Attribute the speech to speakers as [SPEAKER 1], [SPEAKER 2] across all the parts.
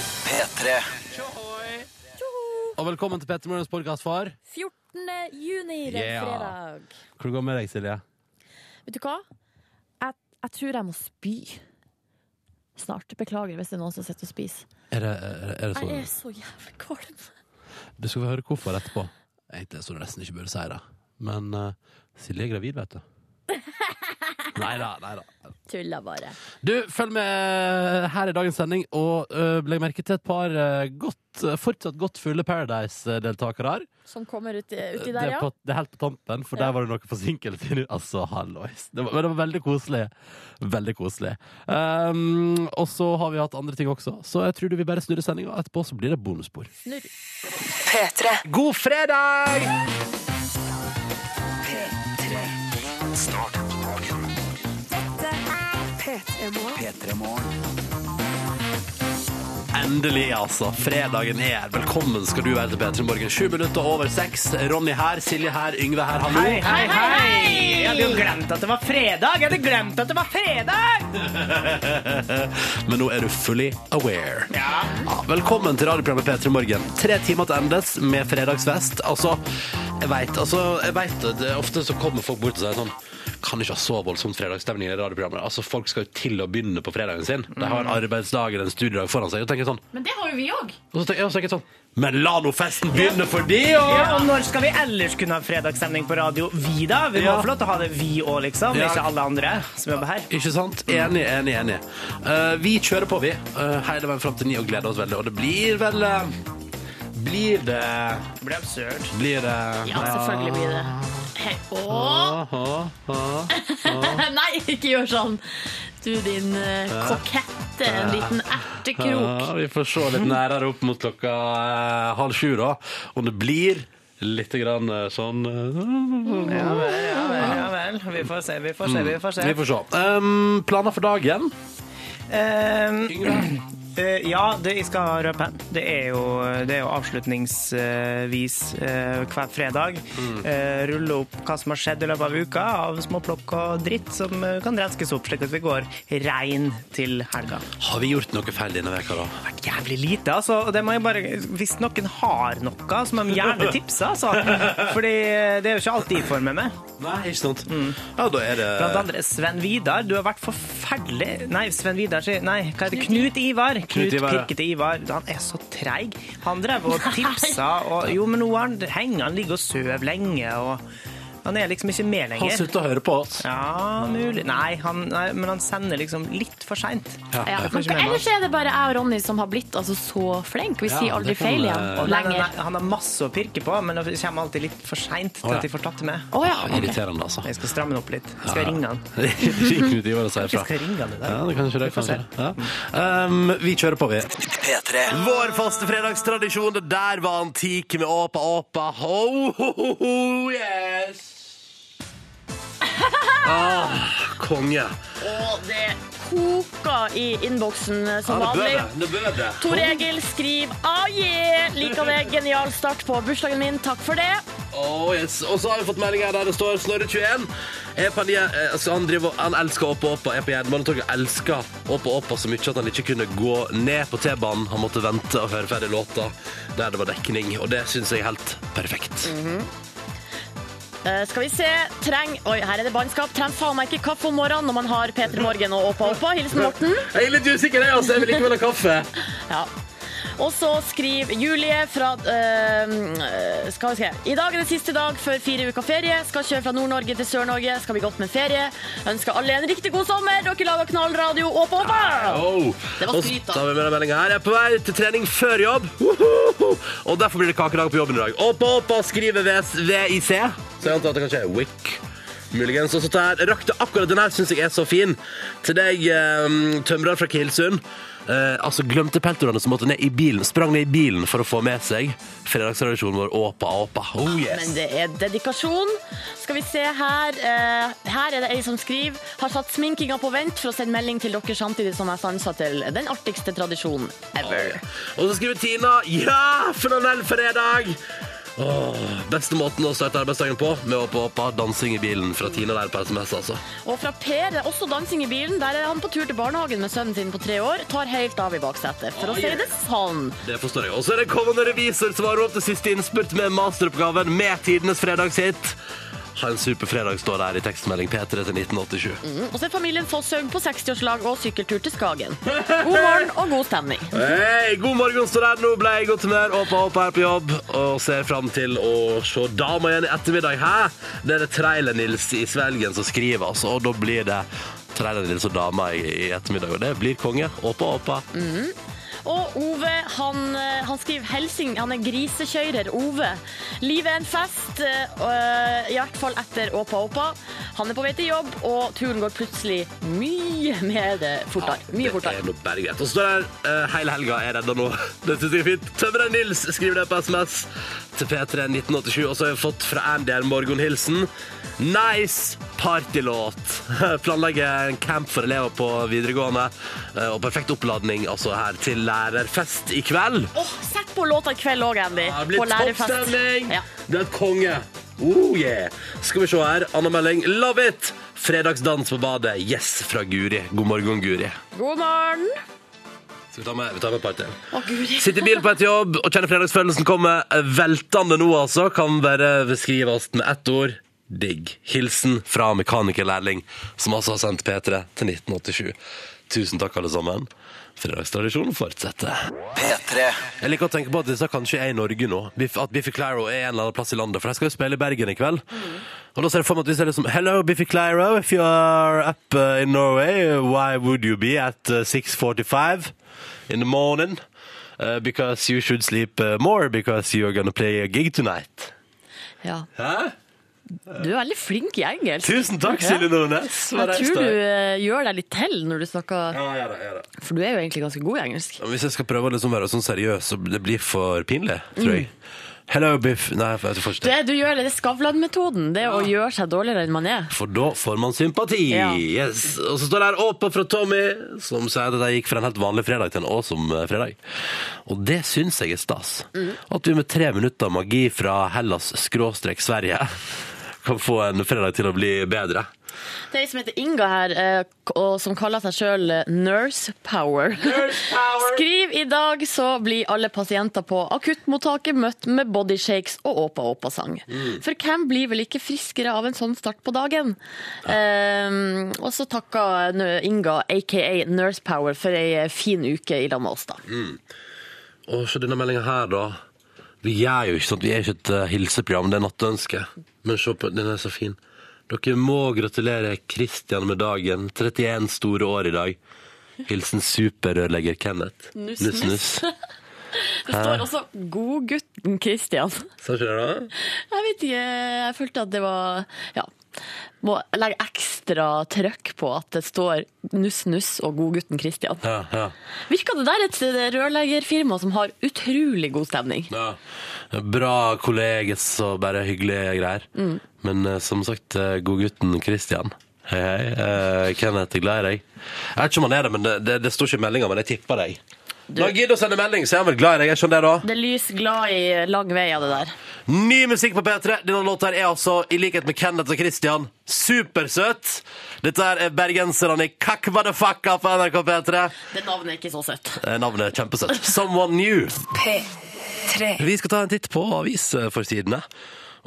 [SPEAKER 1] P3.
[SPEAKER 2] Og velkommen til Petter Morgens podkast, far.
[SPEAKER 3] 14. juni, det er
[SPEAKER 2] Yeah.
[SPEAKER 3] fredag.
[SPEAKER 2] Hvordan går det med deg, Silje?
[SPEAKER 3] Vet du hva? Jeg, jeg tror jeg må spy. Snart. Beklager hvis det er noen som sitter og spiser.
[SPEAKER 2] Er det, er, er det
[SPEAKER 3] Jeg er
[SPEAKER 2] sånn?
[SPEAKER 3] så jævlig kvalm.
[SPEAKER 2] Du skal få høre hvorfor etterpå. Egentlig er det sånn resten ikke burde si det. Men eh, Silje er gravid, vet du. Nei da, nei da.
[SPEAKER 3] Tulla bare.
[SPEAKER 2] Du, følg med eh, her i dagens sending, og øh, legg merke til et par øh, godt, øh, fortsatt godt fulle Paradise-deltakere. her.
[SPEAKER 3] Som kommer uti, uti
[SPEAKER 2] det,
[SPEAKER 3] der,
[SPEAKER 2] er
[SPEAKER 3] ja.
[SPEAKER 2] på, det er helt på tampen, for
[SPEAKER 3] Ja.
[SPEAKER 2] der var det noe forsinkelse inni. Altså, hallois. Det var, men det var veldig koselig. Veldig koselig. Ehm, og så har vi hatt andre ting også, så jeg tror du vil bare snurre sendinga. Etterpå så blir det bonusspor.
[SPEAKER 3] Snurr.
[SPEAKER 2] God fredag!
[SPEAKER 1] P3 Morgen.
[SPEAKER 2] Endelig, altså. Fredagen er her. Velkommen skal du være til P3 Morgen. Sju minutter over seks. Ronny her, Silje her, Yngve her. Hallo.
[SPEAKER 4] Hei, hei, hei! Jeg hadde jo glemt at det var fredag! Jeg hadde glemt at det var fredag!
[SPEAKER 2] Men nå er du fully aware. Ja, velkommen til radioprogrammet P3 Morgen. Tre timer til endes med fredagsfest. Altså, jeg vet, altså, jeg vet det. det. er Ofte så kommer folk bort og sier sånn kan ikke ha så voldsomt fredagsstemning i radioprogrammet. Altså, Folk skal jo til å begynne på fredagen sin. De har en arbeidsdag eller en studiedag foran seg. Og tenker jeg sånn,
[SPEAKER 5] Men det har jo vi òg.
[SPEAKER 2] og så tenker jeg, og så tenker jeg sånn Men la nå festen begynne for de, og
[SPEAKER 4] Ja, og når skal vi ellers kunne ha fredagsstemning på radio? Vi, da? Vi må
[SPEAKER 2] Ja.
[SPEAKER 4] få lov til å ha det, vi òg, liksom.
[SPEAKER 2] Ja.
[SPEAKER 4] Ikke alle andre som jobber her.
[SPEAKER 2] Ikke sant? Enig, enig, enig. Eh, vi kjører på, vi. eh, hele veien fram til ni og gleder oss veldig. Og det blir vel eh, Blir det
[SPEAKER 4] Det blir absurd.
[SPEAKER 2] Blir det
[SPEAKER 5] Ja, selvfølgelig blir det. Hei. Åh.
[SPEAKER 2] Aha, aha.
[SPEAKER 5] Nei, ikke gjør sånn! Du, din eh, kokette, en liten ertekrok.
[SPEAKER 2] Ja, vi får se litt nærere opp mot klokka eh, halv sju, da. Om det blir litt grann, eh, sånn eh,
[SPEAKER 4] Ja vel, ja vel. ja vel. Vi får se, vi får se. Vi får se.
[SPEAKER 2] Vi får se. Ehm, planer for dagen?
[SPEAKER 4] Ehm, eh, ja, det, jeg skal røpe en. Det er jo, det er jo avslutningsvis eh, hver fredag. Eh, rulle opp hva som har skjedd i løpet av uka av småplukk og dritt som eh, kan renskes opp, slik at vi går rein til helga.
[SPEAKER 2] Har vi gjort noe feil denne veka, da?
[SPEAKER 4] vært jævlig lite, altså. Og det må jeg bare, hvis noen har noe, så må de gjerne tipse, altså. Fordi eh, det er jo ikke alt de får med meg.
[SPEAKER 2] Nei, ikke sant? Ja, da er det
[SPEAKER 4] Mm. Blant andre Sven Vidar, du har vært forferdelig Nei, Sven Vidar sier Nei, hva heter det? Knut Ivar. Knut
[SPEAKER 2] Ivar, ja.
[SPEAKER 4] Pirkete Ivar. Han er så treig. Han drev og tipsa og Jo, men nå har han, henger han ligger og sover lenge og Han er liksom ikke med
[SPEAKER 2] Han
[SPEAKER 4] lenger.
[SPEAKER 2] slutter å høre på oss.
[SPEAKER 4] Ja, mulig Nei, han, nei men han sender liksom litt for seint.
[SPEAKER 5] Ja, men
[SPEAKER 4] ikke med meg.
[SPEAKER 5] ellers er det bare jeg og Ronny som har blitt altså, så flink. Vi
[SPEAKER 2] Ja,
[SPEAKER 5] sier aldri
[SPEAKER 2] det kan,
[SPEAKER 5] feil
[SPEAKER 2] eh,
[SPEAKER 5] igjen
[SPEAKER 4] Nei, nei,
[SPEAKER 5] lenger.
[SPEAKER 4] nei, han har masse å pirke på, men det kommer alltid litt for seint til
[SPEAKER 2] Å, ja.
[SPEAKER 4] at de får tatt det med.
[SPEAKER 5] Å ja, ok.
[SPEAKER 2] Irriterende, altså.
[SPEAKER 4] Jeg skal stramme den opp litt. Jeg skal ringe han.
[SPEAKER 2] Ring Knut Ivar og si
[SPEAKER 4] Jeg
[SPEAKER 2] ifra.
[SPEAKER 4] skal ringe han i
[SPEAKER 2] Ja,
[SPEAKER 4] dag.
[SPEAKER 2] det kanskje det.
[SPEAKER 4] Vi får
[SPEAKER 2] Kanskje. det. Ja. Um, vi kjører på, vi.
[SPEAKER 1] P3.
[SPEAKER 2] Vår faste fredagstradisjon, det der var antik med Åpa Åpa. Ho, ho, ho, ho yes! Ah, konge.
[SPEAKER 5] Og det koker i innboksen
[SPEAKER 3] eh,
[SPEAKER 5] som
[SPEAKER 2] Ja, det bør
[SPEAKER 5] vanlig.
[SPEAKER 2] det. Det bør det.
[SPEAKER 5] Tor Egil skriver ah, yeah! Liker det. Genial start på bursdagen min. Takk for det.
[SPEAKER 2] Oh, yes. Og så har vi fått meldinger der det står Snorre21. er på en jæ- eh, Altså, han, driver, han elsker Åpa Åpa, er på Jernbanetorget. Elsker Åpa Åpa så mye at han ikke kunne gå ned på T-banen. Han måtte vente og høre ferdig låta der det var dekning, og det syns jeg er helt perfekt.
[SPEAKER 5] Eh, skal vi se. Treng Oi, her er det bannskap. Trenger faen meg ikke kaffe om morgenen når man har P3 Morgen og Åpa Åpa. Hilsen Morten.
[SPEAKER 2] Jeg er litt usikker, jeg, altså. Jeg vil likevel ha kaffe.
[SPEAKER 5] Ja. Og så skriver Julie fra eh, Skal vi se. I dag er det siste dag før fire uker ferie. Skal kjøre fra Nord-Norge til Sør-Norge. Skal bli godt med ferie. Ønsker alle en riktig god sommer. Dere lager knallradio. Åpa, åpa!
[SPEAKER 2] Oh.
[SPEAKER 5] Det
[SPEAKER 2] Og
[SPEAKER 5] var
[SPEAKER 2] så
[SPEAKER 5] skryt, da.
[SPEAKER 2] tar vi med den meldingen her. Jeg er på vei til trening før jobb. Woho! Og derfor blir det kakedag på jobben i dag. Oppa, oppa, skriver VS VIC. Så jeg antar at det kanskje er WIC. Muligens. Og så tar jeg rakk det akkurat den her, syns jeg er så fin. Til deg, eh, tømrer fra Kilsund. Eh, altså Glemte peltorene som måtte ned i bilen sprang ned i bilen for å få med seg fredagstradisjonen vår Åpa Åpa. Oh yes!
[SPEAKER 5] Men det er dedikasjon. Skal vi se her. eh, her er det ei som skriver Har satt sminkinga på vent for å sende melding til dere samtidig som jeg stansa til den artigste tradisjonen ever.
[SPEAKER 2] Og så skriver Tina Ja, for noen velferdag Åh, beste måten å starte arbeidsdagen på, med å håpe dansing i bilen fra Tina der på SMS, altså.
[SPEAKER 5] Og fra Per, det er også dansing i bilen. Der er han på tur til barnehagen med sønnen sin på tre år. Tar helt av i baksetet, for å si det sånn.
[SPEAKER 2] Det forstår jeg. Og så er det kommende revisor som har råd til siste innspurt med masteroppgaven med tidenes fredagshit. Ha en super fredag, står der i tekstmelding P3 til 1987.
[SPEAKER 5] Mm, Og så er familien Fosshaug på 60-årslag og sykkeltur til Skagen. God morgen og god stemning.
[SPEAKER 2] Hei, god morgen, står der. Nå ble jeg i godt humør, opp og opp her på jobb, og ser fram til å se dama igjen i ettermiddag. Hæ? Det er det Trailer-Nils i Svelgen som skriver, altså, og da blir det Trailer-Nils og dama i, i ettermiddag, og det blir konge. Opp og opp.
[SPEAKER 5] Og Ove, han, eh, han skriver Helsing, han er grisekjører, Ove. Livet er en fest, eh, øh, i hvert fall etter Åpa Åpa. Han er på vei til jobb, og turen går plutselig mye mer det fortere. Mye
[SPEAKER 2] Det
[SPEAKER 5] fortere.
[SPEAKER 2] er noe bare greit. Og så står det her eh, hele helga er redda nå. Det synes jeg er fint. Tømrer Nils skriver det på SMS til P3 1987. Og så har jeg fått fra Andy en morgenhilsen. Nice partylåt. Planlegger en camp for elever på videregående. eh, Og perfekt oppladning altså her til lærerfest i kveld.
[SPEAKER 5] Åh, sett på låta i kveld òg, Andy.
[SPEAKER 2] Det
[SPEAKER 5] På
[SPEAKER 2] blir
[SPEAKER 5] lærerfest.
[SPEAKER 2] toppstemning!
[SPEAKER 5] Ja.
[SPEAKER 2] Det er et konge. Oh yeah! Skal vi se her. Anna Melding, love it! Fredagsdans på badet. Yes, fra Guri. God morgen, Guri.
[SPEAKER 5] God morgen.
[SPEAKER 2] Skal vi ta med, vi tar med partyen?
[SPEAKER 5] Å, guri.
[SPEAKER 2] Sitter i bil på et jobb og kjenner fredagsfølelsen komme veltende nå, altså. Kan bare beskrives med ett ord. Digg. Hilsen fra mekanikerlærling, som altså har sendt P3 til 1987. Tusen takk, alle sammen. Fredagstradisjonen fortsetter.
[SPEAKER 1] P3.
[SPEAKER 2] Jeg liker å tenke på at disse kanskje er i Norge nå. Biff- At Biffy Clyro er en eller annen plass i landet. For de skal jo spille i Bergen i kveld. Og da ser jeg for meg at hvis det er liksom Hello, Biffy Clyro. If you are up uh, in Norway, why would you be at uh, 6.45 in the morning? Uh, because you should sleep uh, more, because you're gonna play a gig tonight.
[SPEAKER 5] Ja.
[SPEAKER 2] Hæ?
[SPEAKER 5] Du er veldig flink i engelsk.
[SPEAKER 2] Tusen takk, Silje Nordnes. Hva
[SPEAKER 5] Jeg
[SPEAKER 2] reiste
[SPEAKER 5] tror du
[SPEAKER 2] deg?
[SPEAKER 5] eh, gjør deg litt til når du snakker,
[SPEAKER 2] Ja, gjør det, gjør det.
[SPEAKER 5] for du er jo egentlig ganske god i engelsk.
[SPEAKER 2] Hvis jeg skal prøve å liksom være sånn seriøs, så det blir for pinlig, tror jeg. Hello, Biff Nei, jeg får ikke
[SPEAKER 5] Det du gjør, det er Skavlan-metoden. Det er å gjøre seg dårligere enn man er.
[SPEAKER 2] For da får man sympati.
[SPEAKER 5] Ja.
[SPEAKER 2] Yes. Og så står det her Åpa fra Tommy, som sier at de gikk fra en helt vanlig fredag til en awesome eh, fredag. Og det syns jeg er stas. At du med tre minutter magi fra Hellas skråstrek Sverige kan få en fredag til å bli bedre.
[SPEAKER 5] Det er ei som heter Inga her, eh, k- og som kaller seg sjøl Nurse Power. Skriv i dag så blir alle pasienter på akuttmottaket møtt med bodyshakes og Åpa Åpa-sang. For hvem blir vel ikke friskere av en sånn start på dagen? Ehm, og så takker Nø- Inga, aka Nurse Power, for ei eh, fin uke i lag med oss, da.
[SPEAKER 2] Mm. Og så denne meldinga her, da. Vi er jo ikke sånn, vi er ikke et eh, hilseprogram, det er nattønske. Men se på, den er så fin. Dere må gratulere Kristian med dagen. 31 store år i dag. Hilsen superrørlegger Kenneth.
[SPEAKER 5] Nuss, nuss. Det står også 'Godgutten Christian'.
[SPEAKER 2] Sa ikke det, da?
[SPEAKER 5] Jeg vet ikke, jeg følte at det var Ja. Må legge ekstra trøkk på at det står Nuss Nuss og Godgutten Christian.
[SPEAKER 2] Ja, ja,
[SPEAKER 5] Virker det der et rørleggerfirma som har utrolig god stemning?
[SPEAKER 2] ja. Bra kolleges og bare hyggelige greier.
[SPEAKER 5] Mm.
[SPEAKER 2] Men eh, som sagt, eh, godgutten Christian. Hei, hei. Eh, Kenneth er glad i deg. Jeg vet ikke om han er det, men det, det, det står ikke i meldinga, men jeg tipper deg. Da gidder å sende melding, så er han vel glad i deg. Jeg skjønner det, da.
[SPEAKER 5] Det er lys glad i lang vei av det der.
[SPEAKER 2] Ny musikk på P3. Denne låta her er altså, i likhet med Kenneth og Christian, supersøt. Dette her er bergenserne i Kakk Madafakka på NRK P3.
[SPEAKER 5] Det navnet er ikke så søtt.
[SPEAKER 2] Eh, Navnet er kjempesøtt. Someone New.
[SPEAKER 6] P3.
[SPEAKER 2] Vi skal ta en titt på avisforsidene.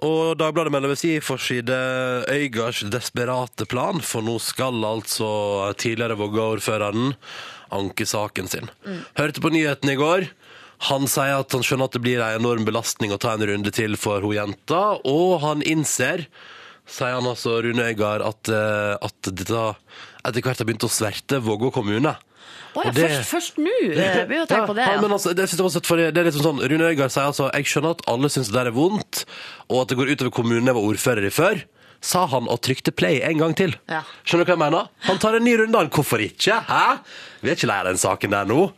[SPEAKER 2] Og Dagbladet melder ved si forside Øygards desperate plan, for nå skal altså tidligere Vågå-ordføreren anke saken sin. Hørte på nyheten i går. Han sier at han skjønner at det blir en enorm belastning å ta en runde til for hun jenta, og han innser, sier han altså Rune Øygard, at, eh, at dette etter hvert har begynt å sverte Vågå kommune.
[SPEAKER 5] Å ja,
[SPEAKER 2] Og det-
[SPEAKER 5] først, først nå eh, begynner jeg å tenke på det.
[SPEAKER 2] Ja, men
[SPEAKER 5] Ja.
[SPEAKER 2] altså, det synes jeg var søtt, fordi det er liksom sånn, Rune Øygard sier altså Jeg skjønner at alle synes det der er vondt, og at det går utover kommunen jeg var ordfører i før. Sa han og trykte play en gang til.
[SPEAKER 5] Ja.
[SPEAKER 2] Skjønner du hva jeg mener? Han tar en ny runde, han. Hvorfor ikke? Hæ? Vi er ikke lei av den saken der nå.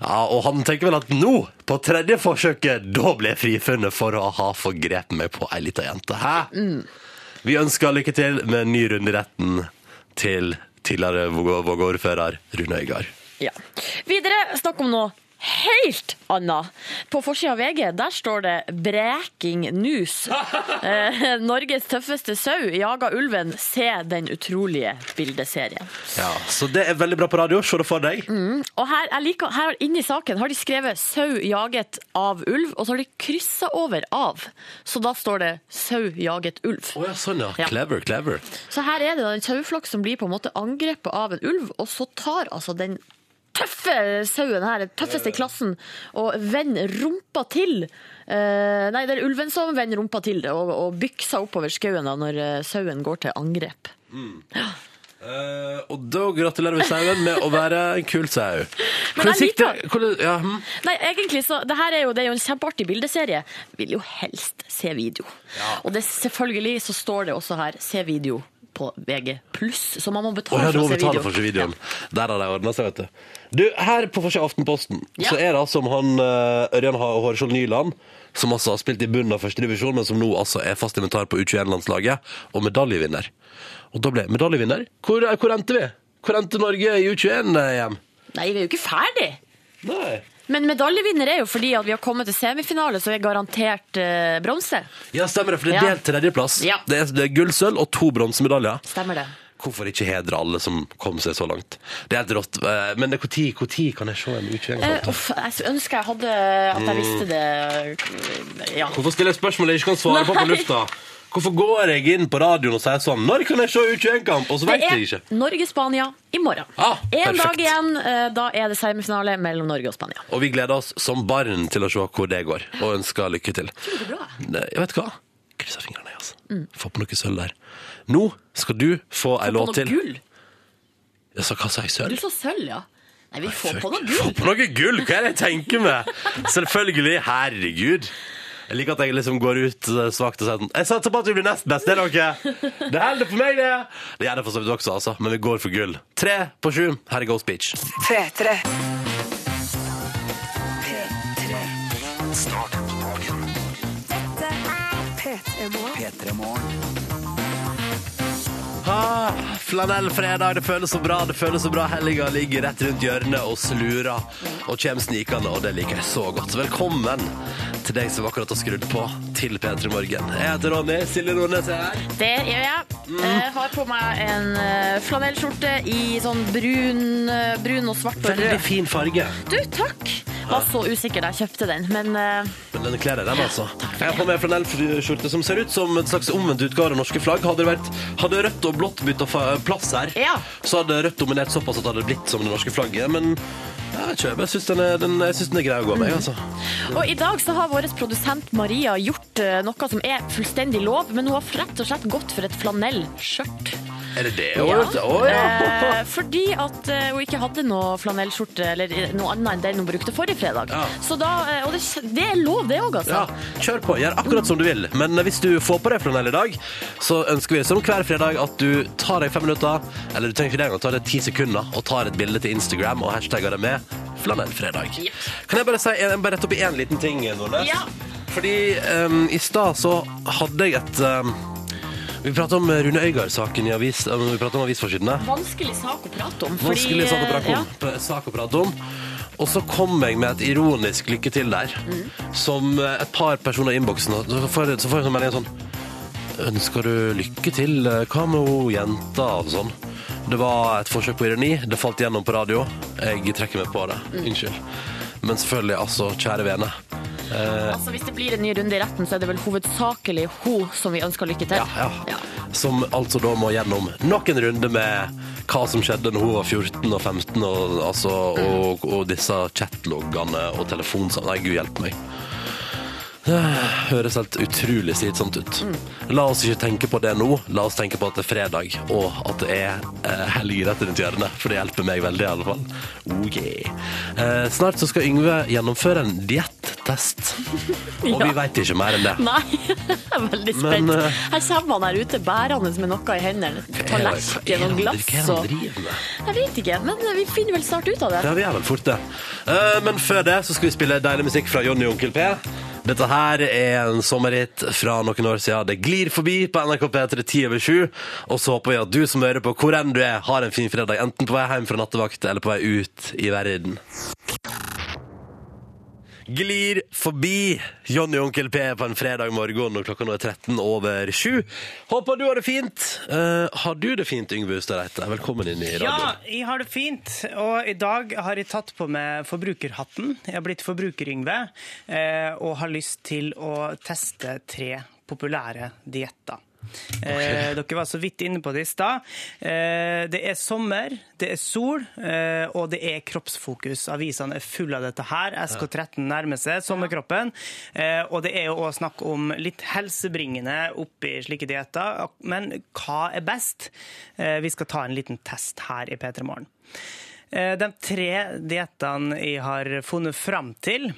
[SPEAKER 2] Ja, Og han tenker vel at nå, på tredje forsøket, da ble jeg frifunnet for å ha forgrepet meg på ei lita jente. Hæ?
[SPEAKER 5] Mm.
[SPEAKER 2] Vi ønsker lykke til med en ny runde i retten til tidligere Vågå- Vågå-ordfører Rune Øygard.
[SPEAKER 5] Ja. Videre, snakk om noe helt annet. På forsida av VG der står det 'Breking nus'. Eh, Norges tøffeste sau jaga ulven. Se den utrolige bildeserien. Mm,
[SPEAKER 2] Ja, så det er veldig bra på radio. Se det for deg.
[SPEAKER 5] Og her, jeg liker, her inni saken har de skrevet 'sau jaget av ulv', og så har de kryssa over 'av'. Så da står det 'sau jaget ulv'.
[SPEAKER 2] Å ja, sånn, ja.
[SPEAKER 5] Ja.
[SPEAKER 2] Clever, clever.
[SPEAKER 5] Så her er det da en saueflokk som blir på en måte angrepet av en ulv, og så tar altså den tøffe sauen her, den tøffeste i klassen, og vender rumpa til. Eh, nei, det er ulven som vender rumpa til det, og, og bykker seg oppover skauen da, når eh, sauen går til angrep.
[SPEAKER 2] Mm. Eh, og da gratulerer vi sauen med å være en kul sau. Hvordan
[SPEAKER 5] jeg
[SPEAKER 2] gikk det?
[SPEAKER 5] liker-
[SPEAKER 2] Hvordan, ja, hm.
[SPEAKER 5] Nei, egentlig så, det her er jo, det er jo en kjempeartig bildeserie. Vil jo helst se video. Og det, selvfølgelig så står det også her, se video på VG+, så man må
[SPEAKER 2] Å
[SPEAKER 5] betale
[SPEAKER 2] ja, du
[SPEAKER 5] for
[SPEAKER 2] må
[SPEAKER 5] å se
[SPEAKER 2] betale
[SPEAKER 5] video.
[SPEAKER 2] for å se videoen. Der har de ordna seg, vet du. Du, Her på forsida av Aftenposten
[SPEAKER 5] Ja.
[SPEAKER 2] så er det altså om han eh, Ørjan Ha- Hårskjold Nyland, som altså har spilt i bunnen av første divisjon, men som nå altså er fast inventar på U21-landslaget, og medaljevinner. Og da ble jeg medaljevinner. Hvor, hvor endte vi? Hvor endte Norge i U21-EM?
[SPEAKER 5] Nei, vi er jo ikke ferdig!
[SPEAKER 2] Nei.
[SPEAKER 5] Men medaljevinner er jo fordi at vi har kommet til semifinale, så vi er garantert eh, bronse.
[SPEAKER 2] Ja, stemmer det, for det er
[SPEAKER 5] Ja.
[SPEAKER 2] delt tredjeplass.
[SPEAKER 5] Ja.
[SPEAKER 2] Det er, det er gull, sølv og to bronsemedaljer.
[SPEAKER 5] Stemmer det?
[SPEAKER 2] Hvorfor ikke hedre alle som kom seg så langt? Det er helt rått. eh, Men når kan jeg se en
[SPEAKER 5] Eh,
[SPEAKER 2] utgjengelse?
[SPEAKER 5] uff, jeg s- ønsker jeg hadde at
[SPEAKER 2] Mm.
[SPEAKER 5] jeg visste det. Ja.
[SPEAKER 2] Hvorfor stiller jeg spørsmål jeg ikke kan svare på på
[SPEAKER 5] Nei.
[SPEAKER 2] lufta? Hvorfor går jeg inn på radioen og sier sånn Når kan jeg se U21-kamp? Og så vet
[SPEAKER 5] Det
[SPEAKER 2] jeg ikke.
[SPEAKER 5] er Norge-Spania i morgen.
[SPEAKER 2] Ah,
[SPEAKER 5] en
[SPEAKER 2] perfekt.
[SPEAKER 5] dag igjen, eh, da er det semifinale mellom Norge og Spania.
[SPEAKER 2] Og vi gleder oss som barn til å se hvor det går, og ønsker lykke til.
[SPEAKER 5] Det er bra.
[SPEAKER 2] Nei, Jeg vet hva? Krysser fingrene, jeg, altså. Få på noe sølv der. Nå skal du få ei
[SPEAKER 5] Mm. På
[SPEAKER 2] låt
[SPEAKER 5] noe
[SPEAKER 2] til.
[SPEAKER 5] gull.
[SPEAKER 2] Jeg sa, hva sa jeg? Sølv?
[SPEAKER 5] Du så sølv, ja. Nei, vi får på noe
[SPEAKER 2] Få
[SPEAKER 5] gull.
[SPEAKER 2] på noe gull, hva er det jeg tenker med? Selvfølgelig, herregud. Jeg liker at jeg liksom går ut eh, svakt og sier sånn Jeg satser på at vi blir nest best, det er dere. Det holder for meg, det. Det gjør det for så vidt også, altså. Men vi går for gull. Tre på sju. Her er Ghost Beach.
[SPEAKER 6] P3.
[SPEAKER 1] P3-morgen.
[SPEAKER 2] Ah, Flanellfredag, det føles så bra, det føles så bra. Helga ligger rett rundt hjørnet og slurer og kommer snikende, og det liker jeg så godt. Velkommen til deg som akkurat har skrudd på til P3 Morgen. Jeg heter Ronny. Silje Nordnes er her.
[SPEAKER 5] Det gjør jeg. Eh,
[SPEAKER 2] Mm.
[SPEAKER 5] har på meg en eh, flanellskjorte i sånn brun, eh, brun og svart og
[SPEAKER 2] Veldig
[SPEAKER 5] rød.
[SPEAKER 2] fin Ah. farge.
[SPEAKER 5] Du, takk! Var så usikker da jeg kjøpte den, men eh,
[SPEAKER 2] Men den kler deg, den, altså. Jeg har på meg flanellskjorte som ser ut som en slags omvendt utgave av norske flagg. Hadde, det vært, hadde rødt og blått bytta fa- plass her,
[SPEAKER 5] Ja.
[SPEAKER 2] så hadde rødt dominert såpass at det hadde blitt som det norske flagget. Men jeg vet ikke, jeg bare syns den, er- den, jeg synes den er grei å gå
[SPEAKER 5] Mm.
[SPEAKER 2] med, jeg, altså.
[SPEAKER 5] Og I dag så har vår produsent Maria gjort eh, noe som er fullstendig lov, men hun har rett og slett gått for et flanellskjørt.
[SPEAKER 2] Er det det? Å ja. Å, ja.
[SPEAKER 5] Eh, fordi at eh, hun ikke hadde noe flanellskjorte eller eh, noe annet enn den hun brukte forrige fredag.
[SPEAKER 2] Ja.
[SPEAKER 5] Så da, eh, Og det, det er lov, det òg, altså.
[SPEAKER 2] Ja, kjør på. Gjør akkurat som du vil. Men hvis du får på deg flanell i dag, så ønsker vi som hver fredag at du tar deg fem minutter, eller du trenger ikke det engang, tar deg ti sekunder og tar et bilde til Instagram og hashtagger det med flanellfredag.
[SPEAKER 5] Yep.
[SPEAKER 2] Kan jeg bare, si, jeg må bare rette opp i én liten ting, Nordnes?
[SPEAKER 5] Ja.
[SPEAKER 2] Fordi em, i stad så hadde jeg et em, Vi prata om Rune Øygard-saken i avis, eh, vi pratet om avisforsidene.
[SPEAKER 5] Vanskelig sak å prate om. fordi,
[SPEAKER 2] Vanskelig sak å
[SPEAKER 5] eh,
[SPEAKER 2] prate om. Sak å prate om. Og så kom jeg med et ironisk lykke til der,
[SPEAKER 5] Mm.
[SPEAKER 2] som eh, et par personer i innboksen og Så får jeg så får jeg en sånn melding sånn Ønsker du lykke til? Eh, Hva med hun jenta? Og sånn. Det var et forsøk på ironi. Det falt gjennom på radio. Jeg trekker meg på det.
[SPEAKER 5] Mm.
[SPEAKER 2] Unnskyld. Men selvfølgelig, altså, kjære vene. Eh,
[SPEAKER 5] Ja. Altså, hvis det blir en ny runde i retten, så er det vel hovedsakelig hun som vi ønsker lykke til.
[SPEAKER 2] Ja, ja. Som altså da må gjennom nok en runde med hva som skjedde når hun var 14 og 15, og, altså, og, og disse chatloggene og telefonsamtaler. Nei, gud hjelpe meg. Ah, Høres helt utrolig slitsomt ut. La oss ikke tenke på det nå. La oss tenke på at det er fredag, og at det er eh, helg rett rundt hjørnet. For det hjelper meg veldig, i alle fall. Oh, yeah. eh, snart så skal Yngve gjennomføre en diettest. Og vi veit ikke mer enn det.
[SPEAKER 5] Nei, jeg er veldig spent.
[SPEAKER 2] Men, eh,
[SPEAKER 5] her kommer han her ute bærende med noe i hendene.
[SPEAKER 2] Hva er
[SPEAKER 5] Tallerken
[SPEAKER 2] det
[SPEAKER 5] og
[SPEAKER 2] han-
[SPEAKER 5] glass
[SPEAKER 2] Hva er det
[SPEAKER 5] og
[SPEAKER 2] han driver med?
[SPEAKER 5] Jeg vet ikke, men vi finner vel snart ut av det.
[SPEAKER 2] Ja, vi er vel fort det. Eh, men før det så skal vi spille deilig musikk fra Jonny og Onkel P. Dette her er en sommerhit fra noen år siden. Det glir forbi på NRK P3 10 over 7. Og så håper vi at du som hører på, hvor enn du er, har en fin fredag. Enten på vei hjem fra nattevakt eller på vei ut i verden. glir forbi Johnny og Onkel P på en fredag morgen og klokka nå er 13 over 7. Håper du har det fint. Eh, har du det fint, Yngve Hustad Reite? Velkommen inn i
[SPEAKER 4] Ja,
[SPEAKER 2] radioen.
[SPEAKER 4] jeg har det fint, og i dag har jeg tatt på meg forbrukerhatten. Jeg har blitt forbruker-Yngve, eh, og har lyst til å teste tre populære dietter. Eh, dere var så vidt inne på det i stad. Eh, det er sommer, det er sol, eh, og det er kroppsfokus. Avisene er fulle av dette her. SK13 nærmer seg sommerkroppen. Eh, og det er jo òg snakk om litt helsebringende oppi slike dietter. Men hva er best? Eh, vi skal ta en liten test her i P3 Morgen. Eh, de tre diettene jeg har funnet fram til,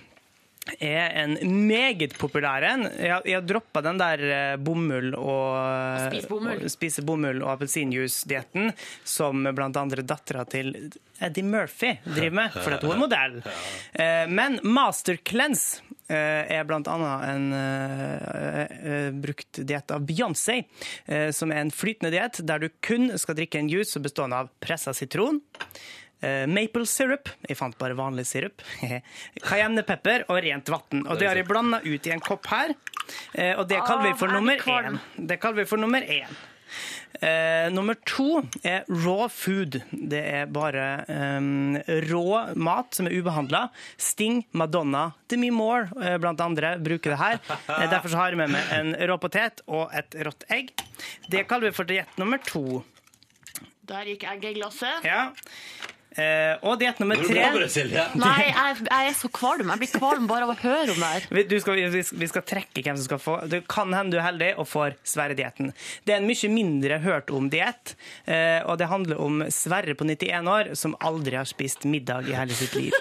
[SPEAKER 4] er en meget populær en. Jeg, jeg har droppa den der eh, bomull og eh,
[SPEAKER 5] Spis bomull.
[SPEAKER 4] og Spise bomull og appelsinjuice-dietten, som blant andre dattera til Eddie Murphy driver med, fordi at hun er modell. Eh, Men Mastercleanse eh, er blant annet en eh, eh, brukt diett av Beyoncé, eh, som er en flytende diett der du kun skal drikke en juice som består av pressa sitron, Eh, maple syrup, jeg fant bare vanlig sirup, cayennepepper og rent vann. Og det har jeg blanda ut i en kopp her, eh, og det kaller vi for
[SPEAKER 5] Ah,
[SPEAKER 4] nummer
[SPEAKER 5] jeg blir
[SPEAKER 4] én. Det kaller vi for nummer én. Eh, nummer to er raw food. Det er bare eh, rå mat som er ubehandla. Sting, Madonna, Demi Moore eh, blant andre bruker det her. Eh, derfor så har jeg med meg en rå potet og et rått egg. Det kaller vi for diett nummer to.
[SPEAKER 5] Der gikk egget i glasset.
[SPEAKER 4] Ja. Eh, og diett nummer
[SPEAKER 2] Går det bra med
[SPEAKER 4] tre
[SPEAKER 2] deg, Silje?
[SPEAKER 5] Nei, jeg, jeg er så kvalm. Jeg blir kvalm bare av å høre om det her.
[SPEAKER 4] Vi, du skal, vi, vi skal trekke hvem som skal få. Det kan hende du er heldig og får Sverre-dietten. Det er en mye mindre hørt om diett, eh, og det handler om Sverre på 91 år som aldri har spist middag i hele sitt liv.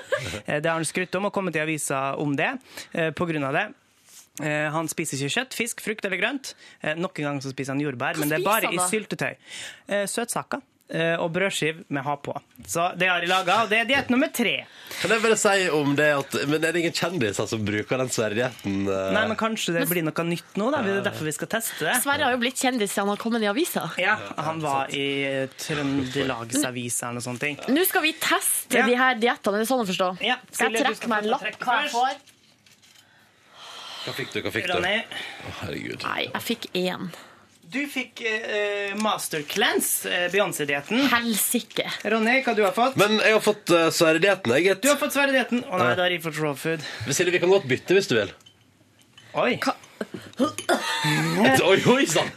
[SPEAKER 4] Eh, Det har han skrytt om og kommet i avisa om det eh, på grunn av det. Eh, Han spiser ikke kjøtt, fisk, frukt eller grønt. Eh, Nok en gang så spiser han jordbær, men det er
[SPEAKER 5] spiser
[SPEAKER 4] bare
[SPEAKER 5] han
[SPEAKER 4] i
[SPEAKER 5] da?
[SPEAKER 4] syltetøy. Eh, Søtsaker eh, og brødskiv med ha på. Så det har de laga, og det er diett nummer tre.
[SPEAKER 2] Kan jeg bare si om det at Men er det ingen kjendiser som bruker den sverdigheten? eh?
[SPEAKER 4] Nei, men kanskje det blir noe nytt nå, da. Det er derfor vi skal teste det.
[SPEAKER 5] Sverre har jo blitt kjendis siden han har kommet i avisa.
[SPEAKER 4] Ja, han var i eh, Trøndelagsavisa eller noe sånt. ting.
[SPEAKER 5] Nå skal vi teste
[SPEAKER 4] Ja.
[SPEAKER 5] de her diettene. Er det sånn å forstå?
[SPEAKER 4] Ja, Silje,
[SPEAKER 5] Skal jeg
[SPEAKER 4] du
[SPEAKER 5] trekke
[SPEAKER 4] skal
[SPEAKER 5] meg en
[SPEAKER 4] få
[SPEAKER 5] lapp
[SPEAKER 4] trekke
[SPEAKER 5] hva jeg får?
[SPEAKER 2] Hva fikk du? Hva fikk du?
[SPEAKER 4] Ronny,
[SPEAKER 2] Å, Herregud.
[SPEAKER 5] Nei, jeg fikk én.
[SPEAKER 4] du fikk eh, Master Cleanse, eh, Beyoncé-dietten.
[SPEAKER 5] Helsike.
[SPEAKER 4] Ronny, hva du har fått?
[SPEAKER 2] Men jeg har fått uh, sverdigheten, jeg.
[SPEAKER 4] Du har fått Sverre-dietten. Å nei, da har jeg fått raw food.
[SPEAKER 2] Silje, vi kan godt bytte hvis du vil.
[SPEAKER 4] Oi.
[SPEAKER 2] Oi, oi sann!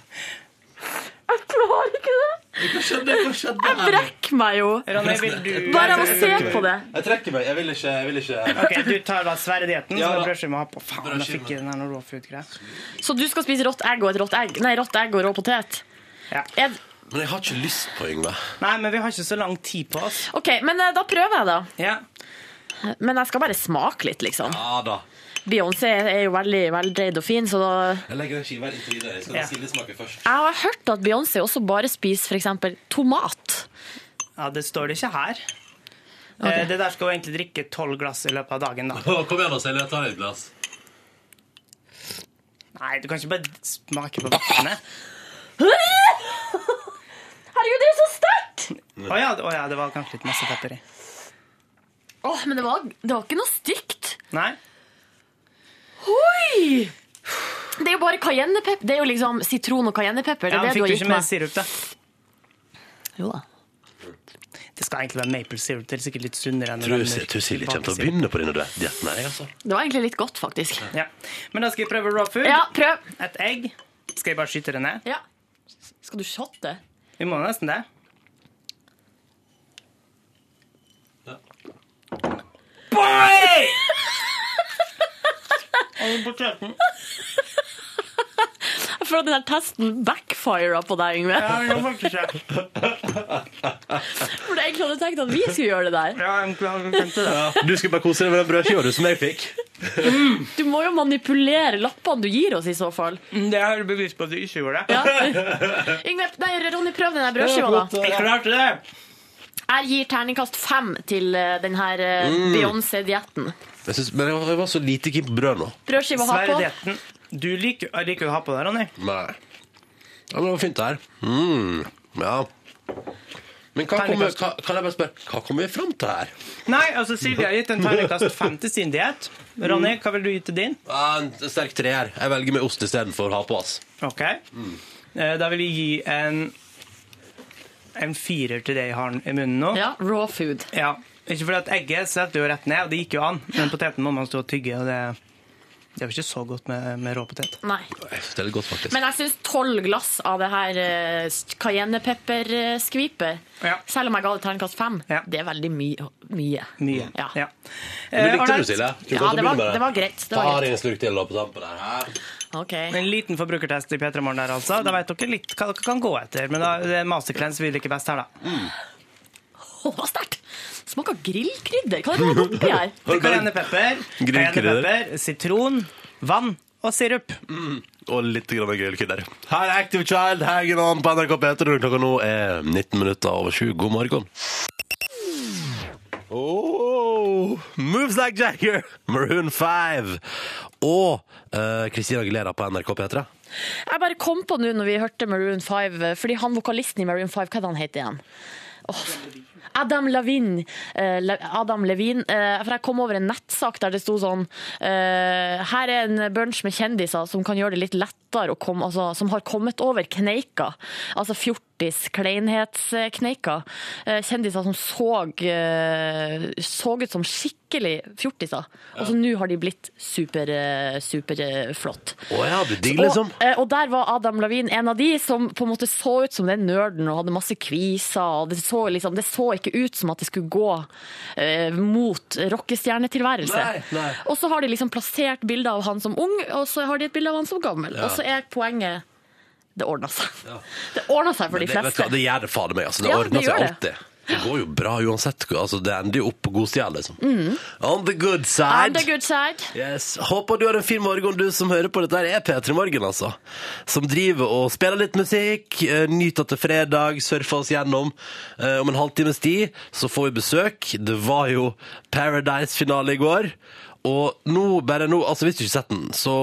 [SPEAKER 5] Jeg klarer ikke det.
[SPEAKER 2] Hva skjedde? Hva skjedde?
[SPEAKER 5] Jeg brekker meg jo.
[SPEAKER 4] Ronny, vil du
[SPEAKER 5] Bare av å se på det.
[SPEAKER 2] Jeg trekker meg. Jeg vil ikke, jeg vil ikke.
[SPEAKER 4] Ok, Du tar da Sverre-dietten,
[SPEAKER 2] Ja,
[SPEAKER 4] så
[SPEAKER 2] da.
[SPEAKER 4] brødskive med ha på. Faen, da
[SPEAKER 2] Brødskive.
[SPEAKER 4] fikk jeg den her noe raw food-greia.
[SPEAKER 5] Så du skal spise rått egg og et rått egg Nei, rått egg og rå potet?
[SPEAKER 4] Ja.
[SPEAKER 5] Er-
[SPEAKER 2] Men jeg har ikke lyst på Yngve.
[SPEAKER 4] Nei, men vi har ikke så lang tid på oss.
[SPEAKER 5] OK, men eh, da prøver jeg, da.
[SPEAKER 4] Ja.
[SPEAKER 5] Men jeg skal bare smake litt, liksom.
[SPEAKER 2] Ja da.
[SPEAKER 5] Beyoncé er jo veldig veldreid og fin, så da
[SPEAKER 2] Jeg legger den skiva inntil videre. Jeg skal
[SPEAKER 4] Ja.
[SPEAKER 2] la Silje smake først.
[SPEAKER 5] Jeg har hørt at Beyoncé også bare spiser f.eks. tomat.
[SPEAKER 4] ja, det står det ikke her. Eh, Det der skal jo egentlig drikke tolv glass i løpet av dagen, da.
[SPEAKER 2] Å, Kom igjen da, Silje. Ta et glass.
[SPEAKER 4] Nei, du kan ikke bare smake på vannet.
[SPEAKER 5] Herregud, det er så sterkt!
[SPEAKER 4] Å ja, å ja, det var kanskje litt masse pepper i.
[SPEAKER 5] Åh, men det var, det var ikke noe stygt.
[SPEAKER 4] Nei?
[SPEAKER 5] Oi! Det er jo bare cayennepepper. Det er jo liksom sitron og cayennepepper. Det
[SPEAKER 4] Ja,
[SPEAKER 5] er det
[SPEAKER 4] fikk
[SPEAKER 5] du har
[SPEAKER 4] du ikke
[SPEAKER 5] gitt
[SPEAKER 4] mer
[SPEAKER 5] meg.
[SPEAKER 4] sirup, da?
[SPEAKER 5] Jo da.
[SPEAKER 4] Det skal egentlig være maple sirup. Det er sikkert litt sunnere enn
[SPEAKER 2] Tror
[SPEAKER 4] den
[SPEAKER 2] Silje
[SPEAKER 4] mørke
[SPEAKER 2] kommer til å
[SPEAKER 4] vanlige
[SPEAKER 2] begynne på denne dietten her, jeg, altså.
[SPEAKER 5] Det var egentlig litt godt, faktisk.
[SPEAKER 4] sirup. Ja. Men da skal jeg prøve raw food.
[SPEAKER 5] Ja, prøv.
[SPEAKER 4] Et egg. Skal jeg bare skyte det ned?
[SPEAKER 5] Ja. Skal du shotte?
[SPEAKER 4] Vi må nesten det.
[SPEAKER 2] Ja.
[SPEAKER 4] Boy! Og poteten.
[SPEAKER 5] Jeg føler at den her testen backfira på deg, Yngve.
[SPEAKER 4] Ja, jeg har faktisk ikke.
[SPEAKER 5] For jeg egentlig hadde tenkt at vi skulle gjøre det der.
[SPEAKER 4] Ja, jeg har glemt det.
[SPEAKER 2] Du skulle bare kose deg med den brødskiva du som jeg fikk.
[SPEAKER 5] Du må jo manipulere lappene du gir oss, i så fall.
[SPEAKER 4] Mm, Det er jeg bevisst på at du ikke gjorde.
[SPEAKER 5] Ja. Yngve, nei, Ronny, prøv den der brødskiva, da.
[SPEAKER 4] Jeg klarte det! eh.
[SPEAKER 5] Jeg gir terningkast fem til eh, den her eh,
[SPEAKER 4] Mm.
[SPEAKER 5] Beyoncé-dietten.
[SPEAKER 2] Jeg synes, men jeg var så lite keen på brød nå.
[SPEAKER 5] Brødskiva har på.
[SPEAKER 4] Sverre-dietten. Du liker, jeg liker å ha på det, Ronny.
[SPEAKER 2] Nei. Ja, men det var fint det her. Mm. Ja. Men hva kommer,
[SPEAKER 4] Terningkast.
[SPEAKER 2] hva, kan jeg bare spørre, hva kommer vi fram til her?
[SPEAKER 4] Nei, altså Silje har gitt en terningkast fem til sin diett. Ronny, hva vil du gi til din?
[SPEAKER 2] Ah, en sterk treer. Jeg velger med ost istedenfor å ha på. ass.
[SPEAKER 4] Ok.
[SPEAKER 2] Mm.
[SPEAKER 4] Eh, Da vil jeg gi en en firer til det jeg har i munnen nå.
[SPEAKER 5] Ja, raw food.
[SPEAKER 4] Ja. Ikke fordi at egget setter jo rett ned, og det gikk jo an, men poteten må man stå og tygge, og det, det er jo ikke så godt med, med råpotet.
[SPEAKER 5] Nei.
[SPEAKER 2] Jeg synes Det er litt godt, faktisk.
[SPEAKER 5] Men jeg syns tolv glass av det her eh, cayennepepperskvipet,
[SPEAKER 4] Ja.
[SPEAKER 5] selv om jeg ga det terningkast fem,
[SPEAKER 4] Ja.
[SPEAKER 5] det er veldig mye. mye.
[SPEAKER 4] Mye.
[SPEAKER 5] Ja.
[SPEAKER 2] Men
[SPEAKER 4] Eh,
[SPEAKER 2] likte
[SPEAKER 4] Arnett,
[SPEAKER 2] du, Silje? Tror du at du
[SPEAKER 5] Ja, det
[SPEAKER 2] begynner
[SPEAKER 5] var,
[SPEAKER 2] med
[SPEAKER 5] det var greit. Det
[SPEAKER 2] Ta
[SPEAKER 5] var
[SPEAKER 2] deg
[SPEAKER 5] greit.
[SPEAKER 2] en slurk til da, på tampen der. Her.
[SPEAKER 5] Ok.
[SPEAKER 4] En liten forbrukertest i P3 Morgen der, altså. Da vet dere litt hva dere kan gå etter, men da, det er mastercleanse vi liker best her, da.
[SPEAKER 5] Å, det var sterkt! Smaker grillkrydder. Hva er det som er oppi her?
[SPEAKER 4] Cayennepepper,
[SPEAKER 2] Grillkrydder.
[SPEAKER 4] cayennepepper, sitron, vann og sirup.
[SPEAKER 2] Mm. og litt grann grillkrydder. Her er Active Child hanging on på NRK P3. Klokka nå er 19 minutter over 7. God morgen. Oh, moves like Jagger, Maroon 5 og eh, Christina Aguilera på NRK P3.
[SPEAKER 5] Jeg bare kom på nå når vi hørte Maroon 5, fordi han vokalisten i Maroon 5, hva er det han heter igjen? Åh, Adam Levine. eh, Le- Adam Levine. eh, For jeg kom over en nettsak der det sto sånn eh, Her er en bunch med kjendiser som kan gjøre det litt lettere å komme Altså som har kommet over kneika. Altså fjortis, kleinhetskneika. Eh, Kjendiser som så eh, Så ut som skikkelig fjortiser. Og så nå har de blitt super, eh, superflott.
[SPEAKER 2] Å ja, du digg, liksom.
[SPEAKER 5] Og, eh, og der var Adam Lavin en av de som på en måte så ut som den nerden og hadde masse kviser. Og det, så liksom, det så ikke ut som at det skulle gå eh, mot rockestjernetilværelse.
[SPEAKER 2] Nei, nei.
[SPEAKER 5] Og så har de liksom plassert bilder av han som ung, og så har de et bilde av han som gammel. Og så er poenget det ordna seg. Det ordna seg for de
[SPEAKER 2] Det, vet du
[SPEAKER 5] fleste.
[SPEAKER 2] hva, det gjør det fader meg. Altså. Det
[SPEAKER 5] Ja, det
[SPEAKER 2] ordner seg
[SPEAKER 5] gjør
[SPEAKER 2] alltid. Det går jo bra uansett. Altså, det ender jo opp på god side, liksom.
[SPEAKER 5] Mm.
[SPEAKER 2] On the good side.
[SPEAKER 5] I'm the good side.
[SPEAKER 2] Yes. Håper du har en fin morgen, du som hører på. Dette her er P3 Morgen, altså. Som driver og spiller litt musikk, eh, nyter til fredag, surfer oss gjennom. Eh, Om en halvtimes tid så får vi besøk. Det var jo Paradise-finale i går. Og nå, bare nå, altså hvis du ikke har sett den, så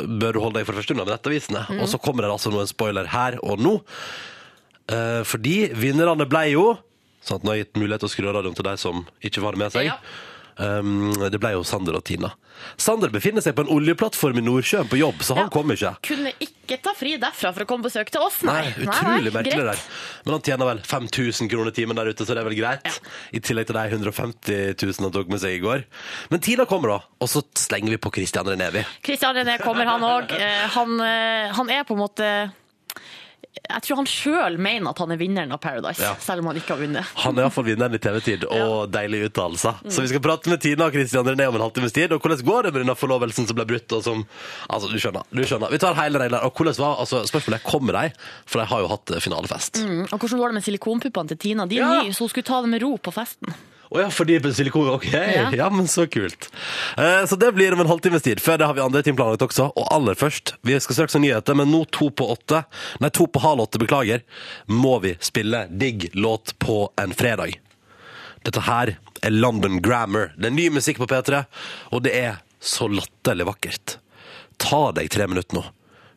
[SPEAKER 2] bør du holde deg for det første unna med nettavisene.
[SPEAKER 5] Mm.
[SPEAKER 2] Og så kommer det altså noen spoiler her og nå. Eh, Fordi vinnerne ble jo Sånn at nå har jeg gitt mulighet til å skru av radioen til deg som ikke var med seg.
[SPEAKER 5] Ja.
[SPEAKER 2] Um, det ble jo Sander og Tina. Sander befinner seg på en oljeplattform i Nordsjøen på jobb, så han
[SPEAKER 5] Ja.
[SPEAKER 2] kom ikke.
[SPEAKER 5] Kunne ikke ta fri derfra for å komme på besøk til oss,
[SPEAKER 2] Nei,
[SPEAKER 5] nei.
[SPEAKER 2] utrolig merkelig der.
[SPEAKER 5] greit.
[SPEAKER 2] Men han tjener vel 5000 kroner timen der ute, så det er vel greit. I tillegg til de 150 000 han tok med seg i går. Men Tina kommer, da. Og så slenger vi på Christian Renevi.
[SPEAKER 5] Christian René kommer, han òg. Han, eh, han er på en måte Jeg tror han sjøl mener at han er vinneren av Paradise,
[SPEAKER 2] Ja.
[SPEAKER 5] selv om han ikke har vunnet.
[SPEAKER 2] Han er iallfall vinneren i TV-tid, og deilige uttalelser. Så vi skal prate med Tina og Christian René om en halvtimes tid. Og hvordan går det med denne forlovelsen som ble brutt, og som Altså, du skjønner. Du skjønner. Vi tar hele regler. Og hvordan var altså, Spørsmålet er kommer de, for de har jo hatt eh, finalefest.
[SPEAKER 5] Mm, Og hvordan går det med silikonpuppene til Tina? De er
[SPEAKER 2] Ja.
[SPEAKER 5] nye, så hun skulle ta det med ro på festen.
[SPEAKER 2] Å ja, fordi på silikon, ok. Ja.
[SPEAKER 5] Ja.
[SPEAKER 2] men så kult. Eh, så det blir om en halvtimes tid. Før det har vi andre ting planlagt også. Og aller først, vi skal straks ha nyheter, men nå to på åtte, nei to på halv åtte, beklager, må vi spille digg låt på en fredag. Dette her er London Grammar. Det er ny musikk på P3, og det er så latterlig vakkert. Ta deg tre minutter nå.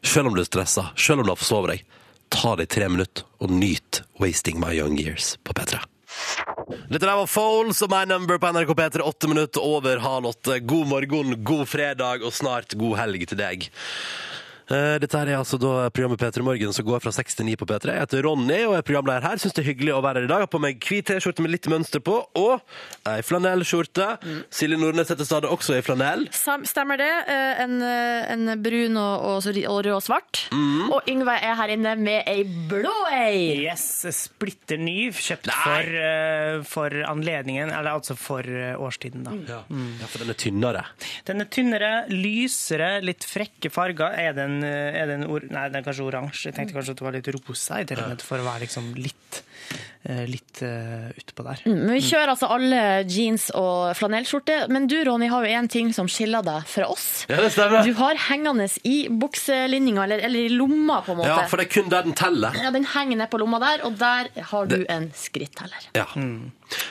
[SPEAKER 2] Selv om du er stressa, selv om du har forsovet deg. Ta deg tre minutter og nyt 'Wasting My Young Years' på P3. Dette der var Foles og My Number på NRK P3, åtte minutter over halv åtte. God morgen, god fredag og snart god helg til deg. Eh, Dette her er altså da programmet P3 Morgen som går fra 6 til 9 på P3. Jeg heter Ronny og jeg er programleder her. Syns det er hyggelig å være her i dag. Jeg har på meg hvit T-skjorte med litt mønster på og ei flanellskjorte.
[SPEAKER 5] Mm.
[SPEAKER 2] Silje Nordnes heter stadig også i flanell.
[SPEAKER 5] Sam- Stemmer det. Eh, En, eh, en brun og, og, så ri- og rød og svart.
[SPEAKER 2] Mhm.
[SPEAKER 5] Og Yngve er her inne med ei blå ei.
[SPEAKER 4] Yes, splitter ny, kjøpt
[SPEAKER 2] Nei.
[SPEAKER 4] for, eh, for anledningen, eller altså for eh, årstiden, da.
[SPEAKER 5] Mm.
[SPEAKER 2] Ja. ja, for den er tynnere.
[SPEAKER 4] Den er tynnere, lysere, litt frekke farger. Er den, eh, er den or Nei, den er kanskje oransje. Jeg tenkte kanskje at det var litt rosa, i det hele tatt, for å være liksom litt, eh, litt eh, utpå der.
[SPEAKER 5] Men vi kjører altså alle jeans og flanellskjorte. Men du Ronny har jo én ting som skiller deg fra oss.
[SPEAKER 2] Ja, det stemmer.
[SPEAKER 5] Du har hengende i bukselinninga, eller, eller i lomma, på en måte.
[SPEAKER 2] Ja, for det er kun der den teller.
[SPEAKER 5] Ja, Den henger ned på lomma der, og der har du en skritteller.
[SPEAKER 2] Ja.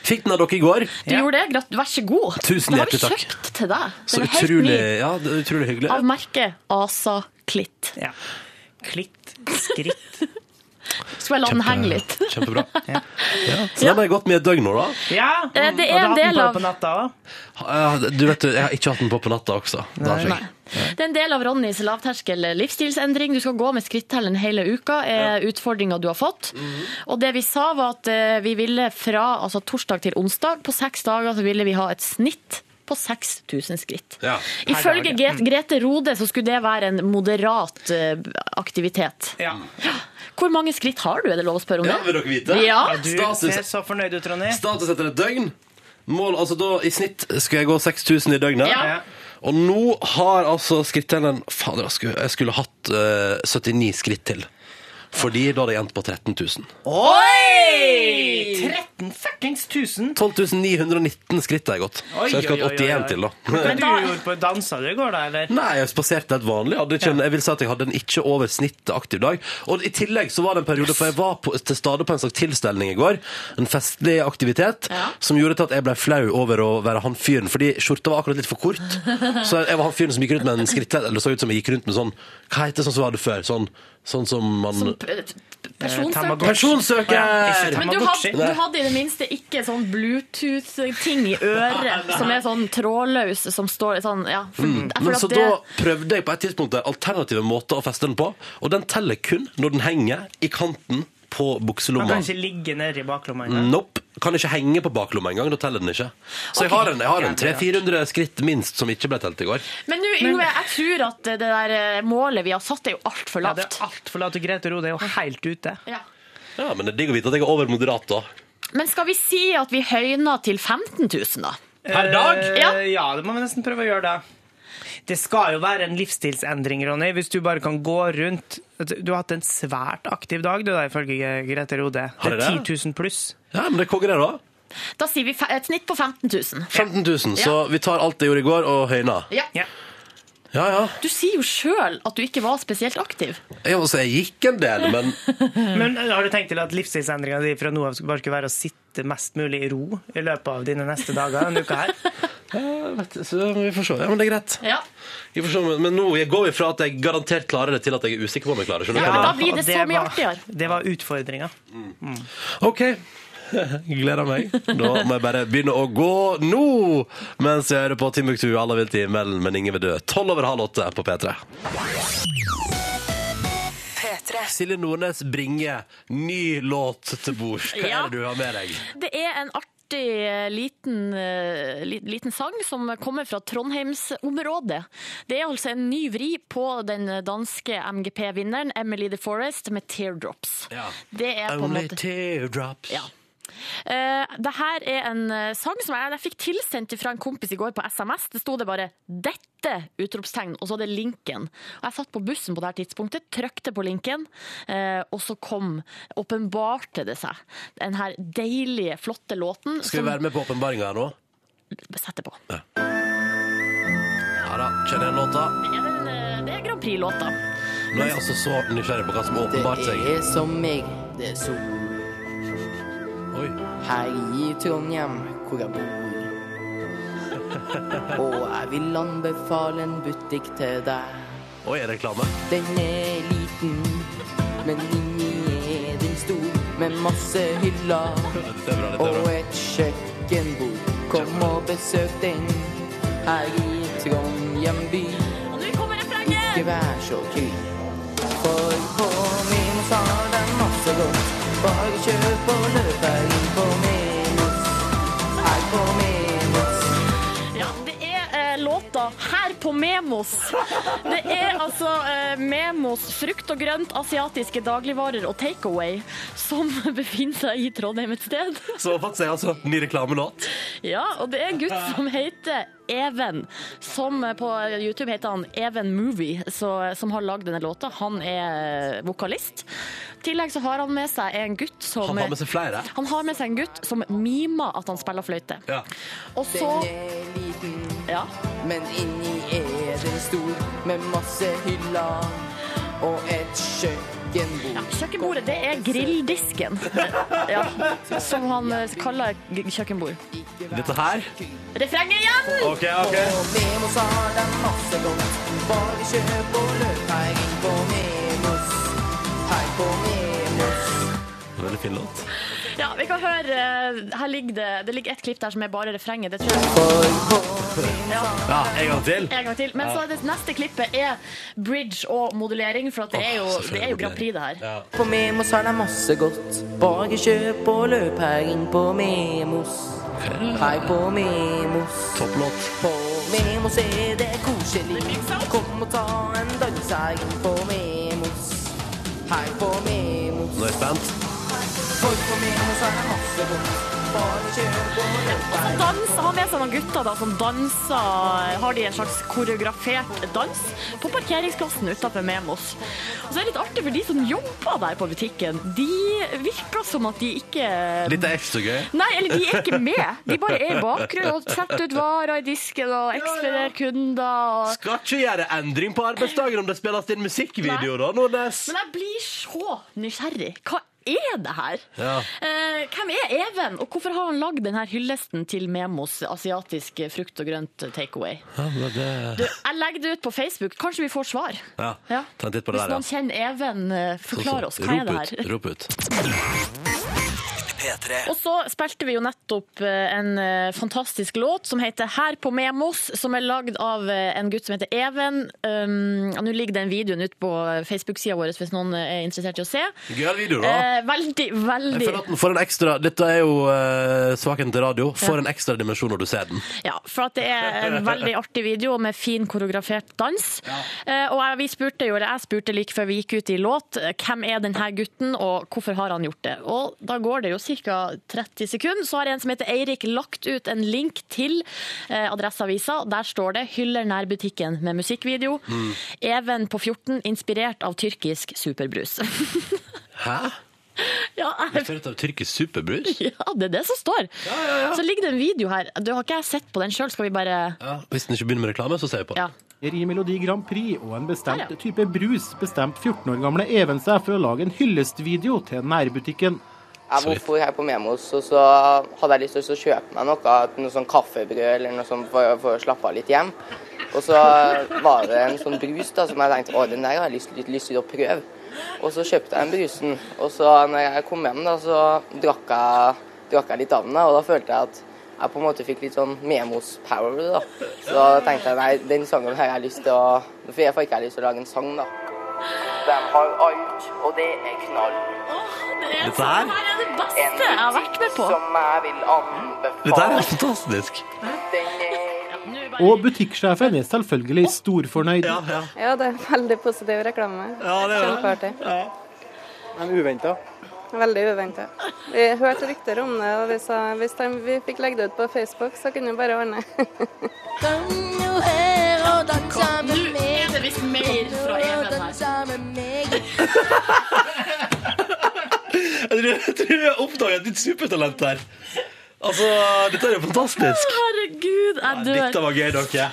[SPEAKER 2] Fikk den av dere i går.
[SPEAKER 5] Du gjorde Mm. det, grat vær så god.
[SPEAKER 2] Tusen
[SPEAKER 5] Den har vi
[SPEAKER 2] hjertelig takk.
[SPEAKER 5] kjøpt til deg. Den
[SPEAKER 2] Så
[SPEAKER 5] er helt
[SPEAKER 2] utrolig,
[SPEAKER 5] ny.
[SPEAKER 2] ja, det er utrolig hyggelig.
[SPEAKER 5] Av merket Asa Klitt.
[SPEAKER 4] Ja. Klitt, skritt,
[SPEAKER 3] Skal jeg la den henge litt.
[SPEAKER 2] Kjempebra. Så den har jeg gått med i et døgn nå, da.
[SPEAKER 4] Ja,
[SPEAKER 5] Eh, det er en
[SPEAKER 4] og du har hatt den
[SPEAKER 5] del
[SPEAKER 4] på-
[SPEAKER 5] av-
[SPEAKER 4] på natta også.
[SPEAKER 2] Ah, ja, Du vet, du, jeg har ikke hatt den på på natta også. Det har ikke jeg.
[SPEAKER 5] Det er en del av Ronnys lavterskel livsstilsendring. Du skal gå med skrittellen hele uka, er utfordringa du har fått.
[SPEAKER 4] Mhm.
[SPEAKER 5] Og det vi sa, var at eh, vi ville fra altså torsdag til onsdag, på seks dager, så ville vi ha et snitt på 6000 skritt.
[SPEAKER 2] Ja.
[SPEAKER 5] Ifølge
[SPEAKER 4] dag,
[SPEAKER 5] Gre- Grete Rode så skulle det være en moderat eh, aktivitet.
[SPEAKER 4] Ja.
[SPEAKER 5] Hvor mange skritt har du, er det lov å spørre om
[SPEAKER 2] ja, vil
[SPEAKER 5] det?
[SPEAKER 2] dere vite?
[SPEAKER 5] Ja.
[SPEAKER 4] Du
[SPEAKER 2] Status,
[SPEAKER 4] ser så fornøyd ut, Ronny.
[SPEAKER 2] status etter et døgn. Mål, altså da, I snitt skal jeg gå 6000 i døgnet.
[SPEAKER 5] Ja.
[SPEAKER 2] Og nå har altså skrittellen Fader, jeg skulle, jeg skulle hatt eh, 79 skritt til. Fordi da hadde jeg endt på 13 000.
[SPEAKER 4] Oi! 13 fuckings 1000.
[SPEAKER 2] 12 919 skritt har jeg gått.
[SPEAKER 4] Oi,
[SPEAKER 2] så jeg skulle
[SPEAKER 4] oi,
[SPEAKER 2] hatt
[SPEAKER 4] oi,
[SPEAKER 2] 81
[SPEAKER 4] oi.
[SPEAKER 2] til, da.
[SPEAKER 4] Men du gjorde på dansa du i går, da, eller?
[SPEAKER 2] Nei, jeg spaserte helt vanlig. Jeg, hadde ikke, en- jeg vil si at jeg hadde en ikke over snittet aktiv dag. Og i tillegg så var det en periode, for jeg var på, til stede på en slags tilstelning i går, en festlig aktivitet, som gjorde til at jeg ble flau over å være han fyren, fordi skjorta var akkurat litt for kort. Så jeg var han fyren som gikk rundt med en skrittledd, eller så ut som jeg gikk rundt med sånn, hva heter det sånn som vi hadde før? Sånn, sånn som man...
[SPEAKER 5] Som p-
[SPEAKER 4] Tamagotchi.
[SPEAKER 5] Eh, Personsøker.
[SPEAKER 4] Ikke
[SPEAKER 2] Personsøker!
[SPEAKER 4] ta-
[SPEAKER 5] Men du
[SPEAKER 4] Tamagotchi.
[SPEAKER 5] hadde, du hadde i det minste ikke sånn Bluetooth-ting i øret, som er sånn trådløs, som står sånn Ja. For, jeg føler
[SPEAKER 2] Mm. Men
[SPEAKER 5] at
[SPEAKER 2] så
[SPEAKER 5] det-
[SPEAKER 2] da prøvde jeg på et tidspunkt der alternative måter å feste den på, og den teller kun når den henger i kanten på
[SPEAKER 4] Han
[SPEAKER 2] bukselomma.
[SPEAKER 4] kan ikke ligge nede i baklomma engang.
[SPEAKER 2] Nope. Kan ikke henge på baklomma engang. Da teller den ikke. Så jeg har en, jeg har en 300-400 skritt minst som ikke ble telt i går.
[SPEAKER 5] Men nå, Yngve, jeg tror at det der eh, målet vi har satt, er jo altfor
[SPEAKER 4] Ja, det
[SPEAKER 5] lavt.
[SPEAKER 4] er altfor lavt. og Grete Rode er jo helt ute.
[SPEAKER 5] Ja.
[SPEAKER 2] Ja, Men det er digg å vite at jeg er over moderat, da.
[SPEAKER 5] Men skal vi si at vi høyner til 15 000, da?
[SPEAKER 2] Per dag?
[SPEAKER 4] Eh,
[SPEAKER 5] Ja.
[SPEAKER 4] ja, det må vi nesten prøve å gjøre det. Det skal jo være en livsstilsendring, Ronny, hvis du bare kan gå rundt. Altså, Du har hatt en svært aktiv dag, du da, ifølge Grete Rode.
[SPEAKER 2] Har jeg
[SPEAKER 4] det er
[SPEAKER 2] det?
[SPEAKER 4] 10 000 pluss.
[SPEAKER 2] Ja, men det er konge, det, da.
[SPEAKER 5] Da sier vi fe- et snitt på 15 000.
[SPEAKER 2] 15 000. Så vi tar alt jeg gjorde i går, og høyner.
[SPEAKER 5] Ja.
[SPEAKER 4] Ja.
[SPEAKER 2] Ja, ja.
[SPEAKER 5] Du sier jo sjøl at du ikke var spesielt aktiv.
[SPEAKER 2] Jeg, altså, jeg gikk en del, men
[SPEAKER 4] Men eh, har du tenkt til at livsstilsendringa di fra nå av skal bare skulle være å sitte mest mulig i ro i løpet av dine neste dager denne uka her?
[SPEAKER 2] ja, vet, du, så vi får se. Ja, men det er greit.
[SPEAKER 5] Ja.
[SPEAKER 2] Vi får se, men- men nå jeg går vi fra at jeg garantert klarer det, til at jeg er usikker på om jeg klarer det. Skjønner du?
[SPEAKER 5] Ja,
[SPEAKER 2] hva
[SPEAKER 5] da
[SPEAKER 2] jeg mener?
[SPEAKER 5] blir det
[SPEAKER 4] og
[SPEAKER 5] så mye
[SPEAKER 4] var-
[SPEAKER 5] artigere.
[SPEAKER 4] Det var Mm. utfordringa.
[SPEAKER 2] OK. Gleder meg. Da må jeg bare begynne å gå nå! Mens jeg hører på Timbuktu, alle vil til himmelen, men ingen vil dø. Tolv over halv åtte på P3.
[SPEAKER 6] P3.
[SPEAKER 2] Silje Nordnes bringer ny låt til bords. Hva
[SPEAKER 5] Ja.
[SPEAKER 2] er det du har med deg?
[SPEAKER 5] Det er en artig eh, liten, eh, li- liten sang som kommer fra Trondheimsområdet. Det er altså en ny vri på den danske MGP-vinneren Emily The Forest med 'Teardrops'.
[SPEAKER 2] Ja.
[SPEAKER 5] Det er på en
[SPEAKER 2] Only
[SPEAKER 5] måte
[SPEAKER 2] teardrops.
[SPEAKER 5] Ja. Eh, det her er en eh, sang som jeg, jeg fikk tilsendt fra en kompis i går på SMS. Det sto det bare 'dette!' utropstegn, og så hadde linken. Og jeg satt på bussen på det her tidspunktet, trykte på linken, eh, og så kom åpenbarte det seg. Den her deilige, flotte låten
[SPEAKER 2] Skal vi
[SPEAKER 5] som
[SPEAKER 2] være med på åpenbaringa her nå?
[SPEAKER 5] setter på.
[SPEAKER 2] Ja da, kjenner jeg låta.
[SPEAKER 5] Det er, den, eh, det er Grand Prix-låta.
[SPEAKER 2] Nå er jeg altså så nysgjerrig på hva som åpenbart
[SPEAKER 7] Det
[SPEAKER 2] seg.
[SPEAKER 7] er som meg, det er sol
[SPEAKER 2] Oi.
[SPEAKER 7] her i Trondheim, hvor jeg bor. Og jeg vil anbefale en butikk til deg.
[SPEAKER 2] Oi, er det reklame?
[SPEAKER 7] Den er liten, men inni er den stor, med masse hyller
[SPEAKER 2] Dette er bra, dette er
[SPEAKER 7] og
[SPEAKER 2] bra.
[SPEAKER 7] et kjøkkenbord. Kom og besøk den her i Trondheim by.
[SPEAKER 5] Og nå kommer refrenget!
[SPEAKER 7] Ikke vær så kry. For på Minos har den masse godt. Bare kjøp og løp her inn på Minos. Her på Minos.
[SPEAKER 5] Ja, det er eh, låta 'Her på Memos'. Det er altså eh, Memos frukt og grønt, asiatiske dagligvarer og takeaway som befinner seg i Trondheim et sted.
[SPEAKER 2] Så fant jeg altså ny reklamelåt.
[SPEAKER 5] Ja, og det er en gutt som heter Even, som eh, på YouTube heter han Even Movie, så, som har lagd denne låta. Han er vokalist. I tillegg så har han med seg en gutt som
[SPEAKER 2] Han har med seg flere.
[SPEAKER 5] han har med seg en gutt som mimer at han spiller fløyte.
[SPEAKER 2] Ja.
[SPEAKER 5] Og så
[SPEAKER 7] Den er liten,
[SPEAKER 5] ja.
[SPEAKER 7] men inni er den stor, med masse hyller og et kjøkkenbord.
[SPEAKER 5] Kjøkkenbordet, det er grilldisken. Ja, som han eh, kaller g- kjøkkenbord.
[SPEAKER 2] Dette her
[SPEAKER 5] Refrenget igjen!
[SPEAKER 2] OK, OK.
[SPEAKER 7] På Memos har den masse godt. Bare kjøp og løp her inn på Memos. Her på Memos.
[SPEAKER 2] Veldig fin låt.
[SPEAKER 5] Ja, vi kan høre eh, Her ligger det Det ligger et klipp der som er bare refrenget. Det tror jeg
[SPEAKER 2] Ja, en gang til.
[SPEAKER 5] en gang til. Men så er det neste klippet er bridge og modulering, for at det er jo,
[SPEAKER 2] Åh, selvfølgelig
[SPEAKER 5] det er jo Grand Prix, det her.
[SPEAKER 2] Ja.
[SPEAKER 7] På Memos har de masse godt. Bare kjøp og løp her inn på Memos. Her på Memos.
[SPEAKER 2] Topplåt.
[SPEAKER 7] På Memos er det koselig. Kom og ta en dans her inn på Memos. Her på Memos.
[SPEAKER 2] Nå er jeg spent.
[SPEAKER 7] For på Memos har de masse godt. Bare kjøp og løp her inn
[SPEAKER 5] Dans, ha med seg noen gutter da, som danser. Har de en slags koreografert dans på parkeringsplassen utenfor Memos. Og så er det litt artig, for de som jobber der på butikken, de virker som at de ikke
[SPEAKER 2] Dette er ikke så gøy.
[SPEAKER 5] Nei, eller de er ikke med. De bare er i bakgrunnen og setter ut varer i disken og ekspederer kunder. Og...
[SPEAKER 2] Skal ikke gjøre endring på arbeidsdagen om det spilles inn musikkvideo, da, Nordnes.
[SPEAKER 5] Men jeg blir så nysgjerrig. Hva er det her?
[SPEAKER 2] Ja.
[SPEAKER 5] Eh, hvem er Even, og hvorfor har han lagd denne hyllesten til Memos asiatisk frukt og grønt takeaway? Du, jeg legger det ut på Facebook. Kanskje vi får svar.
[SPEAKER 2] Ja.
[SPEAKER 5] Ja.
[SPEAKER 2] Ta en titt på det
[SPEAKER 5] Hvis
[SPEAKER 2] der,
[SPEAKER 5] noen
[SPEAKER 2] ja.
[SPEAKER 5] kjenner Even, eh, forklar oss. Hva er det her?
[SPEAKER 2] Rop ut. Rop ut.
[SPEAKER 1] P3.
[SPEAKER 5] Og så spilte vi jo nettopp eh, en eh, fantastisk låt som heter Her på Memos, som er lagd av eh, en gutt som heter Even. Um, ja, Nå ligger den videoen ute på Facebook-sida vår hvis noen eh, er interessert i å se.
[SPEAKER 2] Gøy video, da.
[SPEAKER 5] Eh, veldig,
[SPEAKER 2] Jeg
[SPEAKER 5] veldig
[SPEAKER 2] føler at den får en ekstra Dette er jo eh, svakheten til radio. Får en ekstra dimensjon når du ser den.
[SPEAKER 5] Ja, for at det er en veldig artig video med fin koreografert dans. Eh, og jeg, vi spurte jo, eller jeg spurte like før vi gikk ut i låt, eh, hvem er denne gutten, og hvorfor har han gjort det? Og da går det jo ca. 30 sekunder. Så har en som heter Eirik lagt ut en link til eh, Adresseavisa. Der står det 'Hyller nærbutikken' med musikkvideo.
[SPEAKER 2] Mm.
[SPEAKER 5] Even på 14, inspirert av tyrkisk superbrus.
[SPEAKER 2] Hæ?
[SPEAKER 5] ja,
[SPEAKER 2] Det
[SPEAKER 5] jeg
[SPEAKER 2] ser ut av tyrkisk superbrus.
[SPEAKER 5] ja, det er det som står. Så ligger det en video her. Du har ikke jeg sett på den sjøl, skal vi bare
[SPEAKER 2] Ja, hvis den ikke begynner med reklame, så ser vi på den.
[SPEAKER 5] Ja.
[SPEAKER 8] Her i Melodi Grand Prix og en bestemt
[SPEAKER 5] Her, ja.
[SPEAKER 8] type brus bestemte 14 år gamle Even seg for å lage en hyllestvideo til nærbutikken.
[SPEAKER 7] Jeg var for her på Memos, og så hadde jeg lyst til å kjøpe meg noe, noe sånn kaffebrød eller noe sånt for, for å slappe av litt hjem. Og så var det en sånn brus da, som jeg tenkte å, den der har jeg lyst, litt lyst til å prøve. Og så kjøpte jeg den brusen, og så når jeg kom hjem, da, så drakk jeg, drakk jeg litt av den. da, Og da følte jeg at jeg på en måte fikk litt sånn Memos-power. da. Så da tenkte jeg nei, den sangen her har jeg lyst til å For jeg får ikke jeg lyst til å lage en sang, da. De har alt, og det er knall.
[SPEAKER 5] Dette
[SPEAKER 2] Dette her?
[SPEAKER 5] er det beste jeg har vært med på.
[SPEAKER 7] Som jeg vil anbefale.
[SPEAKER 2] Dette her er fantastisk.
[SPEAKER 8] Og butikksjefen er selvfølgelig storfornøyd.
[SPEAKER 9] Ja, det er veldig positiv rekleme. Kjempeartig.
[SPEAKER 8] Men uventa.
[SPEAKER 9] Veldig uventa. Vi hørte rykter om det, og vi sa hvis de, vi fikk legge det ut på Facebook, så kunne vi bare ordne.
[SPEAKER 5] Nå er det visst mer fra Even her.
[SPEAKER 2] Jeg tror, jeg tror jeg oppdaget et nytt supertalent der. Altså, dette er jo fantastisk.
[SPEAKER 5] Herregud, jeg
[SPEAKER 2] Dette
[SPEAKER 5] dør.
[SPEAKER 2] var gøy, dere.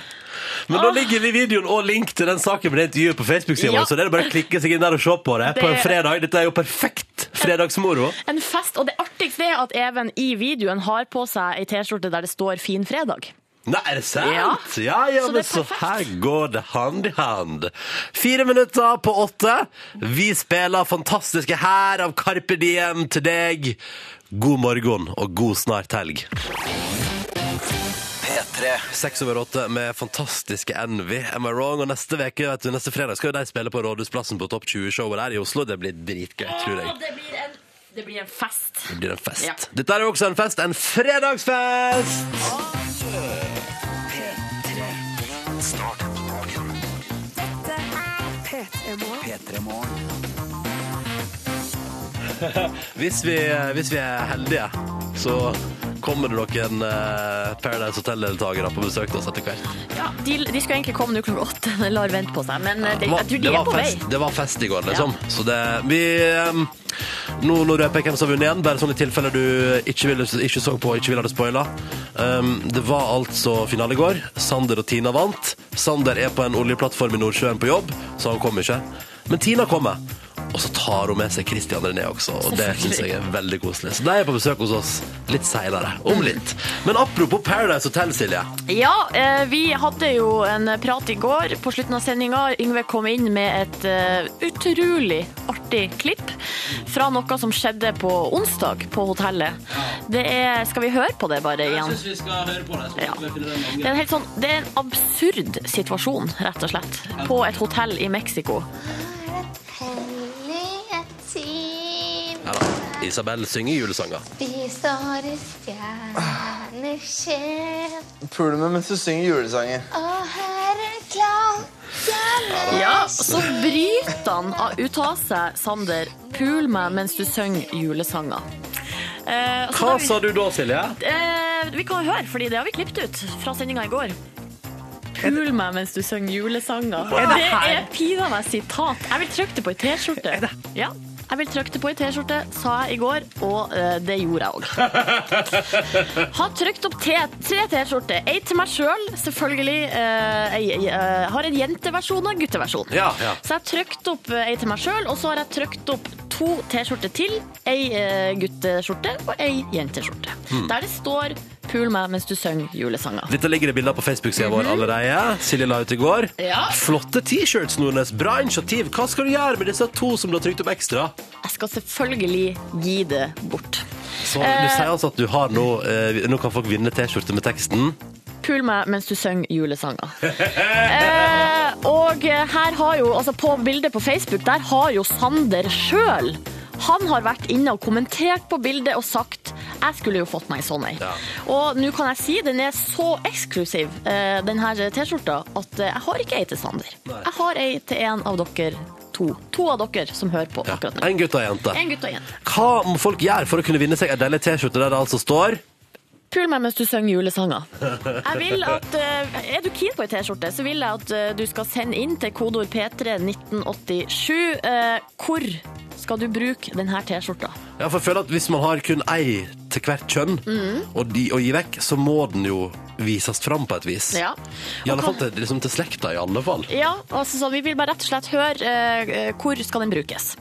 [SPEAKER 2] Men da ligger vi videoen og link til den saken med det intervjuet på Facebook-siden
[SPEAKER 5] Ja.
[SPEAKER 2] vår, så det er bare å klikke seg inn der og se på det på en
[SPEAKER 5] Det-
[SPEAKER 2] fredag. Dette er jo perfekt fredagsmoro.
[SPEAKER 5] En fest, og det artigste er at Even i videoen har på seg ei T-skjorte der det står 'Fin fredag'.
[SPEAKER 2] Nei, er det sant? Ja, ja,
[SPEAKER 5] Så det er
[SPEAKER 2] men så
[SPEAKER 5] perfekt.
[SPEAKER 2] her går det hand i hand. Fire minutter på åtte. Vi spiller fantastiske her av Carpe Diem til deg. God morgen og god snart helg.
[SPEAKER 1] P3.
[SPEAKER 2] Seks over åtte med fantastiske Envy. Am I wrong? Og neste veke, vet du, neste fredag skal jo de spille på Rådhusplassen på Topp 20-showet der i Oslo. Det blir dritgøy, tror jeg.
[SPEAKER 5] det, blir en, fest.
[SPEAKER 2] Det blir en fest.
[SPEAKER 5] Ja.
[SPEAKER 2] Dette er jo også en fest. En fredagsfest!
[SPEAKER 1] Start dagen. P3 Morgen.
[SPEAKER 2] Hvis vi, hvis vi er heldige, så kommer det noen eh, Paradise Hotel-deltakere på besøk til oss etter hvert.
[SPEAKER 5] Ja, de, de skulle egentlig komme nå klokka åtte, men lar vente på seg. Men eh, det,
[SPEAKER 2] var-
[SPEAKER 5] jeg tror
[SPEAKER 2] det
[SPEAKER 5] de
[SPEAKER 2] var
[SPEAKER 5] er på vei.
[SPEAKER 2] fest, Det var fest i går, liksom. Så det, vi, em, nå, nå røper jeg hvem som har vunnet igjen, bare sånn i tilfelle du ikke, ville, ikke så på og ikke ville ha det spoila. Em, det var altså finale i går. Sander og Tina vant. Sander er på en oljeplattform i Nordsjøen på jobb, så han kom ikke. Men Tina kommer. Og så tar hun med seg Christian René også, og det syns jeg er veldig koselig. Så de er på besøk hos oss litt seinere. Om litt. Men apropos Paradise Hotel, Silje.
[SPEAKER 5] Ja, eh, vi hadde jo en prat i går på slutten av sendinga. Yngve kom inn med et eh, utrolig artig klipp fra noe som skjedde på onsdag på hotellet. Det er, skal vi høre på det bare igjen?
[SPEAKER 2] vi skal høre på det.
[SPEAKER 5] Ja. Det er en, helt sånn, det er en absurd situasjon, rett og slett, på et hotell i Mexico.
[SPEAKER 2] Ja da. Isabel synger julesanger.
[SPEAKER 10] Puler meg mens du synger julesanger.
[SPEAKER 5] Ja, så bryter han av- ut av seg, Sander, pul meg mens du synger julesanger. Eh, så
[SPEAKER 2] Hva
[SPEAKER 5] da vi-
[SPEAKER 2] sa du da, Silje?
[SPEAKER 5] Eh, vi kan jo høre, fordi det har vi klippet ut fra sendinga i går. Pul meg mens du synger julesanger.
[SPEAKER 4] det
[SPEAKER 5] Det
[SPEAKER 4] her-
[SPEAKER 5] er pinadø meg sitat. Jeg vil trykke det på ei T-skjorte. Ja, jeg vil trykke det på ei T-skjorte, sa jeg i går, og eh, det gjorde jeg òg. Har trykt opp te, tre T-skjorter. Ei til meg sjøl, selv, selvfølgelig. Eh, jeg, jeg, eh, har en jenteversjon og en gutteversjon.
[SPEAKER 2] Ja, ja.
[SPEAKER 5] Så jeg har trykt opp eh, ei til meg sjøl, og så har jeg trykt opp to T-skjorter til. Ei eh, gutteskjorte og ei jenteskjorte.
[SPEAKER 2] Hmm.
[SPEAKER 5] Der det står 'Pul meg mens du synger julesanger'.
[SPEAKER 2] Dette ligger det bilder på Facebook-sida vår allerede. Silje la ut i går.
[SPEAKER 5] Mhm. Ja.
[SPEAKER 2] Flotte T-shirts, Nordnes. Bra initiativ. Hva skal du gjøre med disse to som du har trykt opp ekstra?
[SPEAKER 5] Jeg skal selvfølgelig gi det bort.
[SPEAKER 2] Så
[SPEAKER 5] Eh.
[SPEAKER 2] du sier altså at du har nå eh, Nå kan folk vinne T-skjorte med teksten.
[SPEAKER 5] 'Pul meg mens du synger julesanger'. eh, og eh, her har jo, altså på bildet på Facebook, der har jo Sander sjøl han har vært inne og kommentert på bildet og sagt jeg skulle jo fått meg en sånn ei.
[SPEAKER 2] Ja.
[SPEAKER 5] Og nå kan jeg si den er så eksklusiv, eh, den her T-skjorta, at eh, jeg har ikke ei til Sander.
[SPEAKER 2] Nei.
[SPEAKER 5] Jeg har ei til en av dere to. To av dere som hører på
[SPEAKER 2] Ja.
[SPEAKER 5] akkurat nå.
[SPEAKER 2] En gutt og ei jente.
[SPEAKER 5] En gutt og en.
[SPEAKER 2] Hva må folk gjøre for å kunne vinne seg en deilig T-skjorte der det altså står
[SPEAKER 5] Pul meg mens du synger julesanger. Jeg vil at, eh, er du keen på ei T-skjorte, så vil jeg at eh, du skal sende inn til kodeord P31987 eh, hvor skal du bruke denne T-skjorta.
[SPEAKER 2] Ja, for jeg føler at Hvis man har kun ei til hvert kjønn
[SPEAKER 5] Mhm.
[SPEAKER 2] og de, å gi vekk, så må den jo vises fram på et vis.
[SPEAKER 5] Ja.
[SPEAKER 2] I alle fall
[SPEAKER 5] Og hva-
[SPEAKER 2] til, liksom til slekta. i alle fall.
[SPEAKER 5] Ja, altså, så vi vil bare rett og slett høre eh, eh, hvor skal den brukes.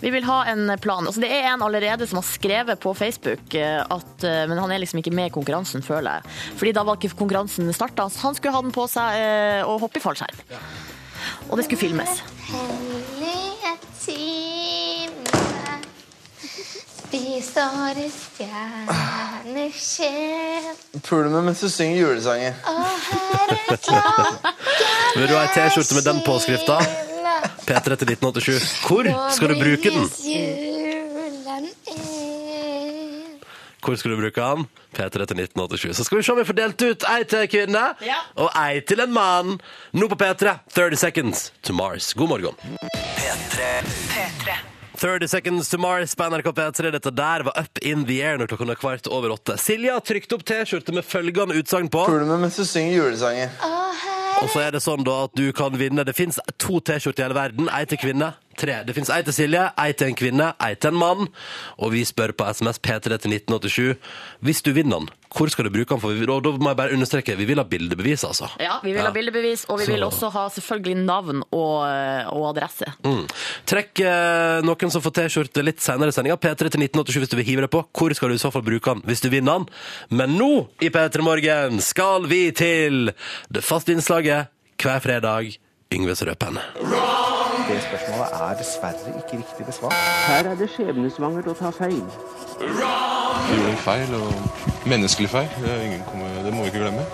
[SPEAKER 5] Vi vil ha en plan. Altså, det er en allerede som har skrevet på Facebook, eh, at, eh, men han er liksom ikke med i konkurransen, føler jeg. Fordi da var ikke konkurransen starta. Han skulle ha den på seg eh, og hoppe i fallskjerm. Og det skulle filmes.
[SPEAKER 10] Puler meg mens du synger julesanger.
[SPEAKER 2] Vil du ha ei T-skjorte med den påskrifta? P3 til 1987. Hvor skal du bruke den? Hvor skal du bruke den? P3 til 1987. Så skal vi se om vi får delt ut ei til en kvinne
[SPEAKER 5] Ja.
[SPEAKER 2] og ei til en mann. Nå på P3 30 Seconds to Mars. God morgen.
[SPEAKER 6] P3.
[SPEAKER 2] 30 Seconds to Mars på NRK P3. Dette der var Up in the Air når klokka var kvart over åtte. Silje har trykt opp T-skjorte med følgende utsagn på.
[SPEAKER 7] Ah.
[SPEAKER 10] Puler meg mens du synger julesanger.
[SPEAKER 2] Og så er det sånn da at du kan vinne. Det fins to T-skjorter i hele verden. Ei til kvinne, tre. Det fins ei til Silje, ei til en kvinne, ei til en mann. Og vi spør på SMS P3 til 1987. Hvis du vinner den, hvor skal du bruke den? For vi, og da må jeg bare understreke, vi vil ha bildebevis, altså.
[SPEAKER 5] Ja, vi vil ha bildebevis, og vi
[SPEAKER 2] Så-
[SPEAKER 5] vil også ha selvfølgelig navn og, og adresse.
[SPEAKER 2] Mm. Trekk eh, noen som får T-skjorte litt senere i sendinga. P3 til 1987 hvis du vil hive deg på. Hvor skal du i så fall bruke den hvis du vinner den? Men nå i P3 Morgen skal vi til det faste innslaget hver fredag. Yngves Røpen.
[SPEAKER 10] Det spørsmålet er dessverre ikke riktig besvart.
[SPEAKER 1] Her er det skjebnesvangert å ta feil.
[SPEAKER 10] Gjorde en feil, og menneskelig feil. Det, må vi ikke glemme.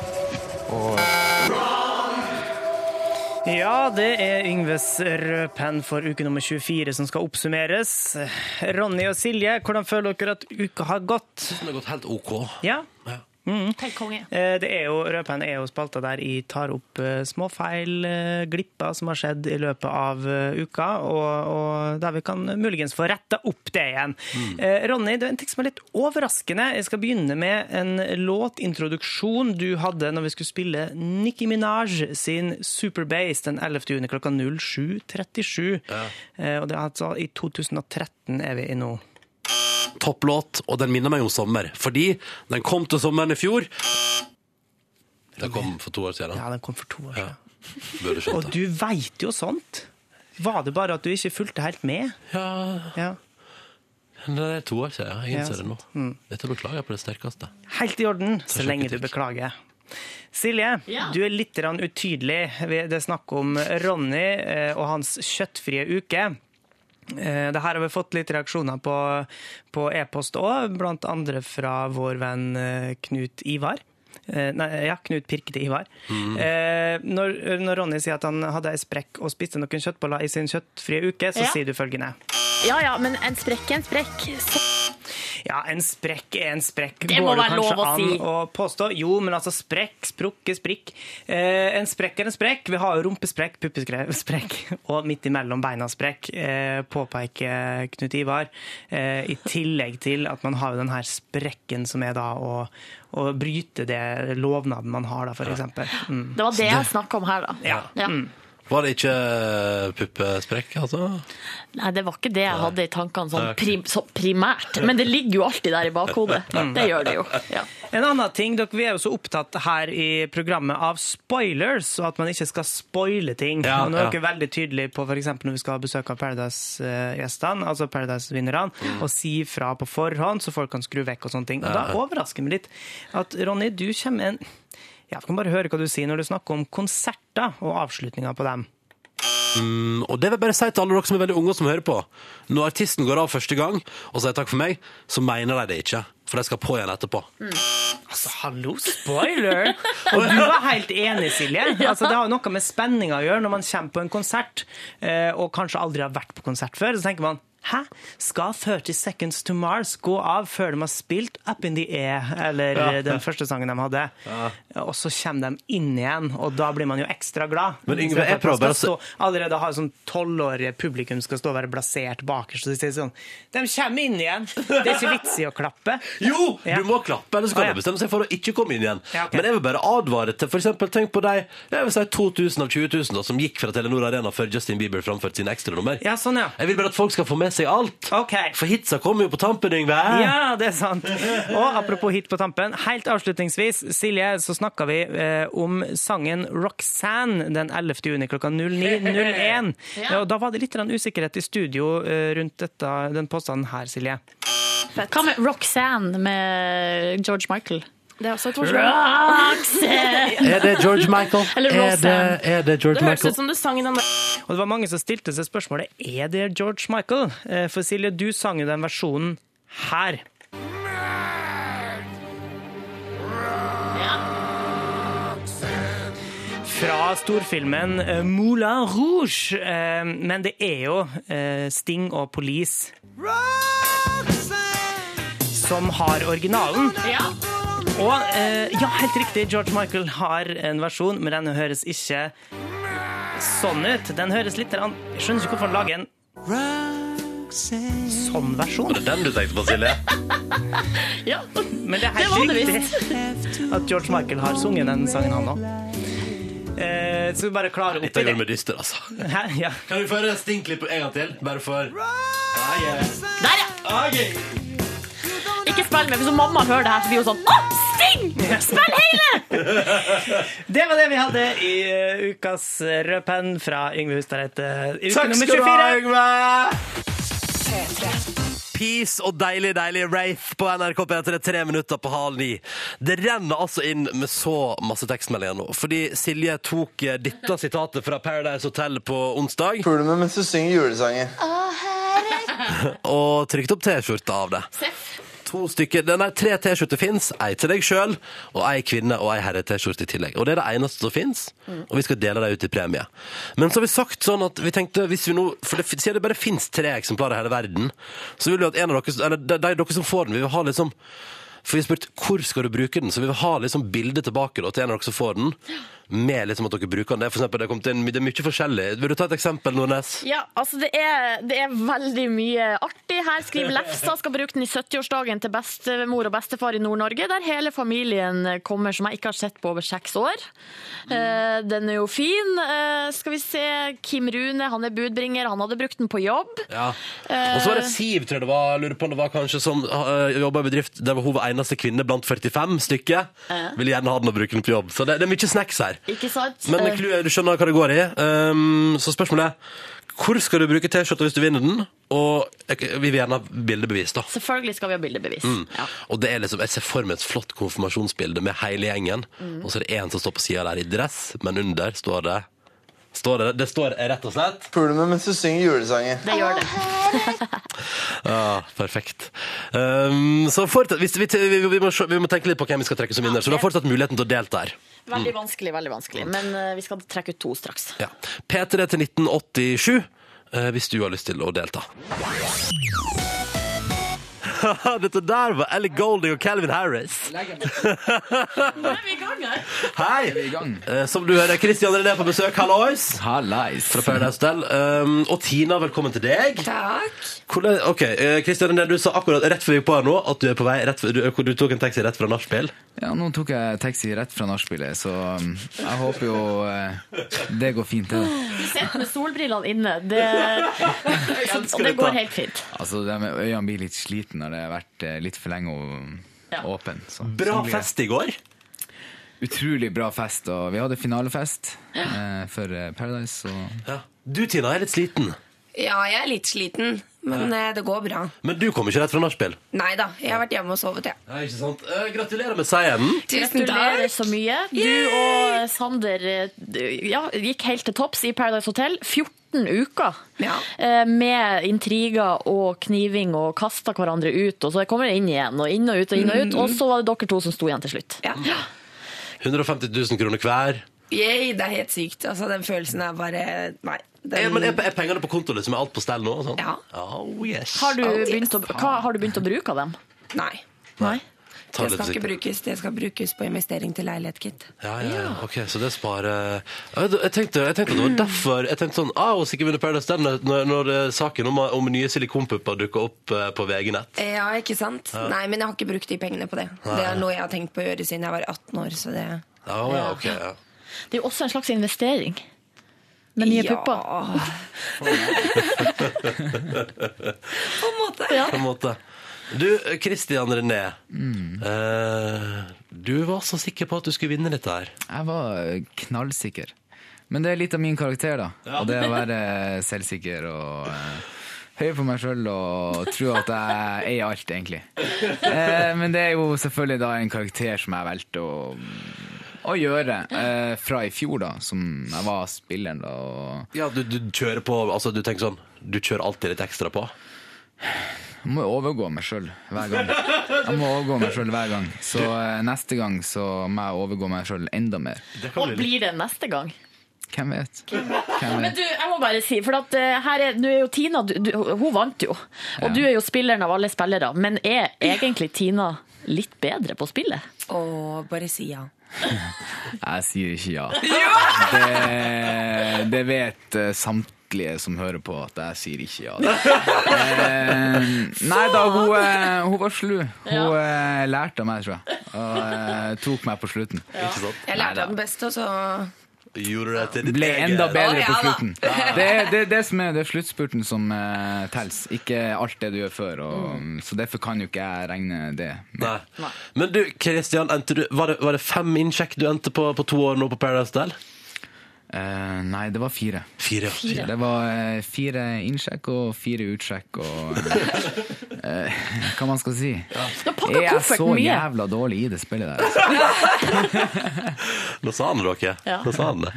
[SPEAKER 4] Ja, det er Yngves rød penn for uke nummer 24 som skal oppsummeres. Ronny og Silje, hvordan føler dere at uka har gått?
[SPEAKER 2] Det har gått helt OK.
[SPEAKER 4] Ja,
[SPEAKER 2] Mm.
[SPEAKER 5] Helt konge.
[SPEAKER 4] eh, det er jo, rød penn er jo spalta der jeg tar opp eh, små feil, eh, glipper som har skjedd i løpet av eh, uka, og, og der vi kan muligens få retta opp det igjen. Eh, Ronny, det er en ting som er litt overraskende. Jeg skal begynne med en låtintroduksjon du hadde når vi skulle spille Nicki Minaj sin Superbase den 11. juni klokka 07.37. Eh, Og det er altså i 2013 er vi i nå.
[SPEAKER 2] Topplåt, og den minner meg om sommer. Fordi den kom til sommeren i fjor. Den kom for to år siden.
[SPEAKER 4] Ja, den kom for to år siden.
[SPEAKER 2] Burde skjønt
[SPEAKER 4] Og
[SPEAKER 2] det.
[SPEAKER 4] du veit jo sånt! Var det bare at du ikke fulgte helt med?
[SPEAKER 2] Ja. Nei, det er to år siden. Jeg
[SPEAKER 4] Ja,
[SPEAKER 2] innser det nå. Dette beklager jeg på det sterkeste.
[SPEAKER 4] Helt i orden, så lenge du beklager. Silje, du er litt grann utydelig. Det er snakk om Ronny eh, og hans kjøttfrie uke. Eh, Det her har vi fått litt reaksjoner på på e-post òg, blant andre fra vår venn eh, Knut Ivar. Eh, Nei, ja, Knut Pirkete Ivar.
[SPEAKER 11] Mm.
[SPEAKER 4] Eh, Når, når Ronny sier at han hadde ei sprekk og spiste noen kjøttboller i sin kjøttfrie uke, så
[SPEAKER 3] Ja.
[SPEAKER 4] sier du følgende.
[SPEAKER 3] Ja ja, men en sprekk er en sprekk. Så
[SPEAKER 4] Ja, en sprekk er en sprekk.
[SPEAKER 3] Det må
[SPEAKER 4] Går det
[SPEAKER 3] være lov
[SPEAKER 4] kanskje
[SPEAKER 3] å
[SPEAKER 4] an
[SPEAKER 3] si.
[SPEAKER 4] å påstå? Jo, men altså sprekk, sprukke, sprikk. Eh, en sprekk er en sprekk. Vi har jo rumpesprekk, puppesprekk og midt imellom beina-sprekk, eh, påpeker Knut Ivar. Eh, I tillegg til at man har jo den her sprekken som er da å, å bryte det lovnaden man har, da, for eksempel. Mm.
[SPEAKER 3] Det var det jeg snakka om her, da. Ja.
[SPEAKER 5] Mm.
[SPEAKER 2] Var det ikke eh, puppesprekk, altså?
[SPEAKER 3] Nei, det var ikke det jeg hadde i tankene sånn
[SPEAKER 2] Nei, ok.
[SPEAKER 3] prim, så primært. Men det ligger jo alltid der i bakhodet.
[SPEAKER 4] Mm.
[SPEAKER 3] Det gjør det jo. Ja.
[SPEAKER 4] En annen ting, dere, Vi er jo så opptatt her i programmet av spoilers, og at man ikke skal spoile ting.
[SPEAKER 11] Ja,
[SPEAKER 4] og Nå er
[SPEAKER 11] ja.
[SPEAKER 4] dere veldig tydelige på for eksempel når vi skal ha besøk av Paradise-gjestene, altså Paradise-vinnerne, og si fra på forhånd, så folk kan skru vekk og sånne ting. Og
[SPEAKER 11] Ja,
[SPEAKER 4] Da
[SPEAKER 11] ja.
[SPEAKER 4] overrasker det meg litt at Ronny, du kommer med en ja, Vi kan bare høre hva du sier når du snakker om konserter og avslutninga på dem.
[SPEAKER 2] Mm, og det vil jeg bare si til alle dere som er veldig unge og som hører på. Når artisten går av første gang og sier takk for meg, så mener de det ikke. For de skal på igjen etterpå.
[SPEAKER 4] Altså, hallo, spoiler! Og du var helt enig, Silje. Altså, det har jo noe med spenning å gjøre når man kommer på en konsert, eh, og kanskje aldri har vært på konsert før. Så tenker man Hæ? Skal 30 Seconds to Mars gå av før de har spilt Up in the Air, eller
[SPEAKER 2] Ja.
[SPEAKER 4] eh, den første sangen de hadde? Og så kommer de inn igjen, og da blir man jo ekstra glad.
[SPEAKER 2] Men Yngve,
[SPEAKER 4] I stedet
[SPEAKER 2] jeg
[SPEAKER 4] for at man
[SPEAKER 2] prøver
[SPEAKER 4] skal
[SPEAKER 2] å
[SPEAKER 4] stå, Allerede har sånn tolvårige publikum skal stå og være blasert bakerst, og de sier sånn De kommer inn igjen! Det er ikke vits i å klappe.
[SPEAKER 2] Jo!
[SPEAKER 4] Ja.
[SPEAKER 2] Du må klappe, eller så kan
[SPEAKER 4] Å, ja.
[SPEAKER 2] du bestemme seg for å ikke komme inn igjen.
[SPEAKER 4] Ja, ok.
[SPEAKER 2] Men jeg vil bare advare til for eksempel, Tenk på de jeg vil si 2000 av 20 000 da, som gikk fra Telenor Arena før Justin Bieber framførte sine ekstranummer.
[SPEAKER 4] Ja, sånn, ja.
[SPEAKER 2] Jeg vil bare at folk skal få med seg alt. For hitsa kommer jo på tampen, Yngve.
[SPEAKER 4] Ja, det er sant. Og apropos hit på tampen, helt avslutningsvis, Silje, så snakka vi eh, om sangen Roxanne den 11. juni klokka 09.01.
[SPEAKER 3] Ja.
[SPEAKER 4] Og da var det litt grann usikkerhet i studio eh, rundt dette, den påstanden her, Silje.
[SPEAKER 3] Hva med Roxanne med George Michael?
[SPEAKER 12] Det er også et
[SPEAKER 3] forslag. Roxanne!
[SPEAKER 2] Er det George Michael? er,
[SPEAKER 12] Eller
[SPEAKER 2] det,
[SPEAKER 12] Rosanne.
[SPEAKER 2] er det George
[SPEAKER 12] Det høres
[SPEAKER 2] Michael?
[SPEAKER 12] ut som du sang i den der
[SPEAKER 4] Og det var mange som stilte seg spørsmålet er det George Michael. Eh, For Silje, du sang jo den versjonen her. Fra storfilmen eh, Moulin Rouge. Eh, Men det er jo eh, Sting og Police som har originalen. Og eh, ja, helt riktig, George Michael har en versjon, men den høres ikke sånn ut. Den høres litt grann- Jeg skjønner ikke hvorfor han lager en sånn versjon.
[SPEAKER 2] Var det den du tenkte på, Silje?
[SPEAKER 3] Ja,
[SPEAKER 4] Men det er
[SPEAKER 3] Det var
[SPEAKER 4] helt
[SPEAKER 3] det
[SPEAKER 4] riktig at George Michael har sunget den sangen, han òg. Eh, så vi bare klarer opp
[SPEAKER 2] Dette
[SPEAKER 4] i det.
[SPEAKER 2] gjorde meg dyster, altså.
[SPEAKER 4] Hæ? Ja.
[SPEAKER 2] Kan vi få høre Sting-klippet en gang til? Bare for ah, yeah.
[SPEAKER 3] Der, ja! Ikke spill med, for hvis mamma hører det her, så blir hun sånn Å, Sting! Spill hele!
[SPEAKER 4] Det var det vi hadde i eh, ukas Rødpenn fra Yngve Hustadreit. eh, i Uke nummer 24.
[SPEAKER 2] Peace og deilig, deilig Wraith på NRK P3, tre minutter på halv ni. Det renner altså inn med så masse tekstmeldinger nå, fordi Silje tok eh, dette sitatet fra Paradise Hotel på onsdag. Puler med mens du synger julesanger. og trykte opp T-skjorta av det. To stykker, den er Tre T-skjorter fins. Ei til deg sjøl, og ei kvinne- og ei herre-T-skjorte i tillegg. Og Det er det eneste som fins, og vi skal dele dem ut i premie. Men så har vi sagt sånn at vi tenkte hvis vi nå, for det, Siden det bare fins tre eksemplarer i hele verden, så vil vi at en av dere, eller de, de dere som får den, vi vil ha liksom for vi har spurt hvor skal du bruke den, så vi vil ha liksom bildet tilbake da, til en av dere som får den. Med liksom at dere bruker den. Det er, for eksempel, det, er kommet inn- det er mye forskjellig. Vil du ta et eksempel, Nordnes?
[SPEAKER 3] Ja, altså det er, det er veldig mye artig. Her skriver Lefsa skal bruke den i 70-årsdagen til bestemor og bestefar i Nord-Norge, der hele familien kommer, som jeg ikke har sett på over seks år.
[SPEAKER 2] Mm.
[SPEAKER 3] Eh, Den er jo fin. Eh, Skal vi se, Kim Rune, han er budbringer, han hadde brukt den på jobb.
[SPEAKER 2] Ja. Og så var det Siv, tror jeg det var. Jeg Lurer på om det var kanskje som uh, jobba i bedrift der hun var eneste kvinne blant 45 stykker.
[SPEAKER 3] Ja.
[SPEAKER 2] Ville gjerne ha den og bruke den på jobb. Så det, det er mye snacks her.
[SPEAKER 3] Ikke sant?
[SPEAKER 2] Eh. Men
[SPEAKER 3] Eh,
[SPEAKER 2] clouet er, du skjønner hva det går i. Um, så Ehm, spørsmålet er Hvor skal du bruke T-skjorta hvis du vinner den? Og jeg, vi vil gjerne ha bildebevis, da.
[SPEAKER 3] Selvfølgelig skal vi ha bildebevis. Ja.
[SPEAKER 2] Og det er liksom, Jeg ser for meg et flott konfirmasjonsbilde med hele gjengen.
[SPEAKER 3] Mm.
[SPEAKER 2] Og så er det én som står på sida der i dress, men under står det Står det, det står rett og slett
[SPEAKER 11] Puler meg mens du synger julesanger.
[SPEAKER 3] Det gjør det.
[SPEAKER 2] Ja, Ah, perfekt. Um, så fortsatt, hvis, vi, vi, vi, må, se- vi må tenke litt på hvem vi skal trekke som vinner, så du har fortsatt muligheten til å delta her.
[SPEAKER 3] Veldig
[SPEAKER 2] Mm.
[SPEAKER 3] vanskelig, veldig vanskelig. Men eh, vi skal trekke ut to straks.
[SPEAKER 2] Ja. P3 til 1987, eh, hvis du har lyst til å delta. Dette der var Ellie Golding og Calvin Harris.
[SPEAKER 3] Nå er vi i gang her.
[SPEAKER 2] Hei! Eh, Som du hører, Christian René på besøk. Hallois!
[SPEAKER 12] Hallais.
[SPEAKER 2] Fra Paradise Hotel. Um, og Tina, velkommen til deg.
[SPEAKER 13] Takk.
[SPEAKER 2] Hvordan, ok, eh, Christian René, du sa akkurat rett før vi gikk på her nå at du er på vei rett, før- du, du tok en taxi rett fra nachspiel.
[SPEAKER 12] Ja, nå tok jeg taxi rett fra nachspielet, så um, jeg håper jo eh, det går fint. Det.
[SPEAKER 3] Du sitter med solbrillene inne. Det, og det går helt fint.
[SPEAKER 12] Altså, det med Øynene blir litt slitne når det har vært eh, litt for lenge og åpen. Så.
[SPEAKER 2] Bra
[SPEAKER 12] Sånn blir det.
[SPEAKER 2] fest i går.
[SPEAKER 12] Utrolig bra fest, og vi hadde finalefest eh, for eh, Paradise. Og...
[SPEAKER 2] Du, Tina, er litt sliten.
[SPEAKER 13] Ja, jeg er litt sliten, men eh, det går bra.
[SPEAKER 2] Men du kom ikke rett fra nachspiel.
[SPEAKER 13] Nei da, jeg har vært hjemme og sovet, jeg.
[SPEAKER 2] Ja, ikke sant? Eh, gratulerer med seieren.
[SPEAKER 13] Tusen takk.
[SPEAKER 3] Gratulerer så mye. Du og Sander eh, du- ja, gikk helt til topps i Paradise Hotel. 14 uker Eh, med intriger og kniving og kasta hverandre ut. Og så kommer det inn igjen og inn og ut og inn og
[SPEAKER 13] Mm.
[SPEAKER 3] ut. Og så var det dere to som sto igjen til slutt.
[SPEAKER 2] 150 000 kroner hver.
[SPEAKER 13] Yay, det er helt sykt. Altså, den følelsen er bare Nei.
[SPEAKER 2] Er,
[SPEAKER 13] Den,
[SPEAKER 2] Eh, men er, er pengene på kontoen liksom er alt på stell nå? og Sånn? Ja. Oh, yes.
[SPEAKER 3] Har du begynt å, hva, har du begynt å bruke av dem?
[SPEAKER 13] nei.
[SPEAKER 3] Nei.
[SPEAKER 2] Ta
[SPEAKER 13] Det
[SPEAKER 2] det
[SPEAKER 13] skal
[SPEAKER 2] litt
[SPEAKER 13] ikke
[SPEAKER 2] forsiktig.
[SPEAKER 13] brukes. Det skal brukes på investering til leilighet, gitt.
[SPEAKER 2] Ja, ja, ja. Ok, så det sparer jeg, jeg, tenkte, jeg tenkte at det var derfor Jeg tenkte sånn, ah, hun sikkert vinner Paradise Hotel når, når, når eh, saken om, om nye silikonpupper dukker opp eh, på VG-nett.
[SPEAKER 13] Ja, ikke sant?
[SPEAKER 2] Ja.
[SPEAKER 13] Nei, men jeg har ikke brukt de pengene på det.
[SPEAKER 2] Nei.
[SPEAKER 13] Det er noe jeg har tenkt på å gjøre siden jeg var 18 år, så det
[SPEAKER 2] Ja, ja, ok, ja.
[SPEAKER 3] Det er jo også en slags investering. Med nye
[SPEAKER 13] Ja.
[SPEAKER 3] pupper.
[SPEAKER 13] På en måte.
[SPEAKER 2] På en måte. Du, Christian René.
[SPEAKER 12] Mm.
[SPEAKER 2] eh, du var så sikker på at du skulle vinne dette her.
[SPEAKER 12] Jeg var Eh, knallsikker. Men det er litt av min karakter, da.
[SPEAKER 2] Ja.
[SPEAKER 12] Og det å være eh, selvsikker og eh, høy på meg sjøl og tro at jeg eier alt, egentlig. Eh, men det er jo selvfølgelig da en karakter som jeg valgte å, å gjøre eh, fra i fjor, da, som jeg var spilleren, da. Og
[SPEAKER 2] Ja, du, du kjører på Altså, du tenker sånn Du kjører alltid litt ekstra på.
[SPEAKER 12] jeg må jo overgå meg sjøl hver gang. Jeg må overgå meg sjøl hver gang. Så eh, neste gang så må jeg overgå meg sjøl enda mer.
[SPEAKER 3] Og blir det neste gang?
[SPEAKER 12] Hvem vet? Hvem
[SPEAKER 3] Men
[SPEAKER 12] vet?
[SPEAKER 3] du, jeg må bare si, for at eh, her er, nå er jo Tina du, du, Hun vant jo. Og
[SPEAKER 12] Ja.
[SPEAKER 3] du er jo spilleren av alle spillere. Men er egentlig Tina litt bedre på spillet?
[SPEAKER 13] Og bare si ja.
[SPEAKER 12] Jeg sier ikke ja. Det, det vet eh, samtlige som hører på, at jeg sier ikke ja. Eh, Nei da, hun, eh, hun var slu. Hun eh, lærte av meg, tror jeg. Og eh, tok meg på slutten.
[SPEAKER 2] Ikke sant?
[SPEAKER 13] Jeg lærte av den beste, og så
[SPEAKER 2] Gjorde du det til ditt
[SPEAKER 12] Ble enda
[SPEAKER 2] eget?
[SPEAKER 12] bedre
[SPEAKER 13] Å,
[SPEAKER 12] på
[SPEAKER 13] ja da.
[SPEAKER 12] slutten. Det er det, er det som er det er sluttspurten som uh, telles, ikke alt det du gjør før. Og,
[SPEAKER 13] Mm.
[SPEAKER 12] så derfor kan jo ikke jeg regne det.
[SPEAKER 2] Nei. Men du, Christian, endte du, var, det, var det fem innsjekk du endte på på to år nå på Paradise Del?
[SPEAKER 12] Eh, nei, det var fire.
[SPEAKER 2] Fire.
[SPEAKER 12] Det var eh, fire innsjekk og fire utsjekk og eh, eh, Hva man skal si.
[SPEAKER 3] Du har pakka
[SPEAKER 12] Jeg er så
[SPEAKER 3] kofferten mye.
[SPEAKER 12] jævla dårlig i det spillet der. altså.
[SPEAKER 2] Nå sa han det, dere.
[SPEAKER 3] Ja.
[SPEAKER 2] Nå sa han det.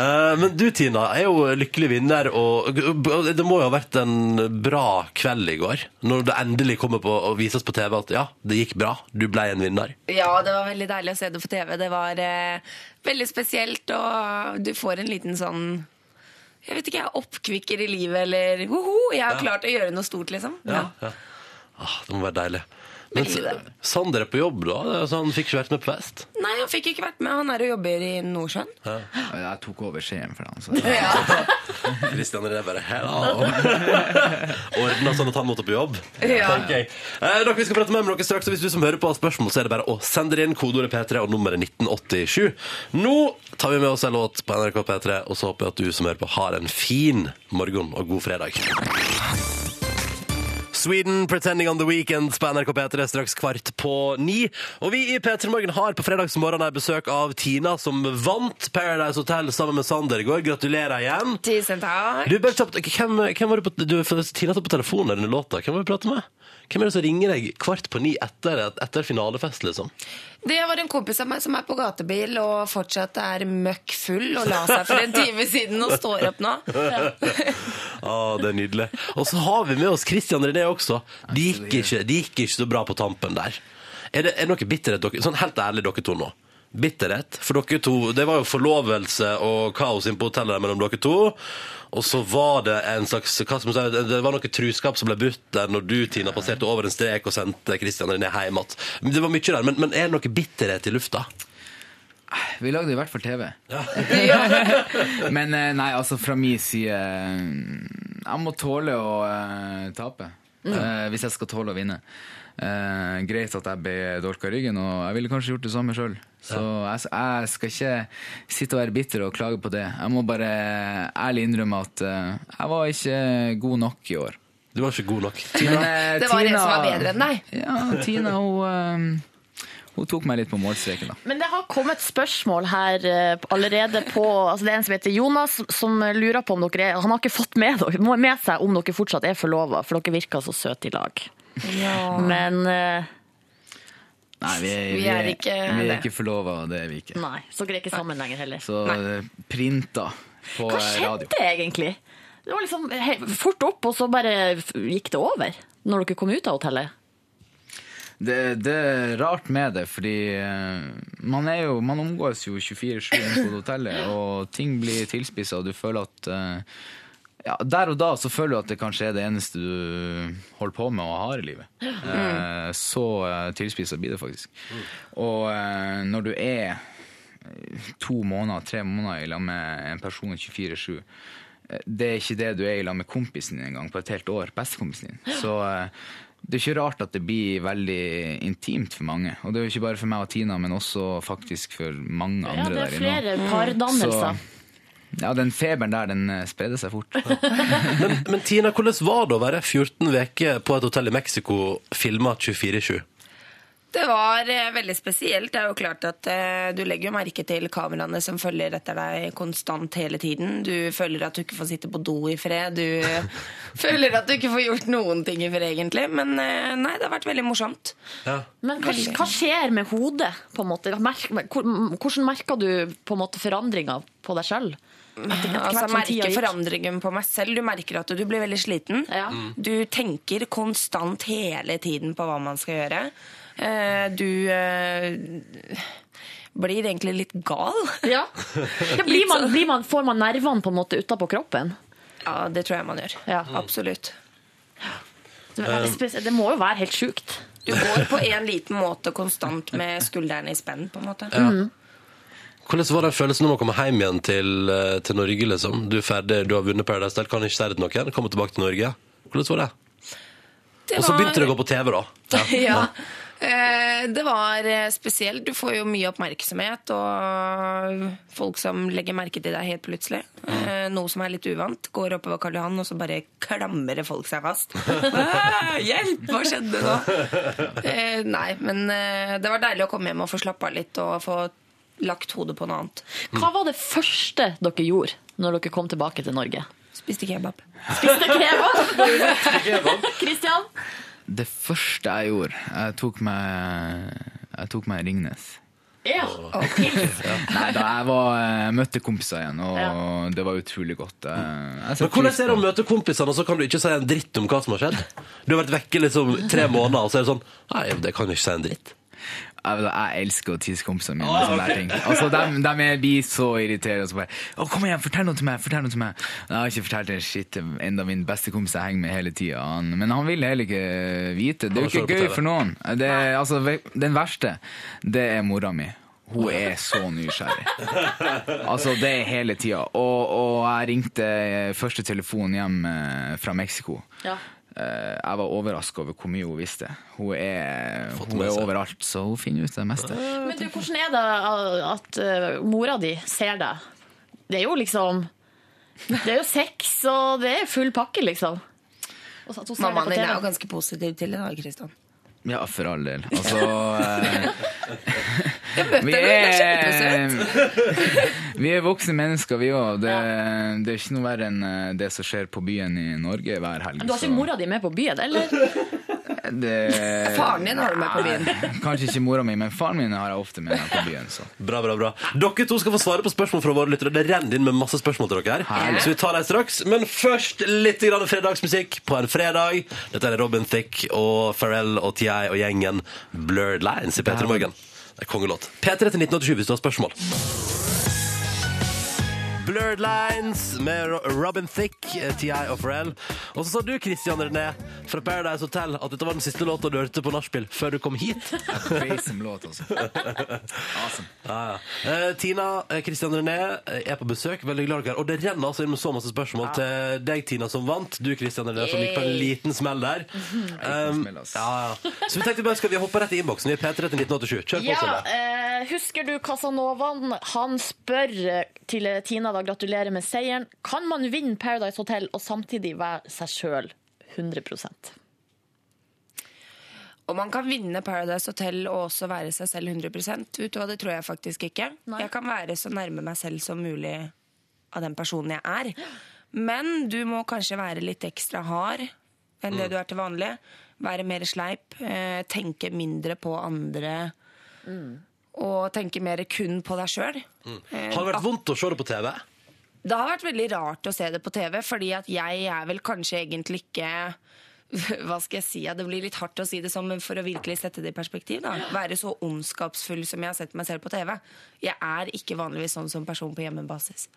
[SPEAKER 2] Eh, men du, Tina, er jo lykkelig vinner, og og det må jo ha vært en bra kveld i går. Når det endelig kommer på og vises på TV at ja, det gikk bra, du ble en vinner.
[SPEAKER 13] Ja, det var veldig deilig å se det på TV. Det var eh, veldig spesielt, og du får en liten sånn Jeg vet ikke, jeg oppkvikker i livet, eller woho, jeg har klart å gjøre noe stort, liksom. Ja.
[SPEAKER 2] Ah, det må være deilig. Men
[SPEAKER 13] Veldig
[SPEAKER 2] S-
[SPEAKER 13] deilig.
[SPEAKER 2] Sander er på jobb, da, så han fikk ikke vært med på fest.
[SPEAKER 13] Nei, han fikk ikke vært med. Han er og jobber i Nordsjøen.
[SPEAKER 12] Og Jeg tok over skjeen for ham. Så.
[SPEAKER 2] Kristian René bare hello. Ordna sånn at han måtte på jobb.
[SPEAKER 13] Ja.
[SPEAKER 2] Tenker jeg. Eh, dere, vi skal prate mer med dere straks, og hvis du som hører på har spørsmål, så er det bare å sende det inn. Kodeordet P3 og nummeret 1987. Nå tar vi med oss en låt på NRK P3, og så håper jeg at du som hører på, har en fin morgen og god fredag. Sweden Pretending on the Weekend på NRK P3 straks kvart på ni. Og vi i P3 Morgen har på fredagsmorgen her besøk av Tina, som vant Paradise Hotel sammen med Sander i går. Gratulerer igjen.
[SPEAKER 13] Tusen takk.
[SPEAKER 2] Du, bare kjapt, hvem, hvem var det på, du, for Tina satt på telefonen under låta. Hvem var det du pratet med? Hvem er det som ringer deg kvart på ni etter, etter finalefest, liksom?
[SPEAKER 13] Det var en kompis av meg som er på gatebil og fortsatt er møkk full og la seg for en time siden og står opp nå.
[SPEAKER 2] ah, det er nydelig. Og så har vi med oss Christian René også. Det gikk, ikke- de gikk ikke så bra på tampen der. Er det, er det noe bitterhet dere Sånn helt ærlig, dere to nå. Bitterhet. For dere to Det var jo forlovelse og kaos inne på hotellet der mellom dere to. Og så var det en slags hva skal man si, Det var noe truskap som ble brutt der når du, Tina, passerte over en strek og sendte Christian René hjem igjen. Det var mye der. Men, men er det noe bitterhet i lufta?
[SPEAKER 12] Vi lagde i hvert fall TV.
[SPEAKER 2] Ja.
[SPEAKER 12] Men eh, nei, altså fra min side eh, Jeg må tåle å eh, tape. eh, hvis jeg skal tåle å vinne. Eh, greit at jeg ble dolka i ryggen, og jeg ville kanskje gjort det samme sjøl. Så jeg, jeg skal ikke sitte og være bitter og klage på det. Jeg må bare ærlig innrømme at eh, jeg var ikke god nok i år. eh,
[SPEAKER 2] Du var ikke god nok.
[SPEAKER 13] Det var en som var bedre enn deg.
[SPEAKER 12] Ja, Tina hun, eh, hun tok meg litt på målstreken, da.
[SPEAKER 3] Men det har kommet spørsmål her eh, allerede på altså Det er en som heter Jonas, som lurer på om dere er Han har ikke fått med, dere, med seg om dere fortsatt er forlova, for dere virker så søte i lag. Men eh,
[SPEAKER 12] Nei, vi,
[SPEAKER 3] Vi er ikke
[SPEAKER 12] vi er
[SPEAKER 3] det.
[SPEAKER 12] ikke forlova, det er vi ikke.
[SPEAKER 3] nei, så dere er ikke sammen lenger heller.
[SPEAKER 12] Så
[SPEAKER 3] Nei.
[SPEAKER 12] eh, printa på
[SPEAKER 3] Hva
[SPEAKER 12] eh, radio.
[SPEAKER 3] skjedde egentlig? Det var liksom he- fort opp, og så bare f- gikk det over når dere kom ut av hotellet.
[SPEAKER 12] Det, det er rart med det, fordi eh, man, er jo, man omgås jo 24-7 inne på hotellet, og ting blir tilspissa, og du føler at eh, ja, Der og da så føler du at det kanskje er det eneste du holder på med og har i livet.
[SPEAKER 3] Mm.
[SPEAKER 12] Eh, Så eh, tilspissa blir det faktisk. Og eh, når du er eh, to måneder, tre måneder i lag med en person 24-7 eh, det er ikke det du er i lag med kompisen din engang på et helt år. Bestekompisen din. Så eh, det er ikke rart at det blir veldig intimt for mange. Og det er jo ikke bare for meg og Tina, men også faktisk for mange
[SPEAKER 3] Ja,
[SPEAKER 12] andre
[SPEAKER 3] det er
[SPEAKER 12] der inne.
[SPEAKER 3] flere
[SPEAKER 13] Mm.
[SPEAKER 3] pardannelser.
[SPEAKER 12] Så, Ja, den feberen der, den eh, spreder seg fort.
[SPEAKER 2] Men, men Tina, hvordan var det å være 14 uker på et hotell i Mexico filma 24-7?
[SPEAKER 13] Det var eh, veldig spesielt. Det er jo klart at eh, Du legger jo merke til kameraene som følger etter deg konstant hele tiden. Du føler at du ikke får sitte på do i fred. Du føler at du ikke får gjort noen ting i fred, egentlig. Men eh, nei, det har vært veldig morsomt.
[SPEAKER 3] Men hva, hva skjer med hodet, på en måte? Merk, hvor- hvordan merker du på en måte forandringa på deg sjøl?
[SPEAKER 13] Altså, jeg merker forandringen på meg selv. Du merker at du blir veldig sliten.
[SPEAKER 3] Mm.
[SPEAKER 13] Du tenker konstant hele tiden på hva man skal gjøre. Eh, Du eh, blir egentlig litt gal.
[SPEAKER 3] Ja. blir man, blir man, får man nervene på en måte utapå kroppen?
[SPEAKER 13] Ja, det tror jeg man gjør. Absolutt.
[SPEAKER 3] Det, er veldig spes- det må jo være helt sjukt.
[SPEAKER 13] Du går på en liten måte konstant med skuldrene i spenn, på en måte.
[SPEAKER 2] Ja. Hvordan var den følelsen om å komme hjem igjen til, eh, til Norge? liksom? Du er ferdig, du har vunnet Paradise Hotel, kan ikke si det til noen. Komme tilbake til Norge. Hvordan var det?
[SPEAKER 13] Det
[SPEAKER 2] Og så
[SPEAKER 13] var-
[SPEAKER 2] begynte det å gå på TV, da.
[SPEAKER 13] ja. Eh, Det var eh, spesielt. Du får jo mye oppmerksomhet og folk som legger merke til deg helt plutselig. Eh, Noe som er litt uvant. Går oppover Karl Johan, og så bare klamrer folk seg fast. Ah, Hjelp! Hva skjedde nå? Eh, Nei, men eh, det var deilig å komme hjem og få slappe av litt og få lagt hodet på noe annet.
[SPEAKER 3] Hva var det første dere gjorde når dere kom tilbake til Norge?
[SPEAKER 13] Spiste kebab.
[SPEAKER 3] Spiste kebab? Kristian?
[SPEAKER 12] Det første jeg gjorde Jeg tok meg, jeg tok meg Ringnes.
[SPEAKER 3] Ja.
[SPEAKER 12] Nei da, jeg var, jeg møtte kompiser igjen, og
[SPEAKER 2] Ja.
[SPEAKER 12] det var utrolig godt. Eh, Jeg- jeg
[SPEAKER 2] Men
[SPEAKER 12] setter
[SPEAKER 2] hvordan
[SPEAKER 12] pris
[SPEAKER 2] er det
[SPEAKER 12] på-
[SPEAKER 2] å møte kompisene, og så kan du ikke si en dritt om hva som har skjedd? Du har vært vekke liksom tre måneder, og så er det sånn Nei, det kan du ikke si en dritt.
[SPEAKER 12] Jeg, jeg elsker å tisse kompisene mine.
[SPEAKER 2] Ah,
[SPEAKER 12] med sånne
[SPEAKER 2] ok.
[SPEAKER 12] der ting. Altså, de, blir så irriterende. og Så bare, å, 'Kom igjen, fortell noe til meg!' fortell noe til meg. Jeg har ikke fortalt en shit til enda min beste kompis jeg henger med hele tida. Men han vil heller ikke vite. Det er
[SPEAKER 2] Han
[SPEAKER 12] jo
[SPEAKER 2] ser det
[SPEAKER 12] ikke
[SPEAKER 2] på
[SPEAKER 12] gøy
[SPEAKER 2] TV.
[SPEAKER 12] for noen. Det, er- altså, ve- den verste, det er mora mi. Hun er så nysgjerrig. Altså, det er hele tida. Og, og jeg ringte eh, første telefon hjem eh, fra Mexico.
[SPEAKER 3] Ja.
[SPEAKER 12] Eh, Jeg var overraska over hvor mye hun visste. Hun er, hun
[SPEAKER 2] med
[SPEAKER 12] er
[SPEAKER 2] seg.
[SPEAKER 12] overalt, så hun finner ut det meste.
[SPEAKER 3] Men du, hvordan er det uh, at
[SPEAKER 5] eh,
[SPEAKER 3] uh, mora di ser deg? Det er jo liksom Det er jo sex, og det er full pakke, liksom.
[SPEAKER 5] Og satt og så
[SPEAKER 13] Mammaen
[SPEAKER 5] det på
[SPEAKER 13] din er
[SPEAKER 5] TV.
[SPEAKER 13] jo ganske positiv til det, da, Kristian.
[SPEAKER 12] Ja, for all del. Altså eh, Vi
[SPEAKER 13] henne,
[SPEAKER 12] er,
[SPEAKER 13] hun er
[SPEAKER 12] vi er voksne mennesker, vi òg. Det, det er ikke noe verre enn eh, det som skjer på byen i Norge hver helg.
[SPEAKER 5] Du har
[SPEAKER 12] så
[SPEAKER 5] ikke mora di med på byen, eller?
[SPEAKER 12] det-
[SPEAKER 5] Faren din har du med på byen.
[SPEAKER 12] Nei, Kanskje ikke mora mi, men faren min har jeg ofte med meg på byen. Så.
[SPEAKER 2] altså. Bra, bra, bra. Dere to skal få svare på spørsmål fra våre lyttere. Det renner inn med masse spørsmål til dere her.
[SPEAKER 12] Herlig.
[SPEAKER 2] Så vi tar dem straks. Men først litt grann fredagsmusikk på en fredag. Dette er Robin Thicke og Pharrell og TI og gjengen Blurred Lines i P3 Morgen. Det er kongelåt. P3 til 1987 hvis du har spørsmål. Blurred Lines med Ro- Robin Thicke, eh, TI og Pharrell. Og så sa du, Christian René, fra Paradise Hotel, at dette var den siste låta du hørte på nachspiel før du kom hit.
[SPEAKER 12] Face låt, altså. Awesome.
[SPEAKER 2] Ja, ja. Eh, Tina, eh, Christian René eh, er på besøk. Veldig glad dere er. Og det renner altså inn med så masse spørsmål til deg, Tina, som vant. Du, Christian René, som gikk på en
[SPEAKER 14] Yay.
[SPEAKER 2] liten smell der. Um,
[SPEAKER 5] altså.
[SPEAKER 2] ja, ja. Så vi tenkte bare skal vi hoppe rett i innboksen. Vi er P3 til 1987. Kjør på,
[SPEAKER 5] Ja,
[SPEAKER 2] Silje.
[SPEAKER 5] eh, husker du Casanovaen? Han spør eh, til Tina da, gratulerer med seieren. Kan man vinne Paradise Hotel og samtidig være seg sjøl 100
[SPEAKER 13] Og man kan vinne Paradise Hotel og også være seg selv 100 Vet du hva, det tror jeg faktisk ikke. Jeg kan være så nærme meg selv som mulig av den personen jeg er. Men du må kanskje være litt ekstra hard enn det
[SPEAKER 15] Mm.
[SPEAKER 13] du er til vanlig. Være mer sleip. eh, Tenke mindre på andre. Og tenke mer kun på deg sjøl.
[SPEAKER 2] Mm.
[SPEAKER 5] Eh,
[SPEAKER 2] Har
[SPEAKER 5] ah.
[SPEAKER 2] det vært vondt å se det på TV?
[SPEAKER 13] Det har vært veldig rart å se det på TV, fordi at jeg er vel kanskje egentlig ikke hva skal jeg si? Ja, Det blir litt hardt å si det sånn, men for å virkelig sette det i perspektiv. da Være så ondskapsfull som jeg har sett meg selv på TV. Jeg er ikke vanligvis sånn som person på hjemmebasis.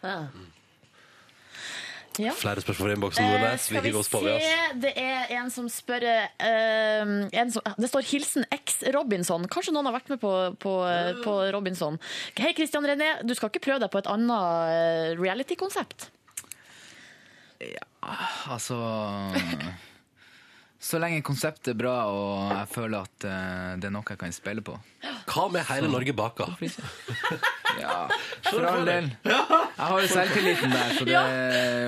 [SPEAKER 5] Ja.
[SPEAKER 2] Flere spørsmål fra innboksen. Nordnes.
[SPEAKER 5] Eh,
[SPEAKER 2] vi
[SPEAKER 5] skal vi
[SPEAKER 2] hiver oss på. Vi,
[SPEAKER 5] se,
[SPEAKER 2] ass.
[SPEAKER 5] det er en som spør eh, en som, Det står 'Hilsen X Robinson'. Kanskje noen har vært med på, på, eh, på Robinson. Hei, Christian René, du skal ikke prøve deg på et annet eh, reality-konsept?
[SPEAKER 12] Altså Så lenge konseptet er bra og jeg føler at eh, det er noe jeg kan spille på.
[SPEAKER 2] Hva med hele Norge baker?
[SPEAKER 12] Ja, for all del. Jeg har jo selvtilliten der, så det,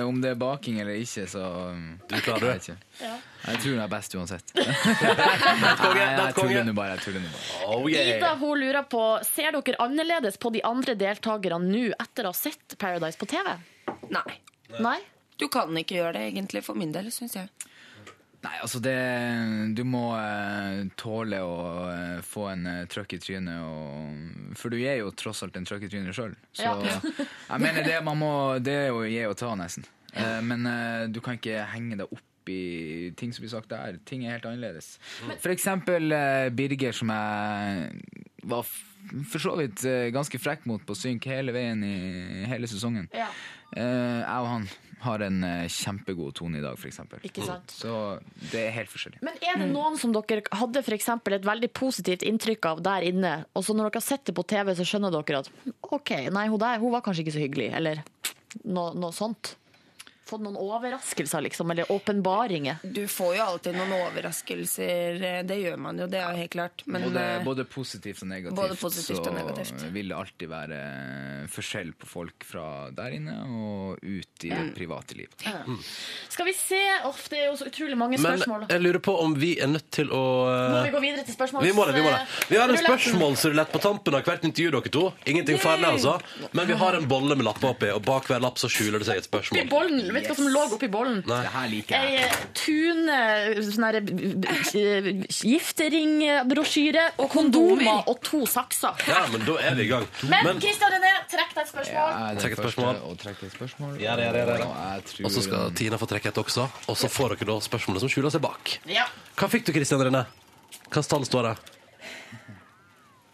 [SPEAKER 12] om det er baking eller ikke, så um,
[SPEAKER 2] Du klarer det.
[SPEAKER 12] Jeg, vet ikke. jeg tror hun er best uansett. Nei, jeg tuller nå bare. Jeg tuller nå bare.
[SPEAKER 2] Oh,
[SPEAKER 5] Ida hun lurer på Ser dere annerledes på de andre deltakerne nå etter å ha sett Paradise på TV?
[SPEAKER 13] Nei. Du kan ikke gjøre det, egentlig, for min del, syns jeg.
[SPEAKER 12] Nei, altså det Du må eh, tåle å eh, få en eh, trøkk i trynet og For du er jo tross alt en trøkk i trynet sjøl. Så
[SPEAKER 7] Ja.
[SPEAKER 12] jeg mener det man må Det er jo gi og ta, nesten. Eh, men eh, du kan ikke henge deg opp i ting som blir sagt der. Ting er helt annerledes.
[SPEAKER 7] Men-
[SPEAKER 12] For eksempel eh, Birger, som jeg var f for så vidt eh, ganske frekk mot på synk hele veien i hele sesongen.
[SPEAKER 5] Ja.
[SPEAKER 12] Eh, jeg og han har en eh, kjempegod tone i dag, f.eks.
[SPEAKER 5] Ikke sant.
[SPEAKER 12] Så det er helt forskjellig.
[SPEAKER 5] Men er det noen som dere hadde for eksempel et veldig positivt inntrykk av der inne, og så når dere har sett det på TV, så skjønner dere at OK, nei, hun der hun var kanskje ikke så hyggelig, eller noe, noe sånt? Fått noen overraskelser, liksom, eller åpenbaringer?
[SPEAKER 13] Du får jo alltid noen overraskelser. eh, Det gjør man jo, det er jo helt klart. Men
[SPEAKER 12] både,
[SPEAKER 13] eh,
[SPEAKER 12] både positivt og negativt.
[SPEAKER 13] både positivt
[SPEAKER 12] så eh,
[SPEAKER 13] og negativt.
[SPEAKER 12] vil det alltid være eh, forskjell på folk fra der inne og ut i det
[SPEAKER 5] Mm.
[SPEAKER 12] private liv.
[SPEAKER 5] Skal vi se Uff, det er jo så utrolig mange
[SPEAKER 2] Men
[SPEAKER 5] spørsmål.
[SPEAKER 2] jeg lurer på om vi er nødt til å eh,
[SPEAKER 5] Må vi gå videre til spørsmål?
[SPEAKER 2] Vi må det, vi må det. Vi har en spørsmålsrulett på tampen av hvert intervju, dere to. Ingenting farlig, altså. Men vi har en bolle med lapper oppi, og bak hver lapp så skjuler det seg et
[SPEAKER 5] Oppi
[SPEAKER 2] spørsmål.
[SPEAKER 5] bollen. Vet du hva som lå oppi bollen?
[SPEAKER 2] Nei. Det her liker
[SPEAKER 5] Ei eh, Tune sånn her, eh, giftringbrosjyre og kondomer og to sakser.
[SPEAKER 2] Ja, men da er vi i gang.
[SPEAKER 5] Men Kristian René, trekk deg et spørsmål.
[SPEAKER 2] Trekk et spørsmål.
[SPEAKER 12] Og trekk et spørsmål.
[SPEAKER 2] Ja, det er det, det er det.
[SPEAKER 12] Og jeg tror-
[SPEAKER 2] Og så skal Tina få trekke et også. Og så får dere da spørsmålet som skjuler seg bak.
[SPEAKER 5] Ja.
[SPEAKER 2] Hva fikk du, Kristian René? Hvilket tall står det?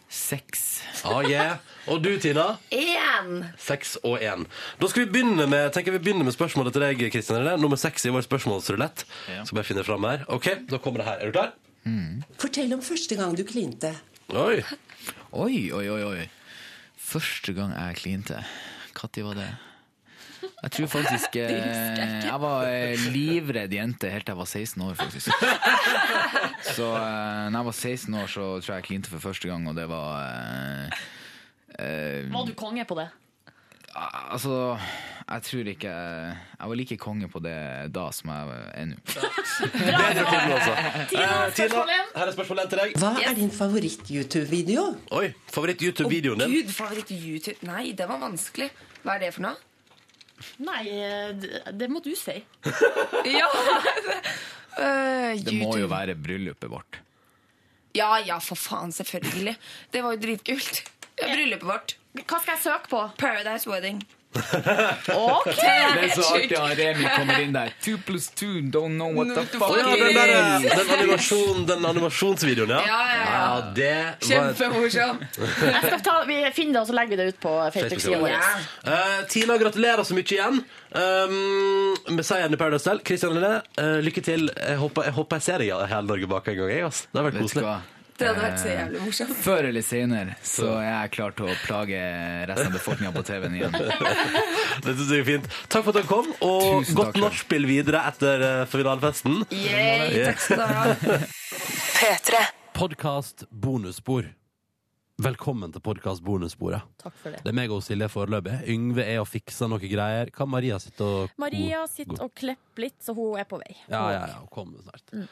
[SPEAKER 12] Seks.
[SPEAKER 2] Ah, yeah. Og du, Tina?
[SPEAKER 13] Én!
[SPEAKER 2] Seks og én. Da skal vi begynne med, tenker vi begynner med spørsmålet til deg, Kristian René. Nummer seks i vår spørsmålsrulett. Skal bare finne det fram her. Ok, da kommer det her. Er du klar?
[SPEAKER 4] Fortell om første gang du klinte.
[SPEAKER 2] Oi.
[SPEAKER 12] Oi, oi, oi, oi. Første gang jeg klinte. Når var det? Jeg tror faktisk eh, Jeg var eh, livredd jente helt til jeg var 16 år, faktisk. Så eh, når jeg var 16 år, så tror jeg jeg klinte for første gang, og det var eh, eh,
[SPEAKER 5] Var du konge på det?
[SPEAKER 12] Altså, Jeg tror ikke jeg jeg var like konge på det da som jeg er nå.
[SPEAKER 2] Det er fra Tina også.
[SPEAKER 12] Tina,
[SPEAKER 2] Eh,
[SPEAKER 12] spørsmål
[SPEAKER 2] Tina, her er spørsmål én til deg.
[SPEAKER 16] Hva er din favoritt-YouTube-video?
[SPEAKER 2] Oi, favoritt-YouTube-videoen din?
[SPEAKER 13] Gud, favoritt YouTube Nei, det var vanskelig. Hva er det for noe?
[SPEAKER 5] Nei, eh, det, det må du si.
[SPEAKER 13] Ja,
[SPEAKER 12] Det
[SPEAKER 13] Eh,
[SPEAKER 12] må jo
[SPEAKER 13] YouTube.
[SPEAKER 12] være bryllupet vårt.
[SPEAKER 13] ja, ja, for faen, selvfølgelig. Det var jo dritkult. Ja, Bryllupet vårt.
[SPEAKER 5] Hva skal jeg søke på?
[SPEAKER 13] Paradise Wedding.
[SPEAKER 5] Ok!
[SPEAKER 12] Det er så artig at Remi kommer inn der. Two pluss two, don't know what the fuck
[SPEAKER 2] Å ja, den,
[SPEAKER 12] it
[SPEAKER 2] der, eh,
[SPEAKER 12] is.
[SPEAKER 2] den, animasjon, den animasjonsvideoen, ja.
[SPEAKER 13] Ja, ja, ja.
[SPEAKER 2] det var-
[SPEAKER 13] Kjempemorsom.
[SPEAKER 5] Jeg skal ta, vi finner det, og så legger vi det ut på Facebook-sida vår.
[SPEAKER 2] Eh, Tina, gratulerer så mye igjen um, med seieren i Paradise Hotel. Kristian Linné, eh, lykke til. Jeg håper, jeg håper jeg ser deg i hele Norge bak en gang. Jeg, ass. Det har vært koselig.
[SPEAKER 13] Det hadde vært så jævlig morsomt.
[SPEAKER 12] Før eller senere så er jeg klar til å plage resten av befolkninga på TV-en igjen.
[SPEAKER 2] Det synes jeg er fint. Takk for at dere kom, og godt nachspiel videre etter eh, finalefesten.
[SPEAKER 13] Yay, takk skal du ha.
[SPEAKER 7] P3.
[SPEAKER 2] Podkast bonusspor. Velkommen til podkast bonussporet.
[SPEAKER 5] Takk for det.
[SPEAKER 2] Det er meg og Silje foreløpig. Yngve er og fikser noe greier. Hva Maria sitter og
[SPEAKER 5] Maria sitter og klipper litt, så hun er på vei.
[SPEAKER 2] Ja, ja, ja, hun kommer snart.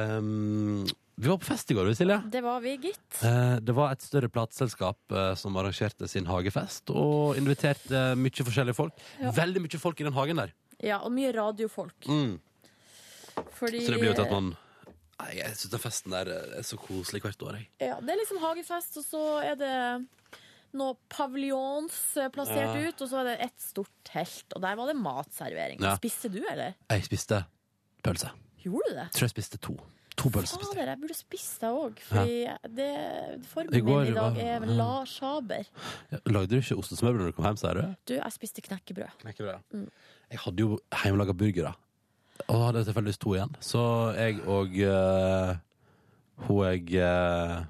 [SPEAKER 2] Um, vi var på fest i går, vi, Silje.
[SPEAKER 5] Det var vi, gitt.
[SPEAKER 2] Eh, Det var et større plateselskap eh, som arrangerte sin hagefest og inviterte eh, mye forskjellige folk.
[SPEAKER 5] Ja.
[SPEAKER 2] Veldig mye folk i den hagen der.
[SPEAKER 5] Ja, og mye radiofolk.
[SPEAKER 2] Mm.
[SPEAKER 5] Fordi,
[SPEAKER 2] Så det blir jo til at man Nei, Jeg syns den festen der eh, er så koselig hvert år, jeg.
[SPEAKER 5] Ja, det er liksom hagefest, og så er det noen paviljons eh,
[SPEAKER 2] Ja.
[SPEAKER 5] plassert ut, og så er det et stort telt, og der var det matservering.
[SPEAKER 2] Ja.
[SPEAKER 5] Spiste du, eller?
[SPEAKER 2] Jeg spiste pølse.
[SPEAKER 5] Gjorde du det?
[SPEAKER 2] Tror jeg spiste to. To pølser. spiste jeg.
[SPEAKER 5] Fader, jeg burde spist deg òg, fordi det,
[SPEAKER 2] I
[SPEAKER 5] formen
[SPEAKER 2] går
[SPEAKER 5] min i dag
[SPEAKER 2] var- Mm.
[SPEAKER 5] er
[SPEAKER 2] ja.
[SPEAKER 5] Lars Haber.
[SPEAKER 2] Lagde du ikke ostesmørbrød når du kom hjem, sa du?
[SPEAKER 5] Du, jeg spiste knekkebrød. Mm.
[SPEAKER 2] Knekkebrød, Jeg hadde jo hjemmelaga burgere. Og hadde tilfeldigvis to igjen. Så jeg og eh, hun jeg uh,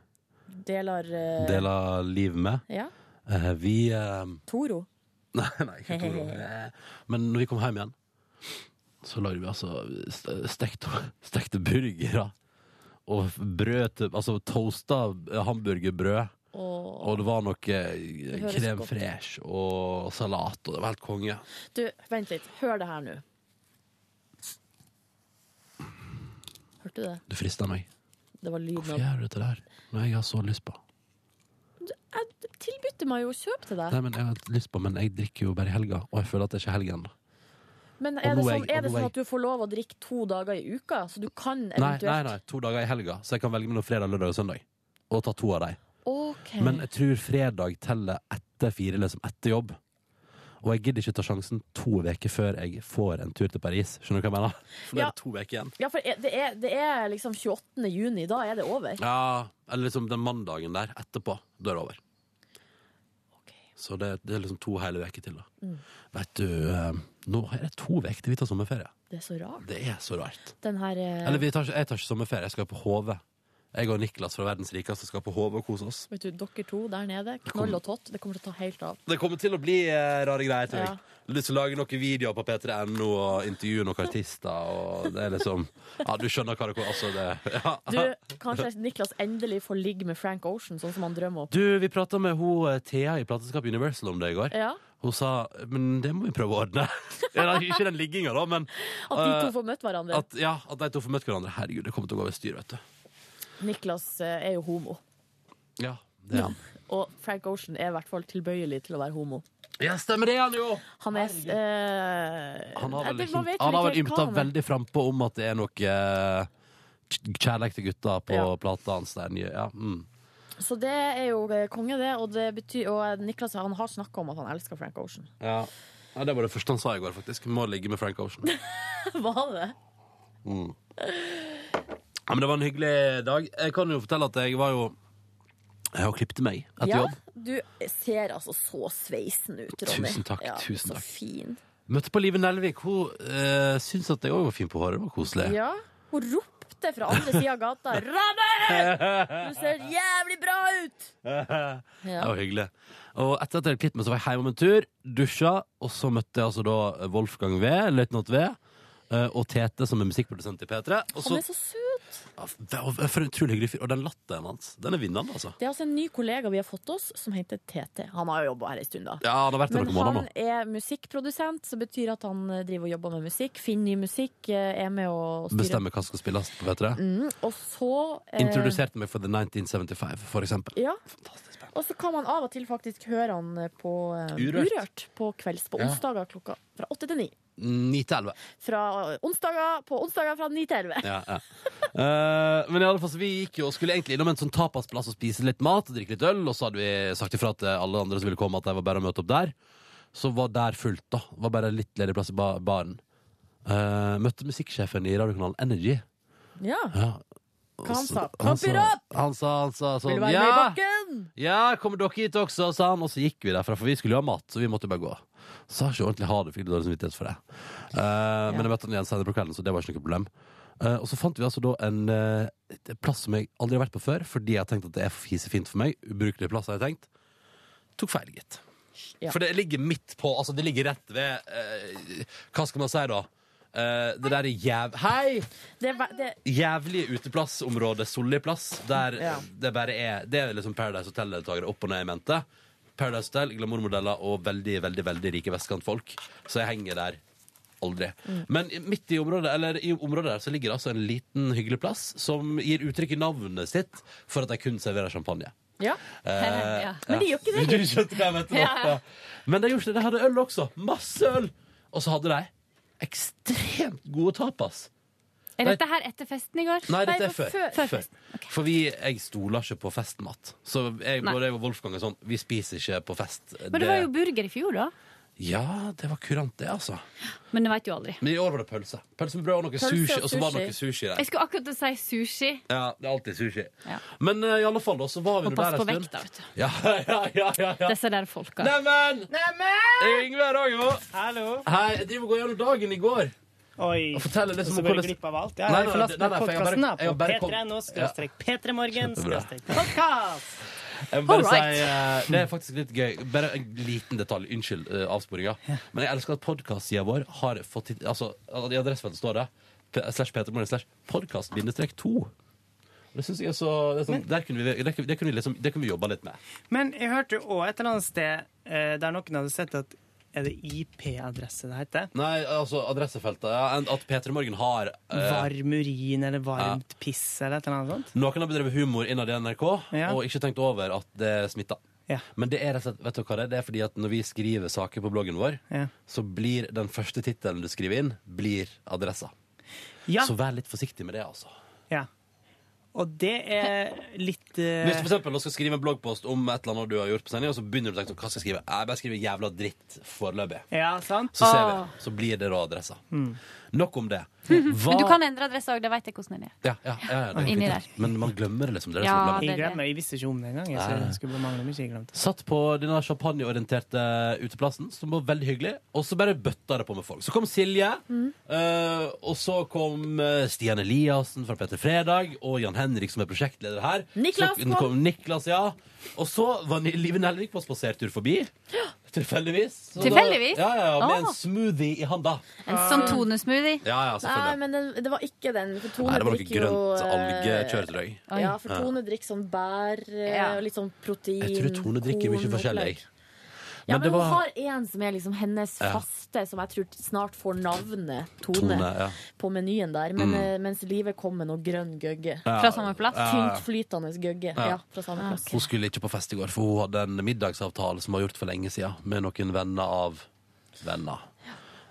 [SPEAKER 5] Deler eh,
[SPEAKER 2] deler liv med,
[SPEAKER 5] Ja.
[SPEAKER 2] eh, vi eh,
[SPEAKER 5] Toro.
[SPEAKER 2] Nei, nei, ikke Toro. Eh, Men når vi kom hjem igjen, så lagde vi altså st- stekte, stekte burgere. Og brød til Altså toasta hamburgerbrød.
[SPEAKER 5] Og
[SPEAKER 2] Og det var noe eh,
[SPEAKER 5] høres
[SPEAKER 2] krem
[SPEAKER 5] godt.
[SPEAKER 2] fresh og salat, og det var helt konge.
[SPEAKER 5] Du, vent litt. Hør det her nå. Hørte du det?
[SPEAKER 2] Du frista meg.
[SPEAKER 5] Det var lyden
[SPEAKER 2] Hvorfor gjør du dette der? Når jeg har så lyst på
[SPEAKER 5] Jeg tilbydte meg jo å kjøpe til deg.
[SPEAKER 2] Nei, men jeg har lyst på, men jeg drikker jo bare i helga, og jeg føler at det ikke er helgen.
[SPEAKER 5] Men
[SPEAKER 2] Og
[SPEAKER 5] er det,
[SPEAKER 2] nå er
[SPEAKER 5] sånn,
[SPEAKER 2] jeg- og
[SPEAKER 5] er det
[SPEAKER 2] nå er
[SPEAKER 5] sånn
[SPEAKER 2] jeg-
[SPEAKER 5] at du får lov å drikke to dager i uka? Så du kan
[SPEAKER 2] Nei, nei,
[SPEAKER 5] eventuelt
[SPEAKER 2] nei, to dager i helga, så jeg kan velge mellom fredag, lørdag og søndag. Og ta to av dem.
[SPEAKER 5] OK.
[SPEAKER 2] Men jeg tror fredag teller etter fire, liksom etter jobb. Og jeg gidder ikke ta sjansen to uker før jeg får en tur til Paris. Skjønner du hva jeg mener? For nå
[SPEAKER 5] Ja.
[SPEAKER 2] er det to uker igjen.
[SPEAKER 5] Ja, for er- det er, det er liksom 28. juni. Da er det over.
[SPEAKER 2] Ja, eller liksom den mandagen der etterpå. Da er det over. Så det, det er liksom to hele uker til, da.
[SPEAKER 5] Mm.
[SPEAKER 2] Vet du, eh, nå er det to uker til vi tar sommerferie.
[SPEAKER 5] Det er så rart.
[SPEAKER 2] Det er så rart.
[SPEAKER 5] Den her eh,
[SPEAKER 2] Eller vi tar, ikke- jeg tar ikke sommerferie, jeg skal på HV. Jeg og Niklas fra Verdens rikeste skal på HV og kose oss.
[SPEAKER 5] Vet du, dere to der nede, knoll og tott, det kommer til å ta helt av.
[SPEAKER 2] Det kommer til å bli eh, rare greier. tror jeg.
[SPEAKER 5] Ja.
[SPEAKER 2] Jeg har Lyst til å lage noen videoer på p3.no og intervjue noen artister. Og det er liksom, ja, Du skjønner hva det kommer altså det, ja.
[SPEAKER 5] Du, kanskje Niklas endelig får ligge med Frank Ocean, sånn som han drømmer om.
[SPEAKER 2] Du, vi prata med hun eh, Thea i Plateskap Universal om det i går.
[SPEAKER 5] Ja,
[SPEAKER 2] Hun sa men det må vi prøve å ordne. Eller, ikke den ligginga, da, men
[SPEAKER 5] At de to
[SPEAKER 2] eh,
[SPEAKER 5] får møtt hverandre.
[SPEAKER 2] at, ja, at de to får møtt hverandre. Herregud, det kommer til å gå over styr, vet du.
[SPEAKER 5] Niklas eh, er jo homo.
[SPEAKER 2] Ja, det er han.
[SPEAKER 5] Og Frank Ocean er i hvert fall tilbøyelig til å være homo.
[SPEAKER 2] Ja, stemmer det, han jo!
[SPEAKER 5] Han er eh,
[SPEAKER 2] Han har vel,
[SPEAKER 5] nei, det- man vet
[SPEAKER 2] han
[SPEAKER 5] vel
[SPEAKER 2] har
[SPEAKER 5] ikke
[SPEAKER 2] vel
[SPEAKER 5] helt hva
[SPEAKER 2] ymta
[SPEAKER 5] han er.
[SPEAKER 2] veldig frampå om at det er noe eh, kj- kjærlighet til gutta på
[SPEAKER 5] Ja.
[SPEAKER 2] plata hans. Der, nye- ja, mm.
[SPEAKER 5] Så det er jo eh, konge, det. Og, det betyr, og eh, Niklas han har snakka om at han elsker Frank Ocean.
[SPEAKER 2] ja. ja, Det var det første han sa i går, faktisk. Må ligge med Frank Ocean.
[SPEAKER 5] Var det?
[SPEAKER 2] Mm. Ja, men det var en hyggelig dag. Jeg kan jo fortelle at jeg var jo Jeg har klippet meg etter
[SPEAKER 5] ja,
[SPEAKER 2] jobb.
[SPEAKER 5] Du ser altså så sveisen ut, Ronny.
[SPEAKER 2] Tusen takk,
[SPEAKER 5] Ja,
[SPEAKER 2] tusen
[SPEAKER 5] så
[SPEAKER 2] takk.
[SPEAKER 5] Fin.
[SPEAKER 2] Møtte på Live Nelvik. Hun uh, syntes at jeg òg var fin på håret. Det var koselig.
[SPEAKER 5] Ja, hun ropte fra andre sida av gata 'Ronny! Du ser jævlig bra ut!' Ja.
[SPEAKER 2] Det var hyggelig. Og etter at jeg hadde klippet meg, så var jeg hjemme om en tur, dusja, og så møtte jeg altså da Wolfgang V, løytnant V, eh, og Tete, som er musikkprodusent i P3. Og
[SPEAKER 5] Han
[SPEAKER 2] så
[SPEAKER 5] er så søt.
[SPEAKER 2] For en utrolig hyggelig fyr. Og den latteren hans, den er vinnende, altså.
[SPEAKER 5] Det er altså en ny kollega vi har fått oss, som heter TT. Han har jo jobba her en stund, da.
[SPEAKER 2] Ja, han har vært her
[SPEAKER 5] Men
[SPEAKER 2] noen måneder
[SPEAKER 5] han er musikkprodusent, som betyr at han eh, driver og jobber med musikk. Finner ny musikk, eh, er med og
[SPEAKER 2] nå.
[SPEAKER 5] styrer.
[SPEAKER 2] Bestemmer hva som skal spilles på P3.
[SPEAKER 5] Mm, og så eh,
[SPEAKER 2] Introduserte meg for The 1975, for eksempel.
[SPEAKER 5] Ja. Og så kan man av og til faktisk høre han på eh,
[SPEAKER 2] Urørt.
[SPEAKER 5] Urørt, på kvelds på
[SPEAKER 2] Ja.
[SPEAKER 5] onsdager klokka fra åtte til ni.
[SPEAKER 2] 9 til 11.
[SPEAKER 5] Fra onsdager på onsdager fra ni til elleve.
[SPEAKER 2] Ja, ja. Eh, men i alle fall, så vi gikk jo og skulle egentlig innom en sånn tapasplass og spise litt mat og drikke litt øl, og så hadde vi sagt ifra til alle andre som ville komme at de var bare å møte opp der. Så var der fullt, da. Det Var bare litt ledig plass i ba baren. Eh, møtte musikksjefen i radiokanalen Energy.
[SPEAKER 5] Ja.
[SPEAKER 2] Ja.
[SPEAKER 5] Hva han sa?
[SPEAKER 2] Han
[SPEAKER 5] Kamper
[SPEAKER 2] sa,
[SPEAKER 5] opp!
[SPEAKER 2] han sa, han sa
[SPEAKER 5] Vil
[SPEAKER 2] sånn
[SPEAKER 5] du være med i
[SPEAKER 2] Ja!
[SPEAKER 5] bakken?
[SPEAKER 2] Ja, kommer dere hit også, sa han. Og så gikk vi derfra, for vi skulle jo ha mat. Så vi måtte jo bare gå. Sa ikke ordentlig ha det, fikk dårlig samvittighet for det. Eh, Men jeg møtte han igjen senere på kvelden, så det var ikke noe problem. Eh, og så fant vi altså da en eh, et plass som jeg aldri har vært på før, fordi jeg har tenkt at det er for fisefint for meg. Ubrukelig plass, har jeg tenkt. Tok feil, gitt.
[SPEAKER 5] Ja.
[SPEAKER 2] For det ligger midt på, altså det ligger rett ved eh, Hva skal man si da? Eh, det der jæv... Hei!
[SPEAKER 5] Det, er ve- det,
[SPEAKER 2] jævlige uteplassområdet, Solli plass, der
[SPEAKER 5] Ja.
[SPEAKER 2] det bare er Det er liksom Paradise Hotel-deltakere opp og ned i mente. Paradise Hotel, glamourmodeller og veldig, veldig veldig rike vestkantfolk. Så jeg henger der aldri.
[SPEAKER 14] Mm.
[SPEAKER 2] Men midt i området eller i området der så ligger det altså en liten, hyggelig plass som gir uttrykk i navnet sitt for at de kun serverer champagne.
[SPEAKER 5] ja.
[SPEAKER 2] Eh,
[SPEAKER 5] ja. Men de gjør ikke det.
[SPEAKER 2] Du skjønte hva jeg mente nå.
[SPEAKER 5] Ja, ja.
[SPEAKER 2] Ja. Men de gjorde det. De hadde øl også. Masse øl! Og så hadde de ekstremt gode tapas.
[SPEAKER 17] Er dette her etter festen i går?
[SPEAKER 2] Nei, dette er
[SPEAKER 17] for-
[SPEAKER 2] før. før.
[SPEAKER 17] fest.
[SPEAKER 2] For vi, jeg stoler ikke på festmat. Så jeg,
[SPEAKER 17] Nei.
[SPEAKER 2] både jeg og Wolfgang er sånn Vi spiser ikke på fest.
[SPEAKER 17] Men det var jo burger i fjor, da.
[SPEAKER 2] Ja, det var kurant, det, altså.
[SPEAKER 17] Men det vet jo aldri.
[SPEAKER 2] Men i år var det pølse. Pølse med brød og noe
[SPEAKER 17] Pølse
[SPEAKER 2] sushi.
[SPEAKER 17] og
[SPEAKER 2] Og så var det noe
[SPEAKER 17] sushi.
[SPEAKER 2] sushi
[SPEAKER 17] Jeg
[SPEAKER 2] der.
[SPEAKER 17] skulle akkurat til å si sushi.
[SPEAKER 2] Ja, det er alltid sushi.
[SPEAKER 17] Ja.
[SPEAKER 2] Men eh, i alle fall, da, så var vi
[SPEAKER 17] Og
[SPEAKER 2] nå
[SPEAKER 17] pass
[SPEAKER 2] der
[SPEAKER 17] på
[SPEAKER 2] en stund.
[SPEAKER 17] vekta, vet du.
[SPEAKER 2] Ja, ja, ja, ja, ja.
[SPEAKER 17] Disse der folka.
[SPEAKER 2] Neimen! Yngve er også med.
[SPEAKER 4] Hallo.
[SPEAKER 2] Hei, jeg driver og går gjennom dagen i går.
[SPEAKER 4] Oi.
[SPEAKER 2] Og forteller
[SPEAKER 4] Og
[SPEAKER 2] liksom
[SPEAKER 4] så
[SPEAKER 2] om
[SPEAKER 4] går jeg
[SPEAKER 2] hvordan-
[SPEAKER 4] glipp av alt.
[SPEAKER 2] Nei,
[SPEAKER 4] Ja, jeg
[SPEAKER 2] nei,
[SPEAKER 4] får
[SPEAKER 2] nei,
[SPEAKER 4] laste ned
[SPEAKER 2] nei, for jeg har bare-
[SPEAKER 4] podkasten
[SPEAKER 2] jeg har
[SPEAKER 4] på
[SPEAKER 2] bare kom-
[SPEAKER 4] p3.no
[SPEAKER 2] Ja.
[SPEAKER 4] skråstrek p3morgen
[SPEAKER 2] Kjempebra.
[SPEAKER 4] skråstrek podkast.
[SPEAKER 2] Jeg vil bare
[SPEAKER 4] Alright.
[SPEAKER 2] si, eh, Det er faktisk litt gøy. Bare en liten detalj. Unnskyld eh, avsporinga. Men jeg elsker at podkastsida vår har fått tit- Altså, I adressefeltet står det p- slash Petermorgen slash podkast-2. Det synes jeg er så, det er sånn, der kunne vi, det kunne, det kunne vi liksom, det kunne vi jobba litt med.
[SPEAKER 4] Men jeg hørte jo òg et eller annet sted eh, der noen hadde sett at Er det IP-adresse det heter?
[SPEAKER 2] Nei, altså adressefeltet. Ja, en- at Peter Morgen har eh,
[SPEAKER 4] Varm urin eller varmt piss eller et eller annet sånt?
[SPEAKER 2] Noen har bedrevet humor innad i NRK
[SPEAKER 4] Ja.
[SPEAKER 2] og ikke tenkt over at det smitta.
[SPEAKER 4] Ja.
[SPEAKER 2] Men det er rett og slett, vet du hva det er? Det er fordi at når vi skriver saker på bloggen vår,
[SPEAKER 4] Ja.
[SPEAKER 2] så blir den første tittelen du skriver inn, blir adressa.
[SPEAKER 4] Ja.
[SPEAKER 2] Så vær litt forsiktig med det, altså.
[SPEAKER 4] ja. Og det er litt eh,
[SPEAKER 2] Hvis du for eksempel nå skal skrive en bloggpost om et eller annet du har gjort på sending, og så begynner du å tenke sånn, hva skal jeg skrive? Jeg bare skriver jævla dritt foreløpig.
[SPEAKER 4] Ja, sant?
[SPEAKER 2] Så ser
[SPEAKER 17] Ah.
[SPEAKER 2] vi. Så blir det da adressa.
[SPEAKER 4] Mm.
[SPEAKER 2] Nok om det.
[SPEAKER 17] Men
[SPEAKER 2] Hva-
[SPEAKER 17] du kan endre adresse òg, det vet jeg hvordan den er.
[SPEAKER 2] Ja, ja, ja, ja, det er
[SPEAKER 17] Inni
[SPEAKER 2] fint. Men man glemmer det liksom. Det er det som er
[SPEAKER 17] Ja,
[SPEAKER 2] problemet.
[SPEAKER 17] det
[SPEAKER 4] Jeg
[SPEAKER 17] er det.
[SPEAKER 4] glemmer, jeg visste ikke om det engang. Jeg
[SPEAKER 2] Nei.
[SPEAKER 4] så det skulle bare mangle om ikke jeg glemte.
[SPEAKER 2] Satt på denne champagneorienterte uteplassen, som var veldig hyggelig. Og så bare bøtta det på med folk. Så kom Silje, eh, og så kom eh, Stian Eliassen fra Petter Fredag, og Jan Henrik, som er prosjektleder her.
[SPEAKER 5] Niklas
[SPEAKER 2] så, kom Niklas ja. Og så var Ni- Live Nelvik på spasertur forbi. Tilfeldigvis. Så da-
[SPEAKER 17] Tilfeldigvis?
[SPEAKER 2] Ja, ja, ja, med
[SPEAKER 17] Ah.
[SPEAKER 2] en smoothie i handa.
[SPEAKER 17] En sånn tonesmoothie.
[SPEAKER 2] Ja, ja,
[SPEAKER 5] Ah. Nei,
[SPEAKER 2] selvfølgelig.
[SPEAKER 5] men den, det var ikke den. For Tone
[SPEAKER 2] Nei, det var noe
[SPEAKER 5] drikker jo,
[SPEAKER 2] grønt
[SPEAKER 5] eh,
[SPEAKER 2] algekjør til deg.
[SPEAKER 5] Ja, for
[SPEAKER 2] Ja.
[SPEAKER 5] Tone drikker sånn bær eh, og litt sånn protein.
[SPEAKER 2] Jeg tror Tone drikker mye
[SPEAKER 5] korn,
[SPEAKER 2] forskjellig.
[SPEAKER 5] opplegg. Ja, men,
[SPEAKER 2] det var-
[SPEAKER 5] hun har en som er liksom hennes
[SPEAKER 2] Ja.
[SPEAKER 5] faste, som jeg tror snart får navnet Tone,
[SPEAKER 2] Tone, ja.
[SPEAKER 5] på menyen der. Men,
[SPEAKER 2] Mm.
[SPEAKER 5] eh, Mens livet kom med noe grønn gøgge.
[SPEAKER 2] Ja. Fra samme plass? Ah, Ja, ja.
[SPEAKER 5] Tynt flytende gøgge.
[SPEAKER 2] Ja.
[SPEAKER 5] Ja. fra samme plass.
[SPEAKER 2] Hun skulle ikke på fest i går, for hun hadde en middagsavtale som var gjort for lenge siden med noen venner av venner.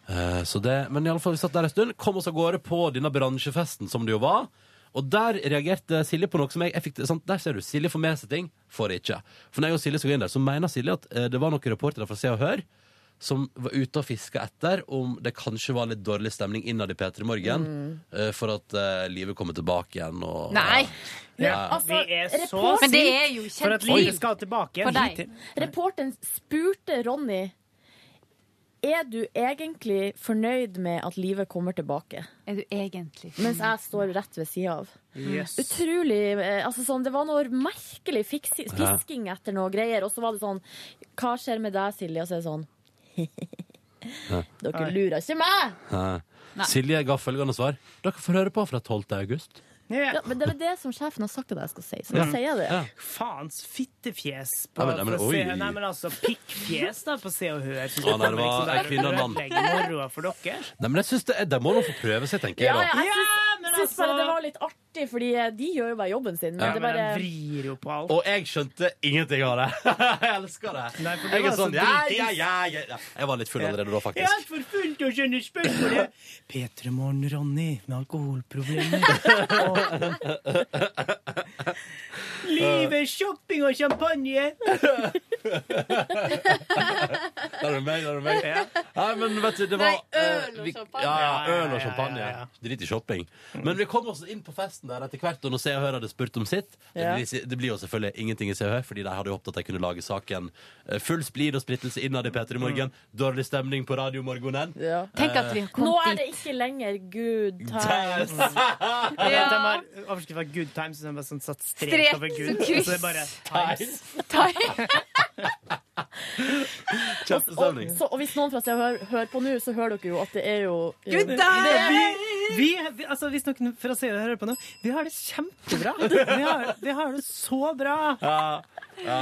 [SPEAKER 2] Eh, så det, men i alle fall, vi satt der en stund, kom oss av gårde på denne bransjefesten som det jo var. Og der reagerte Silje på noe som jeg, jeg fikk, sant, Der ser du, Silje får med seg ting, får det ikke. For når jeg og Silje skulle inn der, så mener Silje at eh, det var noen reportere fra Se og Hør som var ute og fiska etter om det kanskje var litt dårlig stemning innad i P3 Morgen eh, for at eh, livet kommer tilbake igjen og
[SPEAKER 17] Nei.
[SPEAKER 2] Ja.
[SPEAKER 4] Vi er så
[SPEAKER 5] reporter-
[SPEAKER 4] sint altså, for at livet skal tilbake igjen hit til-
[SPEAKER 5] Reporteren spurte Ronny Er du egentlig fornøyd med at livet kommer tilbake.
[SPEAKER 17] Er du egentlig
[SPEAKER 5] Mens jeg står rett ved sida av.
[SPEAKER 17] Yes.
[SPEAKER 5] Utrolig eh, altså sånn, Det var noe merkelig fiksi-
[SPEAKER 17] Ja.
[SPEAKER 5] fisking etter noe greier. Og så var det sånn Hva skjer med deg, Silje? Og så er det sånn Dere lurer ikke meg!
[SPEAKER 2] Nei. Silje ga følgende svar. Dere får høre på fra 12. august.
[SPEAKER 5] Ja, men det er det som sjefen har sagt at jeg skal si, så
[SPEAKER 4] Ja.
[SPEAKER 5] da sier jeg det.
[SPEAKER 4] Faens fittefjes på,
[SPEAKER 2] Nei, men- nei, men
[SPEAKER 4] på se,
[SPEAKER 2] oi.
[SPEAKER 4] nei, men altså, pikkfjes da, på Se og Hør. som
[SPEAKER 2] Å, nei, det
[SPEAKER 4] kommer,
[SPEAKER 2] var
[SPEAKER 4] liksom, der,
[SPEAKER 2] kvinne og mann.
[SPEAKER 4] ødelegger moroa for dere.
[SPEAKER 2] Nei, men jeg synes det, De må nå få prøve seg, tenker jeg.
[SPEAKER 5] Ja,
[SPEAKER 2] da.
[SPEAKER 5] ja, jeg syns,
[SPEAKER 4] men
[SPEAKER 5] syns bare
[SPEAKER 4] altså-
[SPEAKER 5] det var litt artig, fordi eh, de gjør jo bare jobben sin. Men
[SPEAKER 2] Ja.
[SPEAKER 5] det
[SPEAKER 2] Men
[SPEAKER 5] bare...
[SPEAKER 2] de
[SPEAKER 4] vrir jo på alt.
[SPEAKER 2] Og jeg skjønte ingenting av det. jeg elsker det.
[SPEAKER 4] Nei, for du
[SPEAKER 2] jeg
[SPEAKER 4] var
[SPEAKER 2] er
[SPEAKER 4] så
[SPEAKER 2] sånn ja,
[SPEAKER 4] dritings.
[SPEAKER 2] ja, ja, ja, ja. Jeg var litt full allerede da,
[SPEAKER 4] Jeg
[SPEAKER 2] faktisk.
[SPEAKER 4] er for fullt å skjønne spørsmålet. P3 Morgen, Ronny, med alkoholproblemer. Livet er shopping og champagne.
[SPEAKER 2] Der er det meg, der er det meg. Nei, men vet du, det var
[SPEAKER 4] Nei, øl og
[SPEAKER 2] eh, vi-
[SPEAKER 4] champagne.
[SPEAKER 2] Ja, ja, øl og
[SPEAKER 4] Ja, ja, ja,
[SPEAKER 2] champagne.
[SPEAKER 4] ja, ja.
[SPEAKER 2] Drit i shopping. Men vi kom oss inn på festen der etter hvert, og når Se og Hør hadde spurt om sitt det,
[SPEAKER 4] Ja.
[SPEAKER 2] blir, det blir jo selvfølgelig ingenting i Se og Hør, fordi de hadde jo håpet at de kunne lage saken eh, full splid og splittelse innad i P3 Morgen. Dårlig stemning på Eh, radiomorgenen.
[SPEAKER 5] Ja.
[SPEAKER 17] Tenk at vi har
[SPEAKER 5] Nå
[SPEAKER 17] kommet
[SPEAKER 5] er det
[SPEAKER 17] dit.
[SPEAKER 5] ikke lenger good
[SPEAKER 2] Times.
[SPEAKER 5] times.
[SPEAKER 4] Ja. De har overskrift av Good Times, som bare sånn satt strek,
[SPEAKER 5] Strek
[SPEAKER 4] over
[SPEAKER 5] som
[SPEAKER 4] Good.
[SPEAKER 5] kryss.
[SPEAKER 4] Og så er det bare Times.
[SPEAKER 5] Og,
[SPEAKER 2] Kjempestemning.
[SPEAKER 5] så, og hvis noen fra seg hører, hører på nå, så hører dere jo at det er jo
[SPEAKER 4] Good
[SPEAKER 5] det-
[SPEAKER 4] times! Vi, vi, altså, hvis noen fra se og høre på nå, vi har det kjempebra. Vi har, vi har det så bra.
[SPEAKER 2] Ja, ja.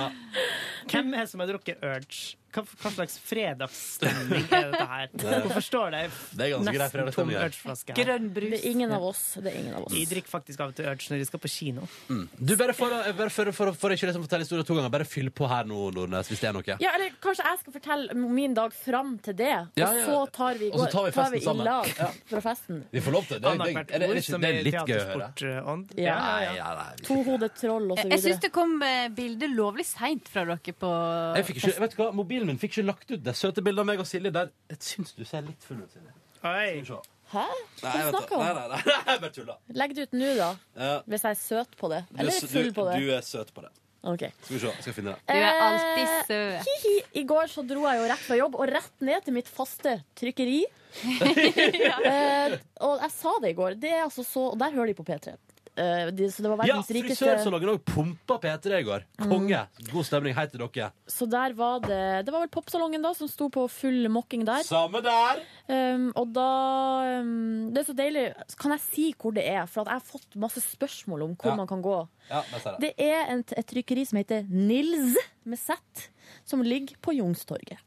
[SPEAKER 4] Hvem er det som har drukket Urge? Hva, hva slags fredagsstemning er dette her? Hvorfor står det
[SPEAKER 2] Det er ganske grei
[SPEAKER 4] nesten tom
[SPEAKER 2] fredagsstemning her.
[SPEAKER 4] Urge-flaske her?
[SPEAKER 5] Grønn brus. Det er ingen av oss. Det er ingen av oss.
[SPEAKER 4] Jeg drikker faktisk av og til Urge når jeg sånn skal på kino.
[SPEAKER 2] Mm. Du, bare for, å- bare for, for, for å ikke liksom fortelle historien to ganger, bare fyll på her nå, Nordnes, hvis det er noe.
[SPEAKER 5] Ja, eller kanskje jeg skal fortelle min dag fram til det,
[SPEAKER 2] Ja,
[SPEAKER 5] og
[SPEAKER 2] ja.
[SPEAKER 5] så tar vi,
[SPEAKER 2] Og så tar vi festen
[SPEAKER 5] i
[SPEAKER 2] sammen.
[SPEAKER 5] lag fra festen.
[SPEAKER 2] Vi får lov til det. Det, det, det, det, det, det er litt gøy å høre.
[SPEAKER 4] teatersportånd.
[SPEAKER 5] Ja,
[SPEAKER 2] Nei, ja, nei.
[SPEAKER 5] Tohodet troll og så
[SPEAKER 17] Jeg,
[SPEAKER 5] videre.
[SPEAKER 17] jeg syns det kom eh, bilder lovlig seint fra dere på
[SPEAKER 2] Jeg fikk ikke, vet du hva, Mobilen min fikk ikke lagt ut det søte bildet av meg og Silje der. Jeg syns du ser litt full ut, Silje.
[SPEAKER 4] Oi.
[SPEAKER 5] Hæ? Hva
[SPEAKER 2] vet du.
[SPEAKER 5] snakker du
[SPEAKER 2] Nei,
[SPEAKER 5] om?
[SPEAKER 2] nei, nei, jeg bare tulla.
[SPEAKER 5] Legg det ut nå, da.
[SPEAKER 2] Ja.
[SPEAKER 5] Hvis jeg er søt på det. Eller
[SPEAKER 2] Du-
[SPEAKER 5] full på det.
[SPEAKER 2] Du, du er søt på det.
[SPEAKER 5] Ok.
[SPEAKER 2] Skal vi se, skal jeg finne det.
[SPEAKER 17] Du er alltid
[SPEAKER 5] Eh,
[SPEAKER 17] søt.
[SPEAKER 5] Hihi. I går så dro jeg jo rett fra jobb og rett ned til mitt faste trykkeri. eh, og jeg sa det i går. Det er altså så, og der hører de på P3. Eh, de, så det var
[SPEAKER 2] Ja,
[SPEAKER 5] verdens rikeste Mm.
[SPEAKER 2] frisørsalongen òg pumpa P3 i går. Konge. God stemning. Hei til dere.
[SPEAKER 5] Så der var det Det var vel popsalongen da som sto på full mokking der.
[SPEAKER 2] Samme der.
[SPEAKER 5] Um, og da um, Det er så deilig. Kan jeg si hvor det er? For at jeg har fått masse spørsmål om hvor
[SPEAKER 2] Ja.
[SPEAKER 5] man kan gå.
[SPEAKER 2] Ja, der ser jeg.
[SPEAKER 5] Det er en, et trykkeri som heter Nils med Z, som ligger på Youngstorget.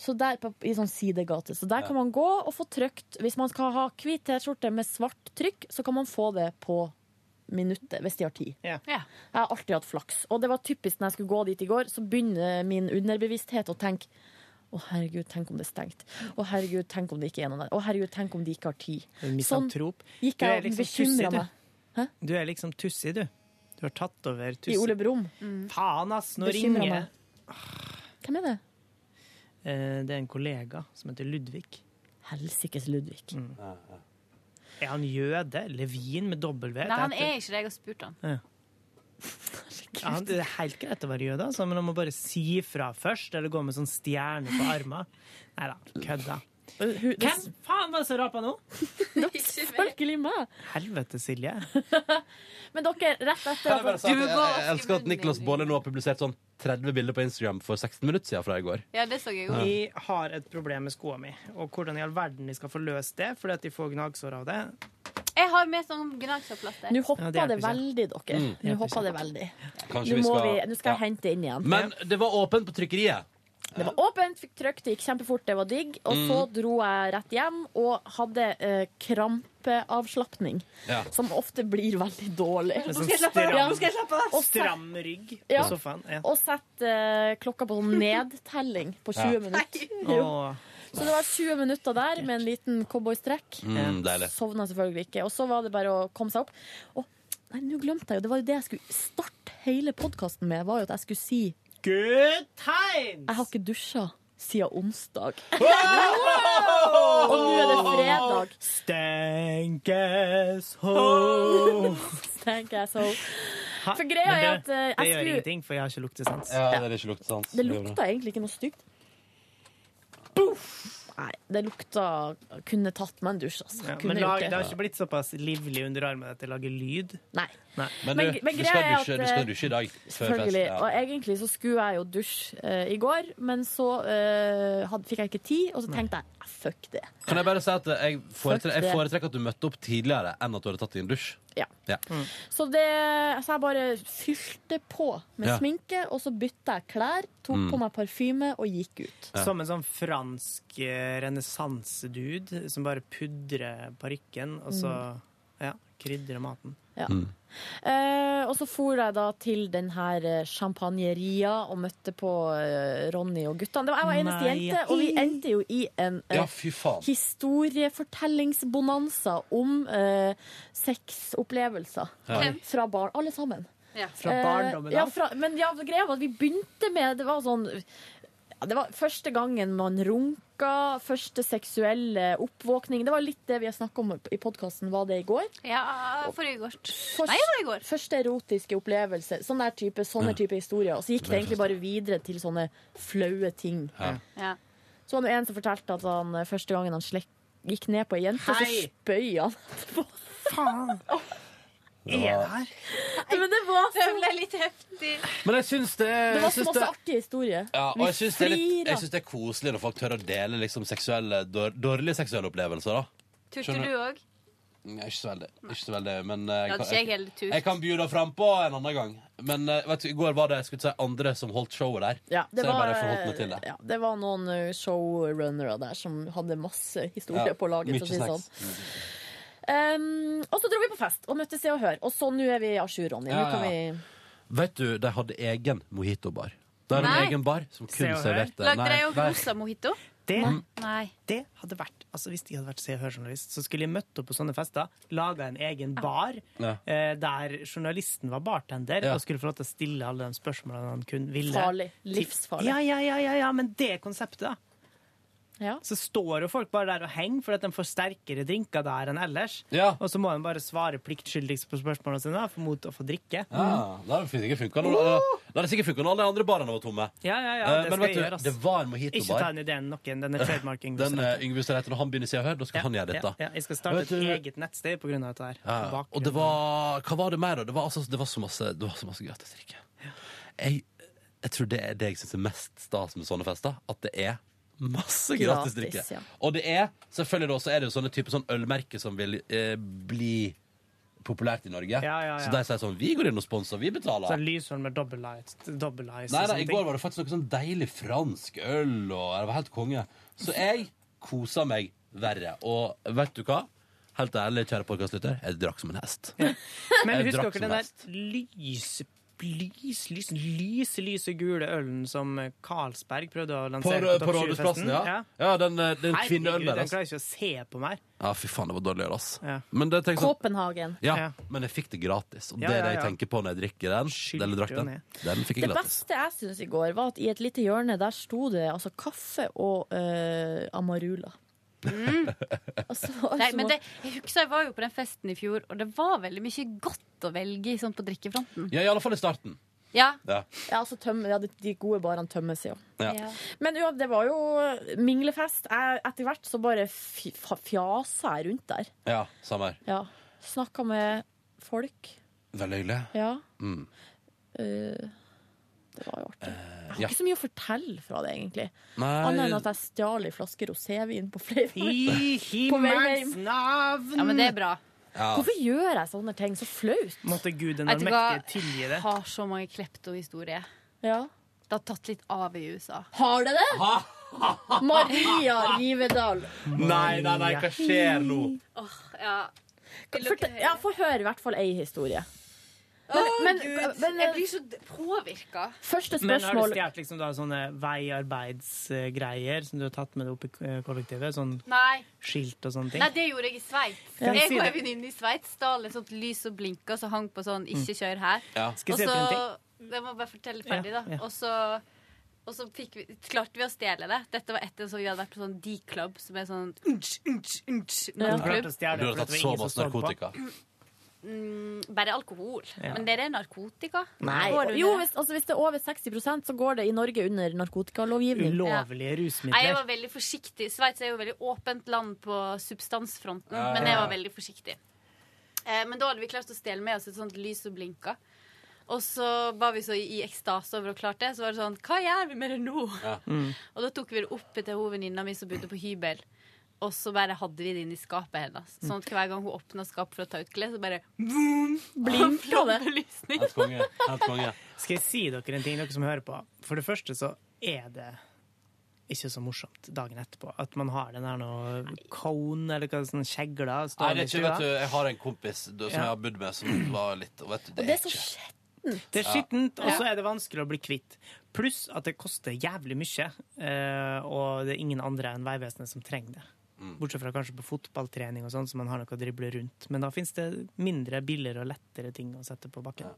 [SPEAKER 5] Så der, på, I sånn sidegate. Så der kan man gå og få trykt Hvis man skal ha hvit T-skjorte med svart trykk, så kan man få det på minuttet, hvis de har tid. Jeg har alltid hatt flaks. Og det var typisk når jeg skulle gå dit i går, så begynner min underbevissthet å tenke å, herregud, tenk om det er stengt. Å, herregud, tenk om det ikke er noen der. Å, herregud, tenk om de ikke har tid.
[SPEAKER 4] En misantrop.
[SPEAKER 5] Sånn gikk
[SPEAKER 4] Du er
[SPEAKER 5] jeg og
[SPEAKER 4] liksom
[SPEAKER 5] bekymra
[SPEAKER 4] tussig,
[SPEAKER 5] meg.
[SPEAKER 4] du. Du er liksom tussig, du. Du har tatt over
[SPEAKER 5] I Ole
[SPEAKER 4] tussig.
[SPEAKER 5] Brumm.
[SPEAKER 4] Faen, ass, nå
[SPEAKER 5] Bekymret
[SPEAKER 4] ringer jeg.
[SPEAKER 5] meg. Hvem er det?
[SPEAKER 4] Eh, Det er en kollega som heter Ludvig. Mm.
[SPEAKER 5] Helsikes Ludvig.
[SPEAKER 4] Er han jøde? Levin med W?
[SPEAKER 17] Nei, han er ikke det jeg har spurt om.
[SPEAKER 4] Ja, han- det er helt greit å være jøde, altså, men han må bare si fra først, eller gå med sånn stjerne på armen. Nei da, kødda. Hvem faen var det som rapa nå?
[SPEAKER 5] Selvfølgelig meg!
[SPEAKER 4] Helvete, Silje.
[SPEAKER 5] Men dere, rett etter
[SPEAKER 2] Kan jeg bare
[SPEAKER 5] at
[SPEAKER 2] si at jeg- Jeg jeg elsker at Niklas Baarli nå har publisert sånn 30 bilder på Instagram for 16 minutter siden fra i går.
[SPEAKER 17] Ja, det så jeg jo.
[SPEAKER 4] Jeg har et problem med skoene mine, og hvordan i all verden jeg skal få løst det, fordi at de får gnagsår av det.
[SPEAKER 17] Jeg har med sånn gnagsårplaster.
[SPEAKER 5] Nå hoppa
[SPEAKER 4] Ja, det hjelper
[SPEAKER 5] det
[SPEAKER 4] ikke.
[SPEAKER 5] veldig, dere.
[SPEAKER 2] Mm,
[SPEAKER 5] Nå hoppa det veldig.
[SPEAKER 2] Kanskje
[SPEAKER 5] Nå,
[SPEAKER 2] vi
[SPEAKER 5] må
[SPEAKER 2] skal-
[SPEAKER 5] vi, nå skal
[SPEAKER 2] ja.
[SPEAKER 5] jeg hente inn igjen.
[SPEAKER 2] Men det var åpent på trykkeriet.
[SPEAKER 5] Det var åpent, fikk trøkk, det gikk kjempefort, det var digg. Og så
[SPEAKER 4] Mm.
[SPEAKER 5] dro jeg rett hjem og hadde eh, krampeavslapning.
[SPEAKER 2] Ja.
[SPEAKER 5] Som ofte blir veldig dårlig.
[SPEAKER 4] Med sånn stram,
[SPEAKER 5] Ja, nå skal jeg slappe av. Og sett-
[SPEAKER 4] stram rygg
[SPEAKER 5] Ja.
[SPEAKER 4] på sofaen. Ja.
[SPEAKER 5] Og sette eh, klokka på sånn nedtelling på 20
[SPEAKER 2] Ja.
[SPEAKER 5] minutter. Jo.
[SPEAKER 4] Åh.
[SPEAKER 5] Så det var 20 minutter der med en liten cowboystrekk.
[SPEAKER 2] Mm, deilig.
[SPEAKER 5] Sovna selvfølgelig ikke. Og så var det bare å komme seg opp. Og nei, nå glemte jeg jo, det var jo det jeg skulle starte hele podkasten med, var jo at jeg skulle si
[SPEAKER 4] Good times!
[SPEAKER 5] Jeg har ikke dusja siden onsdag. Og nå er det fredag.
[SPEAKER 4] Stenkes ho!
[SPEAKER 5] tenker jeg så.
[SPEAKER 4] Ha,
[SPEAKER 5] For greia
[SPEAKER 4] men
[SPEAKER 5] er
[SPEAKER 4] det-
[SPEAKER 5] at, eh, jeg
[SPEAKER 4] Det gjør
[SPEAKER 5] skulle-
[SPEAKER 4] ingenting, for jeg har ikke luktesans.
[SPEAKER 2] Ja, det er ikke luktesans.
[SPEAKER 5] Det lukta egentlig ikke noe stygt. Boff! Nei, det lukta Kunne tatt meg en dusj, altså.
[SPEAKER 4] Ja,
[SPEAKER 5] Kunne
[SPEAKER 4] men lag,
[SPEAKER 5] gjort
[SPEAKER 4] det
[SPEAKER 5] det.
[SPEAKER 4] har ikke blitt såpass livlig under armen at det lager lyd.
[SPEAKER 5] Nei.
[SPEAKER 2] Men,
[SPEAKER 5] Men-
[SPEAKER 2] du,
[SPEAKER 5] men
[SPEAKER 2] du,
[SPEAKER 5] greia
[SPEAKER 2] skal
[SPEAKER 5] er at, eh,
[SPEAKER 2] dusje, du skal dusje i dag. Før fest.
[SPEAKER 5] Selvfølgelig.
[SPEAKER 2] Ja.
[SPEAKER 5] Og egentlig så skulle jeg jo dusje eh, i går, men så eh, hadde, fikk jeg ikke tid, og så tenkte jeg "Ah, fuck det.
[SPEAKER 2] Kan jeg bare si at jeg foretrekker,
[SPEAKER 5] Fuck det.
[SPEAKER 2] jeg foretrekker at du møtte opp tidligere enn at du hadde tatt din dusj?
[SPEAKER 5] Ja. Mm.
[SPEAKER 2] Ja.
[SPEAKER 5] Så, det, så jeg bare fylte på med
[SPEAKER 2] Ja.
[SPEAKER 5] sminke, og så bytta jeg klær, tok
[SPEAKER 4] Mm.
[SPEAKER 5] på meg parfyme og gikk ut.
[SPEAKER 4] Som en sånn fransk eh, renessanse-dude som bare pudrer parykken, og så ja, krydrer maten.
[SPEAKER 5] Mm. Ja.
[SPEAKER 2] Mm.
[SPEAKER 5] Eh, og så for jeg da til den her eh, champagneria og møtte på eh, Ronny og guttene. Det var, jeg var eneste
[SPEAKER 2] Nei.
[SPEAKER 5] jente, og vi endte jo i en eh,
[SPEAKER 2] Ja, fy faen.
[SPEAKER 5] historiefortellingsbonanza om eh, sexopplevelser
[SPEAKER 2] Ja. Hvem?
[SPEAKER 5] fra barn, alle sammen.
[SPEAKER 2] Fra
[SPEAKER 5] Eh,
[SPEAKER 2] barndommen av?
[SPEAKER 5] Ja, fra, men ja, greia var at vi begynte med Det var sånn ja, Det var første gangen man runka, første seksuelle oppvåkning. Det var litt det vi har snakka om i podkasten, var det i går?
[SPEAKER 17] Ja, forrige gårs.
[SPEAKER 5] Først,
[SPEAKER 17] Nei, det var i går.
[SPEAKER 5] Første erotiske opplevelse. Sånne der type, sånne
[SPEAKER 17] Ja.
[SPEAKER 5] type historier. Og så gikk
[SPEAKER 17] Det er
[SPEAKER 5] det egentlig bare videre til sånne flaue ting.
[SPEAKER 17] Ja. Ja.
[SPEAKER 5] Så var det en som fortalte at han eh, første gangen han slekk, gikk ned på ei jente, så
[SPEAKER 17] Hei!
[SPEAKER 5] spøy han.
[SPEAKER 4] Faen!
[SPEAKER 2] Ja.
[SPEAKER 5] Men det var
[SPEAKER 17] Det ble litt heftig.
[SPEAKER 2] Men jeg syns det jeg
[SPEAKER 5] Det var så
[SPEAKER 2] syns
[SPEAKER 5] masse
[SPEAKER 2] det-
[SPEAKER 5] artige historier.
[SPEAKER 2] Ja, og jeg syns det, er litt-
[SPEAKER 5] flira.
[SPEAKER 2] jeg syns det er koselig når folk tør å dele liksom, seksuelle, dår, dårlige seksuelle opplevelser. da
[SPEAKER 17] Turte du òg?
[SPEAKER 2] Nei, Mm, ikke så veldig. Ikke så veldig men eh,
[SPEAKER 17] Ja,
[SPEAKER 2] jeg,
[SPEAKER 17] det er ikke jeg
[SPEAKER 2] kan-
[SPEAKER 17] heller,
[SPEAKER 2] jeg,
[SPEAKER 17] turt.
[SPEAKER 2] jeg kan bjuda frampå en annen gang. Men eh, vet du, i går var det jeg skulle si, andre som holdt showet der.
[SPEAKER 5] Ja, det
[SPEAKER 2] så jeg bare
[SPEAKER 5] var-
[SPEAKER 2] forholdt meg til det.
[SPEAKER 5] Ja, det var noen eh, showrunnere der som hadde masse historier
[SPEAKER 2] Ja,
[SPEAKER 5] på laget.
[SPEAKER 2] mye
[SPEAKER 5] for å si det
[SPEAKER 2] snacks.
[SPEAKER 5] Sånn. Um, og så dro vi på fest og møtte Se og Hør. Og så nå er vi à jour, Ronny.
[SPEAKER 2] Ja,
[SPEAKER 5] Nå kan
[SPEAKER 2] ja.
[SPEAKER 5] vi
[SPEAKER 2] Vet du, de hadde egen mojitobar. De hadde
[SPEAKER 17] Nei.
[SPEAKER 2] en egen bar som kun
[SPEAKER 4] og Hør.
[SPEAKER 2] serverte
[SPEAKER 17] Lagde
[SPEAKER 2] Nei,
[SPEAKER 17] dere jo
[SPEAKER 2] nei.
[SPEAKER 17] rosa mojito?
[SPEAKER 4] Det,
[SPEAKER 17] Nei.
[SPEAKER 4] det hadde vært altså Hvis jeg hadde vært Se og Hør-journalist, så skulle jeg møtt opp på sånne fester, laga en egen bar
[SPEAKER 2] Ja.
[SPEAKER 4] eh, der journalisten var bartender og skulle få lov til å stille alle de spørsmålene han kun ville.
[SPEAKER 5] Farlig. Livsfarlig.
[SPEAKER 4] Ja, ja, ja, ja, ja, men det konseptet, da.
[SPEAKER 5] Ja.
[SPEAKER 4] Så står jo folk bare der og henger fordi at de får sterkere drinker der enn ellers. Og så må de bare svare pliktskyldigst på spørsmålene sine da, for- mot å få drikke.
[SPEAKER 2] Ja, det hadde sikkert funka når, det hadde sikkert funket når alle de andre barene var tomme.
[SPEAKER 4] Ja, ja, ja,
[SPEAKER 2] Eh,
[SPEAKER 4] det
[SPEAKER 2] men
[SPEAKER 4] skal
[SPEAKER 2] vet du,
[SPEAKER 4] jeg gjøre, ass.
[SPEAKER 2] det var en
[SPEAKER 4] Ikke ta
[SPEAKER 2] mojitobar.
[SPEAKER 4] den ideen noen. Den er trademark Yngve
[SPEAKER 2] Den
[SPEAKER 4] Sæther.
[SPEAKER 2] eh, Yngve Sæther, når han begynner i Se og Hør, da skal han gjøre dette.
[SPEAKER 4] Ja, ja, jeg skal starte
[SPEAKER 2] Vet
[SPEAKER 4] et
[SPEAKER 2] du-
[SPEAKER 4] eget nettsted pga. dette her.
[SPEAKER 2] Ja, ja.
[SPEAKER 4] Bak-
[SPEAKER 2] og det var Hva var det mer, da? Det var, altså, det var så masse, det var så masse gratis drikke. Jeg, jeg tror det er det jeg syns er mest stas med sånne fester. At det er masse
[SPEAKER 18] Gratis,
[SPEAKER 2] gratis drikke.
[SPEAKER 18] ja.
[SPEAKER 2] Og det er selvfølgelig da, så er det jo sånne type sånn ølmerker som vil eh, bli populært i Norge.
[SPEAKER 4] ja, ja.
[SPEAKER 2] Så de sier sånn Vi går inn og sponser, vi betaler.
[SPEAKER 4] Sånn Lysholm med double light. Double eyes
[SPEAKER 2] Nei, nei, I går var det faktisk noe sånn deilig fransk øl, og det var helt konge. Så jeg kosa meg verre. Og vet du hva? Helt ærlig, kjære podkastlytter, jeg drakk som en hest.
[SPEAKER 4] Men
[SPEAKER 2] Jeg
[SPEAKER 4] husker
[SPEAKER 2] drakk
[SPEAKER 4] dere
[SPEAKER 2] som
[SPEAKER 4] den der
[SPEAKER 2] hest.
[SPEAKER 4] lys, lys, lys, lyse, lyse gule ølen som Carlsberg prøvde å
[SPEAKER 2] På,
[SPEAKER 4] lansere
[SPEAKER 2] på
[SPEAKER 4] Topp 20-festen?
[SPEAKER 2] Rådhusplassen, ja. ja. Den, eh, den kvinneølen
[SPEAKER 4] Herregud,
[SPEAKER 2] der,
[SPEAKER 4] den
[SPEAKER 2] ass.
[SPEAKER 4] klarer ikke å se på meg.
[SPEAKER 2] Ja, fy faen, det var dårlig øl, ass. Men det tenker jeg sånn
[SPEAKER 5] Copenhagen.
[SPEAKER 2] ja, men jeg fikk det gratis, og
[SPEAKER 4] Ja,
[SPEAKER 2] det er det
[SPEAKER 4] ja,
[SPEAKER 2] jeg
[SPEAKER 4] ja.
[SPEAKER 2] tenker på når jeg drikker den. Eller drakk den.
[SPEAKER 4] ned.
[SPEAKER 2] Den fikk jeg
[SPEAKER 5] Det
[SPEAKER 2] gratis.
[SPEAKER 5] beste jeg syns i går, var at i et lite hjørne der sto det altså kaffe og eh, Amarula.
[SPEAKER 17] Mm. Nei, men det, jeg husker jeg var jo på den festen i fjor, og det var veldig mye godt å velge i, sånn på drikkefronten.
[SPEAKER 2] Ja, i alle fall i starten.
[SPEAKER 17] Ja.
[SPEAKER 2] Ja.
[SPEAKER 5] Ja, altså tømme, ja, de- de gode barene tømmes jo.
[SPEAKER 2] Ja.
[SPEAKER 5] Men ja, det var jo minglefest. Jeg, etter hvert så bare fi- fa- fjasa jeg rundt der.
[SPEAKER 2] ja, samme her.
[SPEAKER 5] Ja. Snakka med folk.
[SPEAKER 2] Veldig hyggelig.
[SPEAKER 5] Ja.
[SPEAKER 2] Mm.
[SPEAKER 5] Eh, det var jo artig. Jeg har
[SPEAKER 2] Eh, ja.
[SPEAKER 5] ikke så mye å fortelle fra det, egentlig.
[SPEAKER 2] Nei.
[SPEAKER 5] Annet enn at jeg stjal ei flaske rosévin på flere
[SPEAKER 4] I himmelens navn!
[SPEAKER 17] Ja, men det er bra.
[SPEAKER 2] Ja.
[SPEAKER 5] Hvorfor gjør jeg sånne ting? Så flaut.
[SPEAKER 4] Måtte Gud den
[SPEAKER 17] Vet du
[SPEAKER 4] allmektige
[SPEAKER 17] hva?
[SPEAKER 4] tilgi det.
[SPEAKER 17] Har så mange kleptohistorier.
[SPEAKER 5] Ja.
[SPEAKER 17] Det har tatt litt av i USA.
[SPEAKER 5] Har det det? Maria Rivedal.
[SPEAKER 2] Nei, nei, nei, hva skjer nå?
[SPEAKER 17] ja.
[SPEAKER 5] Fort- ja, Få høre i hvert fall ei historie.
[SPEAKER 17] Å,
[SPEAKER 5] men-
[SPEAKER 17] Gud!
[SPEAKER 5] men-
[SPEAKER 17] jeg blir så påvirka.
[SPEAKER 5] Første
[SPEAKER 4] Men har du
[SPEAKER 5] spørsmål
[SPEAKER 4] stjålet liksom da sånne veiarbeidsgreier som du har tatt med deg opp i eh, kollektivet? Sånn
[SPEAKER 17] Nei.
[SPEAKER 4] skilt og sånne ting?
[SPEAKER 17] Nei, det gjorde jeg i Sveits.
[SPEAKER 4] Ja.
[SPEAKER 17] Jeg og en venninne i Sveits stjal et sånt lys som blinka, som hang på sånn 'ikke kjør her'.
[SPEAKER 4] Mm. Ja. Skal jeg si
[SPEAKER 17] og
[SPEAKER 4] dere en
[SPEAKER 17] så
[SPEAKER 4] ting?
[SPEAKER 17] Jeg må bare fortelle ferdig,
[SPEAKER 4] Ja,
[SPEAKER 17] da.
[SPEAKER 4] ja.
[SPEAKER 17] Og så, og så fikk vi, klarte vi å stjele det. Dette var etter at vi hadde vært på sånn D-club, som er sånn unch, unch, unch,
[SPEAKER 4] Ja. Du
[SPEAKER 17] nattklubb.
[SPEAKER 4] klarte å stjele det
[SPEAKER 2] Du har
[SPEAKER 4] fordi
[SPEAKER 2] tatt
[SPEAKER 4] det var
[SPEAKER 2] så
[SPEAKER 4] ingen som
[SPEAKER 2] masse
[SPEAKER 4] så på.
[SPEAKER 2] narkotika.
[SPEAKER 17] Mm, bare alkohol.
[SPEAKER 2] Ja.
[SPEAKER 17] Men det er narkotika.
[SPEAKER 5] Nei.
[SPEAKER 17] Går det
[SPEAKER 5] Jo,
[SPEAKER 17] under?
[SPEAKER 5] hvis, altså, hvis det er over 60 så går det i Norge under narkotikalovgivning.
[SPEAKER 4] Ulovlige
[SPEAKER 17] Nei, jeg var veldig forsiktig. Sveits er jo veldig åpent land på substansfronten,
[SPEAKER 5] Ja, ja,
[SPEAKER 17] men jeg
[SPEAKER 5] ja.
[SPEAKER 17] var veldig forsiktig. Eh, men da hadde vi klart å stjele med oss et sånt lys som blinka. Og så var vi så i, i ekstase over å ha klart det. Så var det sånn Hva gjør vi med det nå?
[SPEAKER 5] Mm.
[SPEAKER 17] Og da tok vi det opp til hun venninna mi som bodde på hybel. Og så bare hadde vi det inn i skapet hennes. Sånn at hver gang hun åpna skapet for å ta ut klær, så bare boom,
[SPEAKER 4] Blinka det.
[SPEAKER 17] Flombelysning.
[SPEAKER 2] Helt konge. Helt konge.
[SPEAKER 4] Skal jeg si dere en ting, dere som hører på? For det første så er det ikke så morsomt dagen etterpå. At man har den der noe cone eller hva sånn kjegler
[SPEAKER 2] Nei,
[SPEAKER 4] stående
[SPEAKER 2] det
[SPEAKER 4] i
[SPEAKER 2] er ikke, vet du,
[SPEAKER 4] stua.
[SPEAKER 2] jeg har en kompis du, som
[SPEAKER 4] Ja.
[SPEAKER 2] jeg har bodd med, som var litt og vet du, det, er ikke
[SPEAKER 4] Det er
[SPEAKER 2] Ja.
[SPEAKER 4] skittent, og så er det vanskelig å bli kvitt. Pluss at det koster jævlig mye, eh, og det er ingen andre enn Vegvesenet som trenger det.
[SPEAKER 2] Mm.
[SPEAKER 4] Bortsett fra kanskje på fotballtrening og sånn, så man har noe å drible rundt. Men da fins det mindre, billigere og lettere ting å sette på bakken.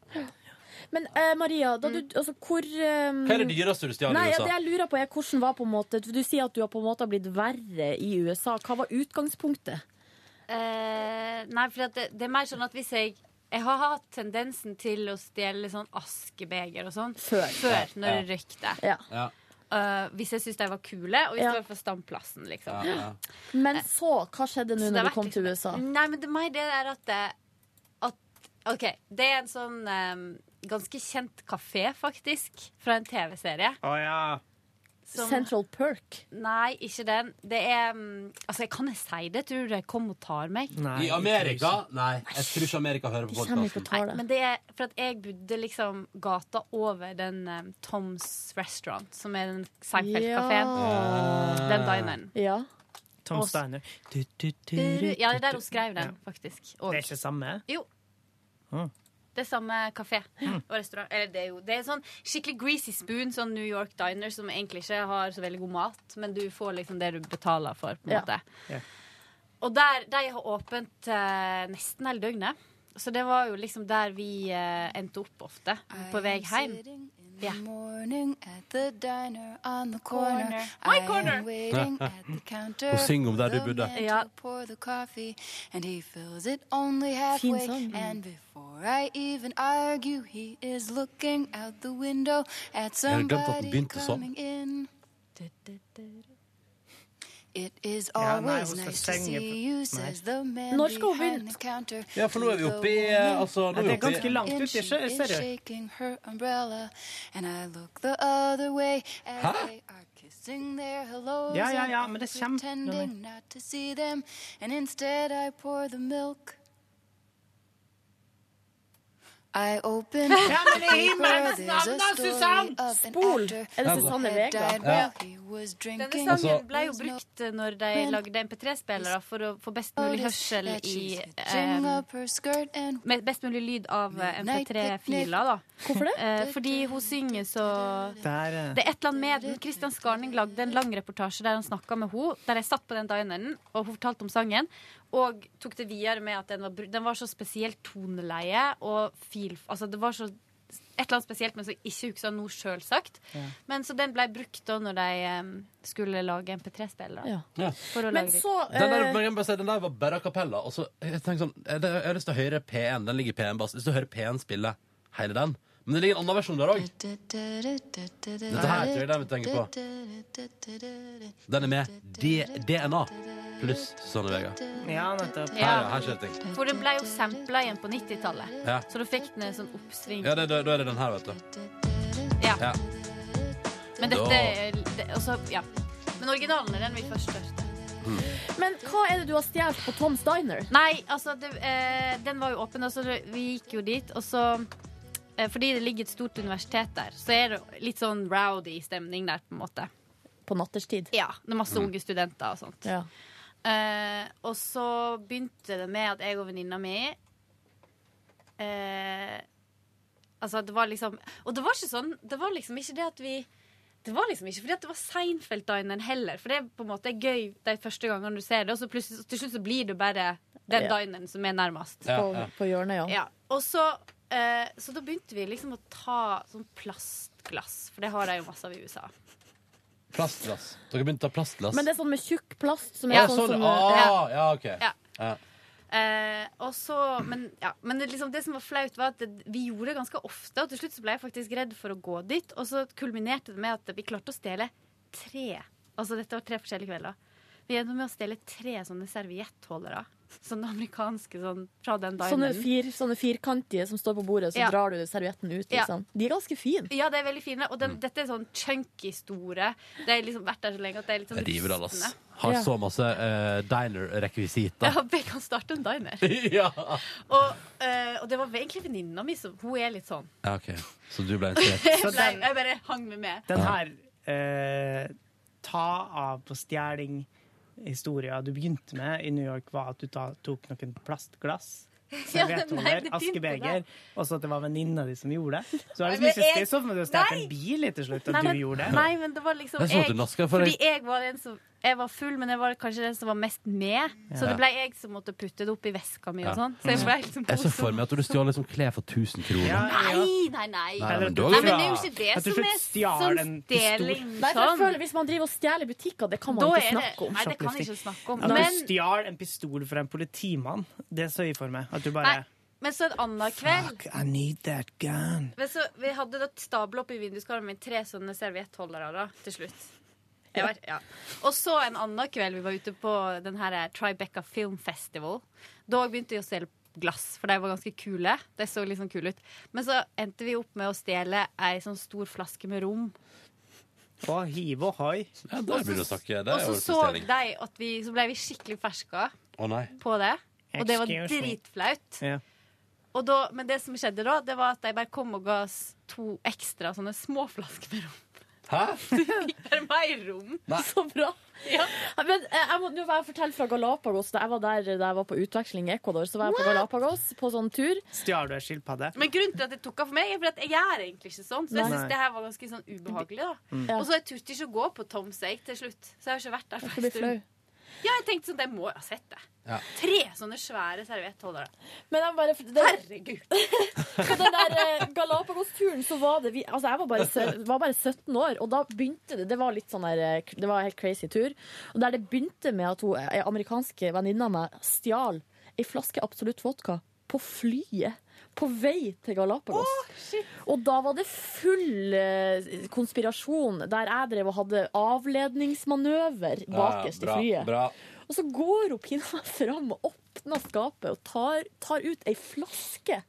[SPEAKER 5] Men eh, Maria, da du,
[SPEAKER 17] Mm.
[SPEAKER 5] altså, hvor eh,
[SPEAKER 2] Hva er det dyreste du stjal
[SPEAKER 5] Nei,
[SPEAKER 2] i
[SPEAKER 5] ja,
[SPEAKER 2] USA?
[SPEAKER 5] det jeg lurer på er hvordan var på en måte Du sier at du har på en måte blitt verre i USA. Hva var utgangspunktet?
[SPEAKER 17] Eh, nei, for at det, det er mer sånn at hvis jeg Jeg har hatt tendensen til å stjele sånn askebeger og sånn
[SPEAKER 5] Før.
[SPEAKER 17] før når
[SPEAKER 5] Ja.
[SPEAKER 17] det røykte.
[SPEAKER 2] Ja.
[SPEAKER 17] Eh, hvis jeg syntes de var kule, og hvis
[SPEAKER 5] Ja.
[SPEAKER 17] det var for standplassen, liksom.
[SPEAKER 2] Ja, ja.
[SPEAKER 5] Men så, hva skjedde nå
[SPEAKER 17] Eh, Så det
[SPEAKER 5] når
[SPEAKER 17] har
[SPEAKER 5] du kom til USA?
[SPEAKER 17] Nei, men det er meg, det er at, det- at OK, det er en sånn eh, ganske kjent kafé, faktisk, fra en TV-serie.
[SPEAKER 4] Å ja.
[SPEAKER 17] som-
[SPEAKER 5] Central Perk.
[SPEAKER 17] Nei, ikke den. Det er mm, Altså, jeg kan jeg si det? Tror du det kommer og tar meg?
[SPEAKER 2] I Amerika? Nei, jeg tror ikke Amerika hører på podkasten.
[SPEAKER 17] Nei, men det er for at jeg bodde liksom gata over den um, Toms Restaurant, som er den Seinfeld-kafeen.
[SPEAKER 4] Ja.
[SPEAKER 17] Den dineren.
[SPEAKER 5] Ja.
[SPEAKER 4] Tom
[SPEAKER 17] Og-
[SPEAKER 4] Steiner. Du, du, du, du,
[SPEAKER 17] Ja, det er der
[SPEAKER 4] du,
[SPEAKER 17] hun skrev den, faktisk. Og
[SPEAKER 4] Det er ikke samme?
[SPEAKER 17] Jo.
[SPEAKER 4] Ah.
[SPEAKER 17] det er samme kafé og restaurant. Eller det er jo Det er sånn skikkelig greasy spoon, sånn New York diner som egentlig ikke har så veldig god mat, men du får liksom det du betaler for, på en
[SPEAKER 5] Ja.
[SPEAKER 17] måte. Og der, de har åpent eh, nesten hele døgnet. Så det var jo liksom der vi eh, endte opp ofte, på vei hjem. Ja. Corner. My corner!
[SPEAKER 2] Hun synger om der du bodde.
[SPEAKER 17] Ja.
[SPEAKER 5] Fin sang.
[SPEAKER 2] Jeg hadde glemt at den begynte sånn.
[SPEAKER 4] Ja, nei, hun skal synge
[SPEAKER 5] Når skal hun begynne?
[SPEAKER 2] Ja, for nå er vi oppe i eh, altså, nå
[SPEAKER 4] Nei,
[SPEAKER 2] er vi
[SPEAKER 4] det er
[SPEAKER 2] oppe i-
[SPEAKER 4] ganske
[SPEAKER 14] Oh,
[SPEAKER 4] langt ut. Jeg ser- jeg ser det.
[SPEAKER 2] Hæ?
[SPEAKER 4] Ja, ja, ja, men det kommer.
[SPEAKER 14] Ja, men i himmelens navn da, Susann!
[SPEAKER 5] Spol! Er det Susanne Vega?
[SPEAKER 2] Ja.
[SPEAKER 17] Denne
[SPEAKER 2] Altså-
[SPEAKER 17] sangen ble jo brukt eh, når de lagde MP3-spillere for å få best mulig hørsel i eh, Med best mulig lyd av eh, MP3-filer, da.
[SPEAKER 5] Hvorfor det?
[SPEAKER 17] Eh, fordi hun synger så
[SPEAKER 4] Der, eh.
[SPEAKER 17] Det er et eller annet med den. Kristian Skarning lagde en lang reportasje der han snakka med henne. Der jeg satt på den dineren, og hun fortalte om sangen. Og tok det videre med at den var, bru- den var så spesielt toneleie og fil... Altså, det var så et eller annet spesielt, men som jeg ikke husker noe sjølsagt.
[SPEAKER 5] Ja.
[SPEAKER 17] Men så den ble brukt da når de eh, skulle lage MP3-spillere.
[SPEAKER 5] Ja.
[SPEAKER 17] For å
[SPEAKER 5] Men
[SPEAKER 17] lage
[SPEAKER 5] så
[SPEAKER 2] Den der,
[SPEAKER 5] eh,
[SPEAKER 2] men jeg må bare si, den der var bare a cappella. Og så jeg tenkte sånn, jeg, jeg har lyst til å høre P1. Den ligger i P1 bass. Jeg har lyst til å høre P1 spille hele den. Men det ligger en annen versjon der òg. Dette her tror jeg den vi tenker på. Den er med D DNA pluss Susanne Vega.
[SPEAKER 4] Ja, nettopp.
[SPEAKER 2] Her, ja. Her skjer det ting.
[SPEAKER 17] For den ble jo sampla igjen på 90-tallet.
[SPEAKER 2] Ja.
[SPEAKER 17] Så da fikk den en sånn oppsving.
[SPEAKER 2] Ja, det, da, da er det den her, vet du.
[SPEAKER 17] Ja.
[SPEAKER 2] Ja.
[SPEAKER 17] Men dette
[SPEAKER 2] Da-
[SPEAKER 17] det, altså, ja. Men originalen er den vi først hørte.
[SPEAKER 5] Men hva er det du har stjålet på Tom's Diner?
[SPEAKER 17] Nei, altså, det, eh, den var jo åpen, og så det- vi gikk jo dit, og så eh, fordi det ligger et stort universitet der, så er det litt sånn rowdy stemning der, på en måte.
[SPEAKER 5] På natterstid?
[SPEAKER 17] Ja. Det er masse unge studenter og sånt.
[SPEAKER 5] Ja.
[SPEAKER 17] Eh, og så begynte det med at jeg og venninna mi eh, Altså, det var liksom Og det var ikke sånn Det var liksom ikke det at vi det var liksom ikke fordi at det var Seinfeld-dineren heller. For det er på en måte gøy de første gangene du ser det, og så plutselig, til slutt så blir det bare den
[SPEAKER 5] Ja.
[SPEAKER 17] dineren som er nærmest.
[SPEAKER 5] På, på hjørnet, ja.
[SPEAKER 17] Ja, og så, eh, så da begynte vi liksom å ta sånn plastglass, for det har de jo masse av i USA.
[SPEAKER 2] Plastglass. Dere begynte å ta plastglass.
[SPEAKER 5] Men det er sånn med tjukk plast som er
[SPEAKER 2] Ja,
[SPEAKER 5] sånn
[SPEAKER 2] sånn.
[SPEAKER 5] som
[SPEAKER 2] Ah, ja, OK.
[SPEAKER 17] Ja.
[SPEAKER 2] Ja.
[SPEAKER 17] Eh, og så, men ja, men det, liksom, det som var flaut, var at det, vi gjorde det ganske ofte. Og til slutt så ble jeg faktisk redd for å gå dit. Og så kulminerte det med at vi klarte å stjele tre. Altså dette var tre forskjellige kvelder. Vi endte med å stjele tre sånne serviettholdere. Sånne amerikanske sånn fra den dagen.
[SPEAKER 5] Sånne, fir, sånne firkantige som står på bordet, så
[SPEAKER 17] Ja.
[SPEAKER 5] drar du servietten ut.
[SPEAKER 17] Ja.
[SPEAKER 5] Liksom. De er ganske fine.
[SPEAKER 17] Ja, de er veldig fine. Og den, dette er sånn chunky store. De har liksom vært der så lenge at de er litt sånn
[SPEAKER 19] Jeg river den, ass.
[SPEAKER 17] rustne.
[SPEAKER 2] Har
[SPEAKER 17] Ja.
[SPEAKER 2] så masse uh, diner-rekvisita.
[SPEAKER 17] Ja, vi kan starte en diner.
[SPEAKER 2] ja.
[SPEAKER 17] Og, eh, og det var egentlig venninna mi som Hun er litt sånn.
[SPEAKER 2] ja, OK. Så du ble inspirert.
[SPEAKER 17] Jeg, ble, jeg bare hang med med.
[SPEAKER 4] Den her eh, ta av på stjeling historia du begynte med i New York, var at du ta, tok noen plastglass.
[SPEAKER 17] Ja, nei, det
[SPEAKER 4] Serviettholder,
[SPEAKER 17] begynte
[SPEAKER 4] askebeger,
[SPEAKER 17] der.
[SPEAKER 4] og så at det var venninna di som gjorde det. Så er det så
[SPEAKER 17] Nei,
[SPEAKER 4] mye
[SPEAKER 17] men jeg-
[SPEAKER 4] sysken, så må du stjele
[SPEAKER 17] Nei!
[SPEAKER 4] en bil til slutt, og
[SPEAKER 17] Nei, men,
[SPEAKER 4] du gjorde det.
[SPEAKER 17] nei, men det var liksom
[SPEAKER 4] Det er sånn at
[SPEAKER 17] jeg,
[SPEAKER 4] du nasker for
[SPEAKER 17] Fordi
[SPEAKER 4] deg.
[SPEAKER 17] jeg var den som Jeg var full, men jeg var kanskje den som var mest med. Så
[SPEAKER 2] Ja. Mm.
[SPEAKER 17] det ble jeg som måtte putte det opp i veska mi
[SPEAKER 2] Ja.
[SPEAKER 17] og sånn. Så jeg ble liksom
[SPEAKER 2] Jeg ser for meg at du stjal liksom klær for 1000 kroner.
[SPEAKER 17] Nei, nei, nei.
[SPEAKER 2] Nei, men da-
[SPEAKER 17] nei, men det er jo ikke det
[SPEAKER 2] At du
[SPEAKER 17] som
[SPEAKER 2] slutt
[SPEAKER 17] er
[SPEAKER 2] stjal
[SPEAKER 17] sånn
[SPEAKER 2] en pistol.
[SPEAKER 17] stjeling.
[SPEAKER 5] Nei, for jeg
[SPEAKER 17] sånn.
[SPEAKER 5] føler Hvis man driver og stjeler butikker, det kan man
[SPEAKER 17] Da
[SPEAKER 5] ikke
[SPEAKER 17] er det-
[SPEAKER 5] snakke om.
[SPEAKER 17] Nei, det kan jeg
[SPEAKER 4] Shoplifting.
[SPEAKER 17] ikke snakke om.
[SPEAKER 4] At
[SPEAKER 17] Men,
[SPEAKER 4] du stjal en pistol fra en politimann, det så jeg for meg. At du
[SPEAKER 17] nei,
[SPEAKER 4] bare
[SPEAKER 17] men så en annen kveld
[SPEAKER 4] Fuck, I need that gun.
[SPEAKER 17] Men så, Vi hadde da stabla opp i vinduskarmen min tre sånne serviettholdere da, til slutt. Jeg vet, ja. Og så en annen kveld vi var ute på den her eh, Tribeca Film Festival. Da begynte vi å stjele glass, for de var ganske kule. De så litt sånn kule ut. Men så endte vi opp med å stjele ei sånn stor flaske med rom.
[SPEAKER 4] Og hiv og hoi.
[SPEAKER 2] Ja, der begynner du å snakke. Det
[SPEAKER 17] Og
[SPEAKER 2] er
[SPEAKER 17] så
[SPEAKER 2] jo
[SPEAKER 17] så
[SPEAKER 2] stjeling.
[SPEAKER 17] de at vi Så ble vi skikkelig ferska
[SPEAKER 2] Å nei.
[SPEAKER 17] på det. Og det var
[SPEAKER 2] Excuse me.
[SPEAKER 17] dritflaut.
[SPEAKER 4] Ja.
[SPEAKER 17] Og da, men det som skjedde da, det var at de bare kom og ga oss to ekstra sånne små flasker med rom.
[SPEAKER 2] Hæ?
[SPEAKER 17] Bare mer rom.
[SPEAKER 5] Så bra. Men eh, jeg må nå bare fortelle fra Galapagos. Da jeg var der da jeg var på utveksling i Ecuador, så var jeg på Galapagos på sånn tur.
[SPEAKER 4] Stjal du en skilpadde?
[SPEAKER 17] Men grunnen til at det tok av for meg, er fordi at jeg er egentlig ikke sånn. Så jeg
[SPEAKER 4] Nei.
[SPEAKER 17] synes det her var ganske sånn ubehagelig, da.
[SPEAKER 4] Mm.
[SPEAKER 17] Og så jeg turte ikke å gå på Toms egg til slutt. Så jeg har ikke vært der
[SPEAKER 5] Jeg blir flau.
[SPEAKER 17] Ja, jeg tenkte sånn, de må jo ha sett det.
[SPEAKER 2] Ja.
[SPEAKER 17] Tre sånne svære serviettholdere.
[SPEAKER 5] Men jeg bare, det,
[SPEAKER 17] Herregud!
[SPEAKER 5] På den der eh, Galapagos-turen så var det vi, Altså, jeg var bare, sø- var bare 17 år, og da begynte det Det var litt sånn der eh, Det var en helt crazy tur. Og der det begynte med at hun eh, amerikanske venninna mi stjal ei flaske Absolutt vodka på flyet. På vei til Galapagos. og da var det full eh, konspirasjon der jeg drev og hadde avledningsmanøver bakerst i flyet.
[SPEAKER 2] Bra.
[SPEAKER 5] Og så går hun pinadø fram og åpner skapet og tar, tar ut ei flaske.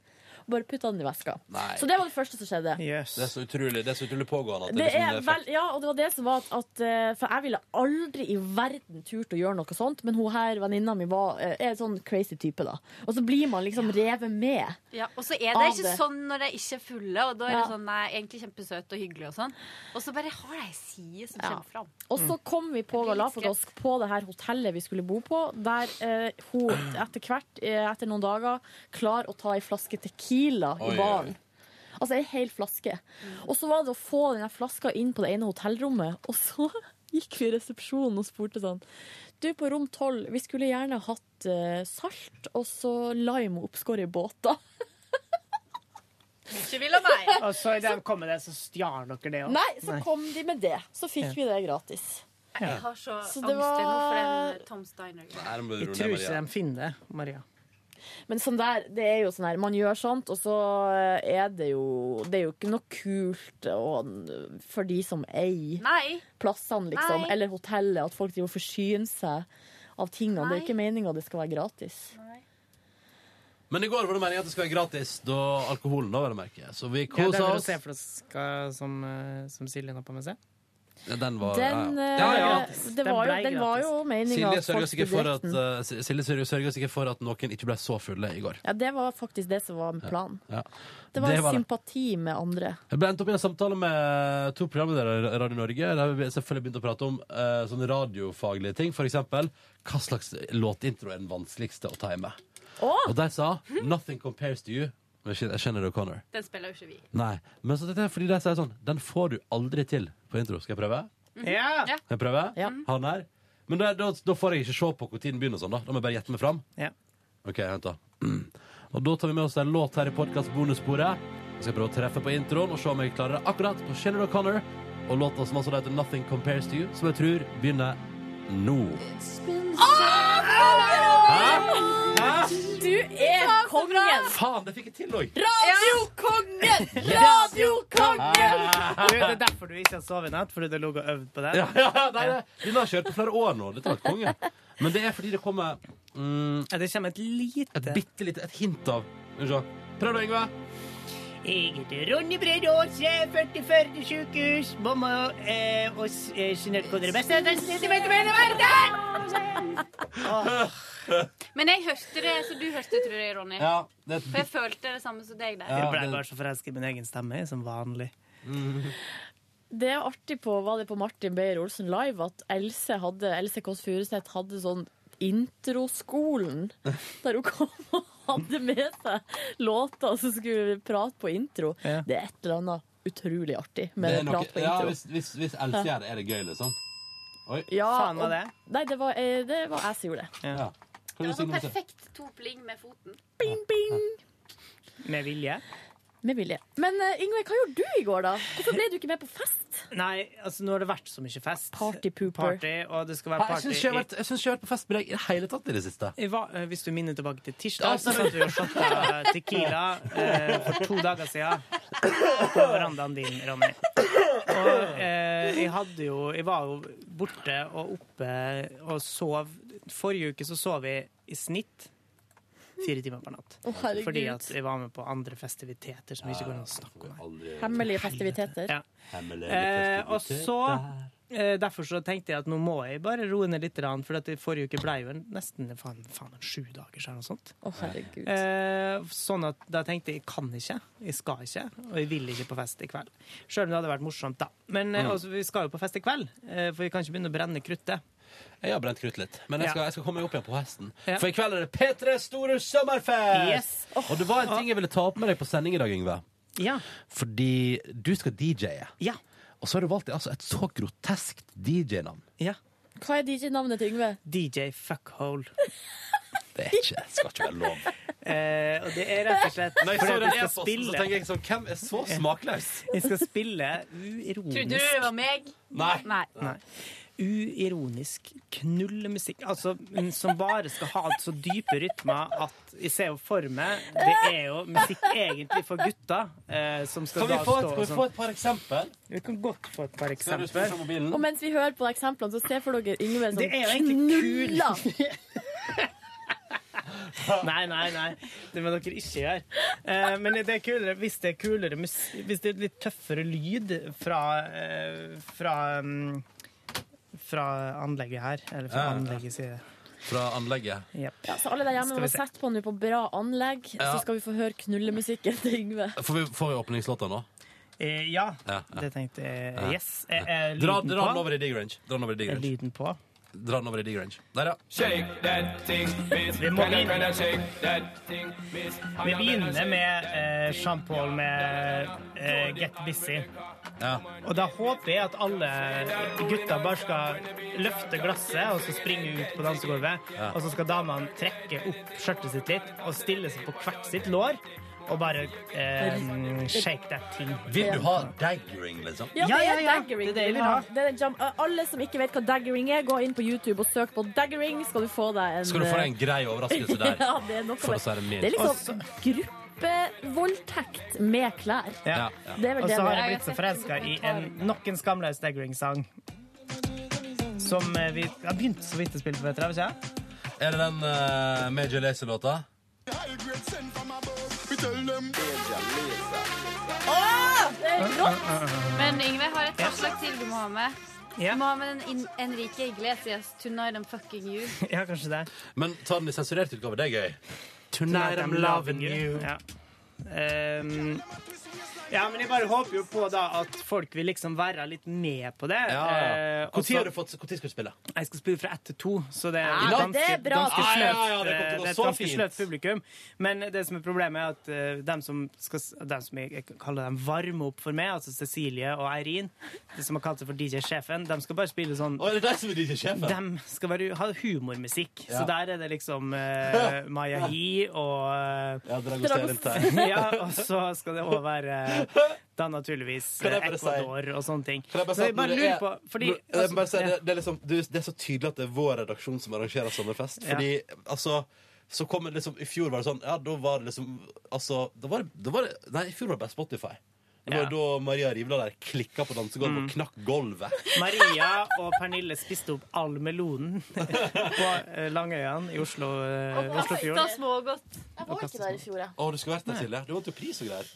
[SPEAKER 5] Og bare putter den i veska.
[SPEAKER 2] Nei.
[SPEAKER 5] Så det var det første som skjedde.
[SPEAKER 2] Det er så utrolig, det er så utrolig pågående at
[SPEAKER 5] Det
[SPEAKER 2] det,
[SPEAKER 5] er
[SPEAKER 2] liksom, det er
[SPEAKER 5] vel, ja, og det var det som var at, at eh, For jeg ville aldri i verden turt å gjøre noe sånt, men hun her, venninna mi, var, eh, er en sånn crazy type, da. Og så blir man liksom revet med.
[SPEAKER 17] Ja, og så er det
[SPEAKER 5] Av
[SPEAKER 17] ikke
[SPEAKER 5] det.
[SPEAKER 17] sånn når de ikke er fulle, og da er
[SPEAKER 5] Ja.
[SPEAKER 17] det sånn nei, egentlig kjempesøt og hyggelig og sånn. Og så bare har de ei side som
[SPEAKER 5] Ja.
[SPEAKER 17] kommer fram.
[SPEAKER 5] Og så kom vi på Galapagos på det her hotellet vi skulle bo på, der eh, hun etter hvert, eh, etter noen dager, klarer å ta ei flaske Tequila
[SPEAKER 2] Oi, oi, oi.
[SPEAKER 5] i baren. Altså ei hel flaske. Og så var det å få den her flaska inn på det ene hotellrommet, og så gikk vi i resepsjonen og spurte sånn Du, på rom tolv, vi skulle gjerne hatt eh, salt og så lime oppskåret i båter.
[SPEAKER 17] Ikke vil ha meg.
[SPEAKER 4] Og så i det kom det, så stjal dere det òg.
[SPEAKER 5] Nei, så kom de med det. Så fikk
[SPEAKER 4] Ja.
[SPEAKER 5] vi det gratis.
[SPEAKER 17] Jeg har så,
[SPEAKER 5] Så
[SPEAKER 17] angst
[SPEAKER 5] det var-
[SPEAKER 17] ennå for den eh, Tom Steiner.
[SPEAKER 4] Jeg tror ikke de finner det, Maria.
[SPEAKER 5] Men sånn der, det er jo sånn her, man gjør sånt, og så eh, er det jo Det er jo ikke noe kult og, for de som eier
[SPEAKER 17] Nei.
[SPEAKER 5] plassene, liksom,
[SPEAKER 17] Nei.
[SPEAKER 5] eller hotellet, at folk driver og forsyner seg av tingene. Det
[SPEAKER 17] Nei.
[SPEAKER 5] er ikke meninga det skal være gratis.
[SPEAKER 2] Men i går var det meningen at det skulle være gratis da alkoholen da, var det merket. Så vi
[SPEAKER 4] Ja, det
[SPEAKER 2] kosa
[SPEAKER 4] er vel å
[SPEAKER 2] oss.
[SPEAKER 4] se for oss hva som, eh, som Silje nå på med seg.
[SPEAKER 2] Ja, den var
[SPEAKER 5] Den,
[SPEAKER 2] ja,
[SPEAKER 5] eh,
[SPEAKER 2] ja. ja, ja.
[SPEAKER 5] Det var jo, den var jo meninga
[SPEAKER 2] Silje sørga sikkert for at eh, Silje sørger- sørger sikkert for at noen ikke ble så fulle i går.
[SPEAKER 5] Ja, det var faktisk det som var planen.
[SPEAKER 2] Ja.
[SPEAKER 5] Det var,
[SPEAKER 2] Det var det.
[SPEAKER 5] sympati med andre.
[SPEAKER 2] Jeg ble endt opp i en samtale med to programledere i Radio Norge. Der vi selvfølgelig begynte å prate om eh, sånne radiofaglige ting. For eksempel, hva slags låtintro er den vanskeligste å time?
[SPEAKER 5] Åh!
[SPEAKER 2] Og de sa 'Nothing compares to you'. Men Jeg kjenner det, O'Connor.
[SPEAKER 17] Den spiller jo ikke vi.
[SPEAKER 2] Nei. Men så tenkte jeg, fordi de sier sånn Den får du aldri til på intro. Skal jeg prøve?
[SPEAKER 17] Mhm.
[SPEAKER 4] Ja.
[SPEAKER 2] Kan jeg prøve? Ha den her. Men da, da, da får jeg ikke se på hvor tiden begynner og sånn, da. Da må jeg bare gjette meg fram.
[SPEAKER 4] Ja.
[SPEAKER 2] Ok, vent da. Og da tar vi med oss en låt her i podkast-bonussporet. Jeg skal prøve å treffe på introen og se om jeg klarer det akkurat på Shinner O'Connor. Og låta som altså heter 'Nothing Compares To You', som jeg tror begynner nå.
[SPEAKER 5] Åh, Karoline! Du er konge!
[SPEAKER 17] Radiokongen!
[SPEAKER 2] Faen, det fikk jeg til òg!
[SPEAKER 17] Radiokongen!
[SPEAKER 4] Radiokongen!
[SPEAKER 2] Ah.
[SPEAKER 4] Du, det er derfor du ikke har sovet i natt, fordi du lå og øvd på det.
[SPEAKER 2] Ja, ja, nei, nei. Den har kjørt på flere år nå. Dette var et konge. Men det er fordi det kommer mm,
[SPEAKER 4] Det kommer et lite
[SPEAKER 2] Et bitte lite et hint av Skal vi se. Prøv da, Yngve.
[SPEAKER 4] Jeg heter Ronny Brede Aas, jeg er 40 40 sykehus, mamma eh, og s- eh, Jeanette Kodre Beste. Det er centimeter mer i verden! Åh.
[SPEAKER 17] Men jeg hørte det, så du hørte det, tror jeg, Ronny.
[SPEAKER 4] Ja, det er et
[SPEAKER 17] For jeg følte det samme som deg der.
[SPEAKER 4] Jeg ble bare så forelsket i min egen stemme, jeg, som vanlig.
[SPEAKER 2] Mm.
[SPEAKER 5] Det er artig på, var det på Martin Beyer Olsen Live at Else, hadde, Else Kåss Furuseth hadde sånn introskolen, der hun kom og hadde med seg låter som skulle prate på intro.
[SPEAKER 2] Ja.
[SPEAKER 5] Det er et eller annet utrolig artig med
[SPEAKER 2] Det er
[SPEAKER 5] å
[SPEAKER 2] noe-
[SPEAKER 5] prate på
[SPEAKER 2] ja,
[SPEAKER 5] intro.
[SPEAKER 2] hvis, hvis, hvis Else
[SPEAKER 5] Ja.
[SPEAKER 2] gjør det, er det gøy, liksom. Oi.
[SPEAKER 5] og- Nei, det var, eh, det var jeg som gjorde det.
[SPEAKER 2] Ja. Kan
[SPEAKER 17] Det
[SPEAKER 2] du
[SPEAKER 17] var
[SPEAKER 2] si
[SPEAKER 17] sånn
[SPEAKER 2] noe til?
[SPEAKER 17] perfekt to pling med foten.
[SPEAKER 4] Med vilje.
[SPEAKER 5] Med vilje. Men eh, Yngve, hva gjorde du i går, da? Hvorfor ble du ikke med på fest?
[SPEAKER 4] Nei, altså nå har det vært så mye fest. Party
[SPEAKER 5] pooper.
[SPEAKER 4] Party, og det skal
[SPEAKER 2] Nei,
[SPEAKER 4] være
[SPEAKER 2] Jeg
[SPEAKER 4] party
[SPEAKER 2] syns ikke jeg har vært- jeg synes ikke jeg har vært på fest med deg i det hele tatt i det siste.
[SPEAKER 4] Jeg var, eh, hvis du minner tilbake til
[SPEAKER 2] Ja,
[SPEAKER 4] tirsdag, så
[SPEAKER 2] sorry.
[SPEAKER 4] satt vi og shotta tequila eh, for to dager siden på verandaen din, Ronny. Og eh, jeg hadde jo Jeg var jo borte og oppe og sov. Forrige uke så sov jeg i snitt fire timer per natt.
[SPEAKER 5] Å, herregud.
[SPEAKER 4] Fordi at jeg var med på andre festiviteter som ikke går an å snakke om. her.
[SPEAKER 5] Hemmelige festiviteter.
[SPEAKER 4] Ja. Eh, og så eh, Derfor så tenkte jeg at nå må jeg bare roe ned litt, grann, for at i forrige uke ble jo en- nesten faen, faen, en sju dager siden. og sånt.
[SPEAKER 5] Å, herregud.
[SPEAKER 4] Eh, sånn at da tenkte jeg jeg kan ikke, jeg skal ikke, og jeg vil ikke på fest i kveld. Sjøl om det hadde vært morsomt, da. Men eh,
[SPEAKER 2] Mm.
[SPEAKER 4] altså, vi skal jo på fest i kveld, eh, for vi kan ikke begynne å brenne kruttet.
[SPEAKER 2] Jeg har brent krutt litt, men jeg skal,
[SPEAKER 4] Ja.
[SPEAKER 2] jeg skal komme meg opp igjen på hesten.
[SPEAKER 4] Ja.
[SPEAKER 2] For i kveld er det P3 Store Sommerfest!
[SPEAKER 4] Yes.
[SPEAKER 2] Og det var en ting jeg ville ta opp med deg på sending i dag, Yngve.
[SPEAKER 4] Ja.
[SPEAKER 2] Fordi du skal DJ-e.
[SPEAKER 4] Ja.
[SPEAKER 2] Og så har du valgt deg altså et så groteskt DJ-navn.
[SPEAKER 4] Ja.
[SPEAKER 5] Hva er DJ-navnet til Yngve?
[SPEAKER 4] DJ Fuckhole.
[SPEAKER 2] Det er ikke, skal ikke være lov.
[SPEAKER 4] Eh, og det er rett og slett
[SPEAKER 2] Når jeg
[SPEAKER 4] fordi
[SPEAKER 2] så
[SPEAKER 4] at
[SPEAKER 2] den
[SPEAKER 4] vi skal
[SPEAKER 2] e-posten, så
[SPEAKER 4] spille-
[SPEAKER 2] tenker jeg sånn, hvem er så smakløs?
[SPEAKER 4] Vi skal spille uironisk
[SPEAKER 17] Trodde du det var meg?
[SPEAKER 2] Nei.
[SPEAKER 4] Nei. Uironisk knullemusikk. Altså, mm, som bare skal ha så dype rytmer at jeg ser jo for meg Det er jo musikk egentlig for gutter. Eh, som skal
[SPEAKER 2] Kan vi
[SPEAKER 4] da
[SPEAKER 2] få et-
[SPEAKER 4] stå og
[SPEAKER 2] kan vi
[SPEAKER 4] sånn.
[SPEAKER 2] få et par eksempel?
[SPEAKER 4] Vi kan godt få et par
[SPEAKER 2] Skal du spørre om
[SPEAKER 4] eksempler.
[SPEAKER 2] mobilen?
[SPEAKER 5] Og mens vi hører på eksemplene, så ser for dere Yngve som
[SPEAKER 4] Det er jo egentlig
[SPEAKER 5] knuller.
[SPEAKER 4] Nei, nei, nei. Det må dere ikke gjøre. Eh, men det er kulere hvis det er kulere mus- Hvis det er litt tøffere lyd fra, eh, fra mm, fra anlegget her. Eller fra
[SPEAKER 2] Ja, ja.
[SPEAKER 4] anlegget, sier jeg.
[SPEAKER 2] Fra anlegget.
[SPEAKER 5] Ja, så alle der hjemme
[SPEAKER 4] Skal vi
[SPEAKER 5] må
[SPEAKER 4] se.
[SPEAKER 5] sette på nå på bra anlegg,
[SPEAKER 2] Ja.
[SPEAKER 5] så skal vi få høre knullemusikken til Yngve.
[SPEAKER 2] Får vi, får vi åpningslåta nå?
[SPEAKER 4] Eh, ja,
[SPEAKER 2] Ja, ja.
[SPEAKER 4] det tenkte jeg.
[SPEAKER 2] Ja.
[SPEAKER 4] Yes.
[SPEAKER 2] Ja.
[SPEAKER 4] Eh, eh,
[SPEAKER 2] dra,
[SPEAKER 4] lyden
[SPEAKER 2] dra
[SPEAKER 4] på.
[SPEAKER 2] den over i D-Grange. Dra den over i
[SPEAKER 4] Er
[SPEAKER 2] D-Grange.
[SPEAKER 4] lyden på?
[SPEAKER 2] Dra den over i D-Grange. Der, ja.
[SPEAKER 9] Shake that thing, miss.
[SPEAKER 4] Vi må
[SPEAKER 9] Better,
[SPEAKER 4] inn.
[SPEAKER 9] better shake that thing, miss.
[SPEAKER 4] Vi begynner med eh, Jean-Paul med eh, Get Busy. Og da håper jeg at alle gutta bare skal løfte glasset og så springe ut på dansegulvet.
[SPEAKER 2] Ja.
[SPEAKER 4] Og så skal damene trekke opp skjørtet sitt litt og stille seg på hvert sitt lår og bare eh, shake that thing.
[SPEAKER 2] Vil du ha daggering, liksom?
[SPEAKER 5] Ja, det er daggering.
[SPEAKER 4] Det er det jeg
[SPEAKER 5] vi
[SPEAKER 4] vil ha.
[SPEAKER 5] har. Det er den jam- alle som ikke vet hva daggering er, gå inn på YouTube og søk på daggering, skal du få deg en eh,
[SPEAKER 2] Skal du få deg en grei overraskelse der?
[SPEAKER 5] ja, det er noe
[SPEAKER 2] For å
[SPEAKER 5] med-
[SPEAKER 2] si det mildt.
[SPEAKER 5] Det er liksom gruppevoldtekt med klær.
[SPEAKER 4] Ja.
[SPEAKER 5] Det er vel
[SPEAKER 4] Og
[SPEAKER 5] det
[SPEAKER 4] så har
[SPEAKER 5] det er.
[SPEAKER 4] jeg blitt så forelska i en, nok en skamløs daggering-sang. Som eh, vi har begynt så vidt å spille på, vet dere. Ikke? sant?
[SPEAKER 2] Er det den eh, Major Lazer-låta?
[SPEAKER 17] Det er rått! Men Yngve har et forslag til du må ha med. Du
[SPEAKER 4] Ja.
[SPEAKER 17] må ha med den In Enrique Iglesias 'Tonight I'm Fucking You'.
[SPEAKER 4] Ja, kanskje det.
[SPEAKER 2] Men ta den i sensurert utgave. Det er gøy.
[SPEAKER 4] Tonight I'm loving you. Ja. Ehm, ja, men jeg bare håper jo på da at folk vil liksom være litt med på det.
[SPEAKER 2] Ja, ja. Hvor
[SPEAKER 4] Eh,
[SPEAKER 2] tid
[SPEAKER 4] også-
[SPEAKER 2] har du fått- hvor tid skal du spille?
[SPEAKER 4] Jeg skal spille fra ett til to, så det er
[SPEAKER 2] Ja,
[SPEAKER 4] et
[SPEAKER 2] det er
[SPEAKER 4] ganske,
[SPEAKER 2] bra.
[SPEAKER 4] ganske
[SPEAKER 2] Ja, ja,
[SPEAKER 4] sløvt,
[SPEAKER 2] ja, det kommer til å
[SPEAKER 4] eh,
[SPEAKER 2] gå
[SPEAKER 4] det er et
[SPEAKER 2] så
[SPEAKER 4] ganske
[SPEAKER 2] fint.
[SPEAKER 4] sløvt publikum. Men det som er problemet, er at eh, dem som, skal, s- dem som jeg, jeg kaller dem varme opp for meg, altså Cecilie og Eirin, de som har kalt seg for DJ-sjefen, de skal bare spille sånn
[SPEAKER 2] Å, er det de som er DJ-sjefen?
[SPEAKER 4] De skal bare ha humormusikk.
[SPEAKER 2] Ja.
[SPEAKER 4] Så der er det liksom eh, Maya Hi og eh,
[SPEAKER 2] Ja, Dragos Stein.
[SPEAKER 4] ja, og så skal det òg være eh, da naturligvis
[SPEAKER 2] Kan jeg
[SPEAKER 4] eh,
[SPEAKER 2] bare si-
[SPEAKER 4] Ecuador og sånne ting.
[SPEAKER 2] Kan jeg bare si
[SPEAKER 4] Så
[SPEAKER 2] at
[SPEAKER 4] jeg bare
[SPEAKER 2] når
[SPEAKER 4] lurer
[SPEAKER 2] er-
[SPEAKER 4] på fordi,
[SPEAKER 2] når- jeg må bare si,
[SPEAKER 4] altså,
[SPEAKER 2] det, det, er liksom, du- det er så tydelig at det er vår redaksjon som arrangerer sommerfest. Fordi altså Så kom det liksom, I fjor var det sånn Ja, da var det liksom Altså, da var det, da var det Nei, i fjor var det bare Spotify. Det var
[SPEAKER 4] Ja.
[SPEAKER 2] da Maria Rivland der klikka på dansegulvet
[SPEAKER 4] Mm.
[SPEAKER 2] og knakk gulvet.
[SPEAKER 4] Maria og Pernille spiste opp all melonen på eh, Langøyan i Oslo, eh, Oslofjorden.
[SPEAKER 5] smågodt. Jeg
[SPEAKER 4] Og
[SPEAKER 5] var
[SPEAKER 4] kastet
[SPEAKER 5] ikke der i fjor, jeg.
[SPEAKER 2] Å, du skulle vært der,
[SPEAKER 4] Nei.
[SPEAKER 2] Silje. Du vant jo pris og greier.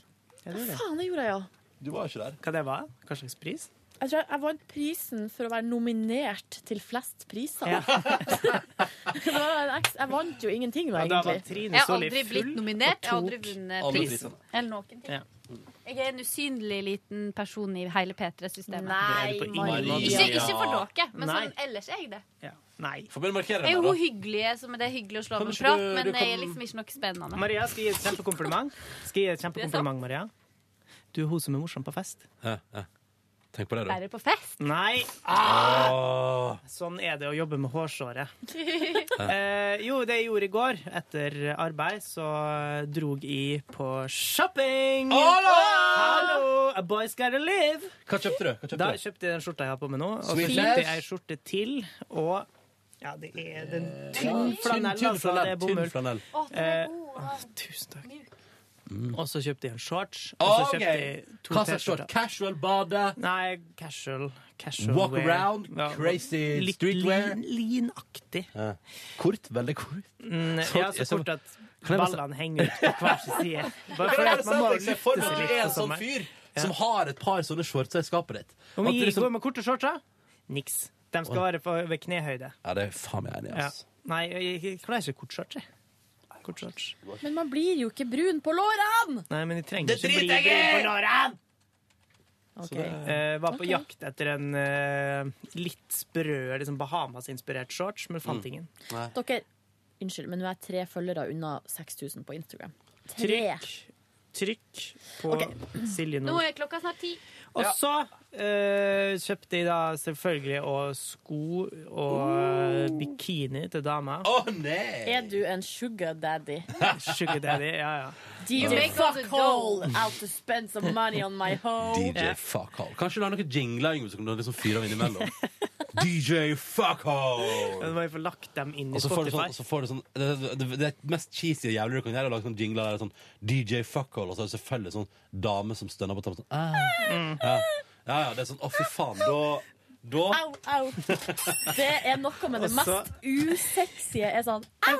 [SPEAKER 5] Faen, det gjorde jeg, ja.
[SPEAKER 2] Du var ikke der.
[SPEAKER 4] Hva det var? Hva slags pris?
[SPEAKER 5] Jeg tror jeg, jeg vant prisen for å være nominert til flest priser. det var en eks- jeg vant jo ingenting, da,
[SPEAKER 4] Ja, da var
[SPEAKER 5] egentlig.
[SPEAKER 4] Trine
[SPEAKER 17] Jeg har aldri blitt nominert. Jeg har aldri
[SPEAKER 4] alle
[SPEAKER 17] vunnet pris.
[SPEAKER 4] prisene.
[SPEAKER 17] Eller noen ting.
[SPEAKER 4] Ja.
[SPEAKER 17] Jeg er en usynlig liten person i hele P3-systemet.
[SPEAKER 4] Nei, Det er du på ingen Maria. måte.
[SPEAKER 17] Ikke, ikke for dere, men
[SPEAKER 4] Nei.
[SPEAKER 17] sånn, ellers er jeg det.
[SPEAKER 4] Nei.
[SPEAKER 2] Får vi markere
[SPEAKER 17] Jeg er
[SPEAKER 2] den
[SPEAKER 17] jo
[SPEAKER 2] der, da?
[SPEAKER 17] hyggelige, som det er hyggelig å slå
[SPEAKER 2] Kan
[SPEAKER 17] av en
[SPEAKER 2] ikke
[SPEAKER 17] prat,
[SPEAKER 2] du-
[SPEAKER 17] men
[SPEAKER 2] du kan-
[SPEAKER 17] jeg er liksom ikke noe spennende.
[SPEAKER 4] Maria, skal jeg gi et kjempekompliment? Skal jeg gi et kjempekompliment, Maria? Du er hun som er morsom på fest.
[SPEAKER 2] Hæ, hæ. Tenk på det, da.
[SPEAKER 17] Er det på fest?
[SPEAKER 4] Nei!
[SPEAKER 2] Ah!
[SPEAKER 4] Sånn er det å jobbe med hårsåret. Eh, jo, det jeg gjorde i går etter arbeid, så drog jeg på shopping!
[SPEAKER 2] Hallo!
[SPEAKER 4] Hallo! A boy's gotta live!
[SPEAKER 2] Hva kjøpte du? Hva kjøpte du?
[SPEAKER 4] Da kjøpte jeg den skjorta jeg har på meg nå, og så
[SPEAKER 2] Sweet.
[SPEAKER 4] kjøpte jeg ei skjorte til, og ja, det er den tynn flanell,
[SPEAKER 2] Eh, tynn
[SPEAKER 4] altså.
[SPEAKER 2] flanell,
[SPEAKER 4] Det er
[SPEAKER 2] tynn
[SPEAKER 4] bomull.
[SPEAKER 2] flanell.
[SPEAKER 4] Eh, å, tusen takk. Eh, Og så kjøpte jeg en shorts. Og så
[SPEAKER 2] Ah, Ok.
[SPEAKER 4] kjøpte jeg to
[SPEAKER 2] Hva slags short?
[SPEAKER 4] T-skjorter.
[SPEAKER 2] Casual bade?
[SPEAKER 4] Nei, casual. casual
[SPEAKER 2] Walk
[SPEAKER 4] wear.
[SPEAKER 2] around?
[SPEAKER 4] Ja,
[SPEAKER 2] Crazy
[SPEAKER 4] litt
[SPEAKER 2] streetwear?
[SPEAKER 4] lin- Linaktig.
[SPEAKER 2] Ja. Kort? Veldig kort.
[SPEAKER 4] Mm,
[SPEAKER 2] Så-
[SPEAKER 4] ja, så
[SPEAKER 2] så-
[SPEAKER 4] kort at
[SPEAKER 2] Kan jeg bare-
[SPEAKER 4] ballene henger ut på hver sin side. Bare
[SPEAKER 2] Men
[SPEAKER 4] fordi
[SPEAKER 2] er
[SPEAKER 4] at
[SPEAKER 2] det
[SPEAKER 4] man
[SPEAKER 2] sant?
[SPEAKER 4] må
[SPEAKER 2] Jeg ser for
[SPEAKER 4] lytte
[SPEAKER 2] meg
[SPEAKER 4] seg
[SPEAKER 2] at
[SPEAKER 4] litt
[SPEAKER 2] du er
[SPEAKER 4] på
[SPEAKER 2] en sånn
[SPEAKER 4] sommeren.
[SPEAKER 2] fyr
[SPEAKER 4] Ja.
[SPEAKER 2] som har et par sånne shorts i skapet ditt.
[SPEAKER 4] Om
[SPEAKER 2] At
[SPEAKER 4] vi
[SPEAKER 2] du liksom-
[SPEAKER 4] går med korte shorts, da? Niks. De skal være på, ved knehøyde.
[SPEAKER 2] Ja, det er faen meg enig i,
[SPEAKER 4] Ja.
[SPEAKER 2] ass.
[SPEAKER 4] Nei, jeg, jeg klarer ikke kort shorts, jeg. Kort shorts.
[SPEAKER 5] Men man blir jo ikke brun på lårene!
[SPEAKER 4] Nei, men jeg trenger
[SPEAKER 5] Det
[SPEAKER 4] ikke bli
[SPEAKER 5] driter jeg
[SPEAKER 4] brun
[SPEAKER 5] i!
[SPEAKER 4] på lårene!
[SPEAKER 5] Ok.
[SPEAKER 4] Eh, var på
[SPEAKER 5] Ok.
[SPEAKER 4] jakt etter en eh, litt sprø liksom Bahamas-inspirert shorts, men
[SPEAKER 2] Mm.
[SPEAKER 4] fant ingen.
[SPEAKER 5] Dere, unnskyld, men nå er jeg tre følgere unna 6000 på Instagram. Tre.
[SPEAKER 4] Trykk, trykk på Silje
[SPEAKER 17] Nå
[SPEAKER 4] Nord.
[SPEAKER 17] er klokka snart ti.
[SPEAKER 4] Og så eh, kjøpte jeg da selvfølgelig og sko og eh, bikini til dama.
[SPEAKER 2] Oh. Å nei!
[SPEAKER 5] Er du en sugar daddy?
[SPEAKER 4] Sugar daddy, ja, ja.
[SPEAKER 5] DJ
[SPEAKER 4] Ja.
[SPEAKER 5] fuckhole out to spend some money on my home.
[SPEAKER 2] DJ
[SPEAKER 5] Ja.
[SPEAKER 2] fuckhole. Kanskje du har noen jingler Yngve, som du liksom fyrer av innimellom. DJ fuckhole!
[SPEAKER 4] Nå må jeg få lagt dem inn i
[SPEAKER 2] Og så får du
[SPEAKER 4] Spotify.
[SPEAKER 2] sånn, så får du sånn det, det, det mest cheesy og jævlige du kan gjøre, er å lage sånn jingler der sånn DJ fuckhole, og så er det selvfølgelig sånn dame som stønner på toppen sånn ah. ja. ja, ja, det er sånn Å, fy faen. Da, da
[SPEAKER 5] Au, au. Det er noe med det
[SPEAKER 2] Og så-
[SPEAKER 5] mest usexy er sånn au,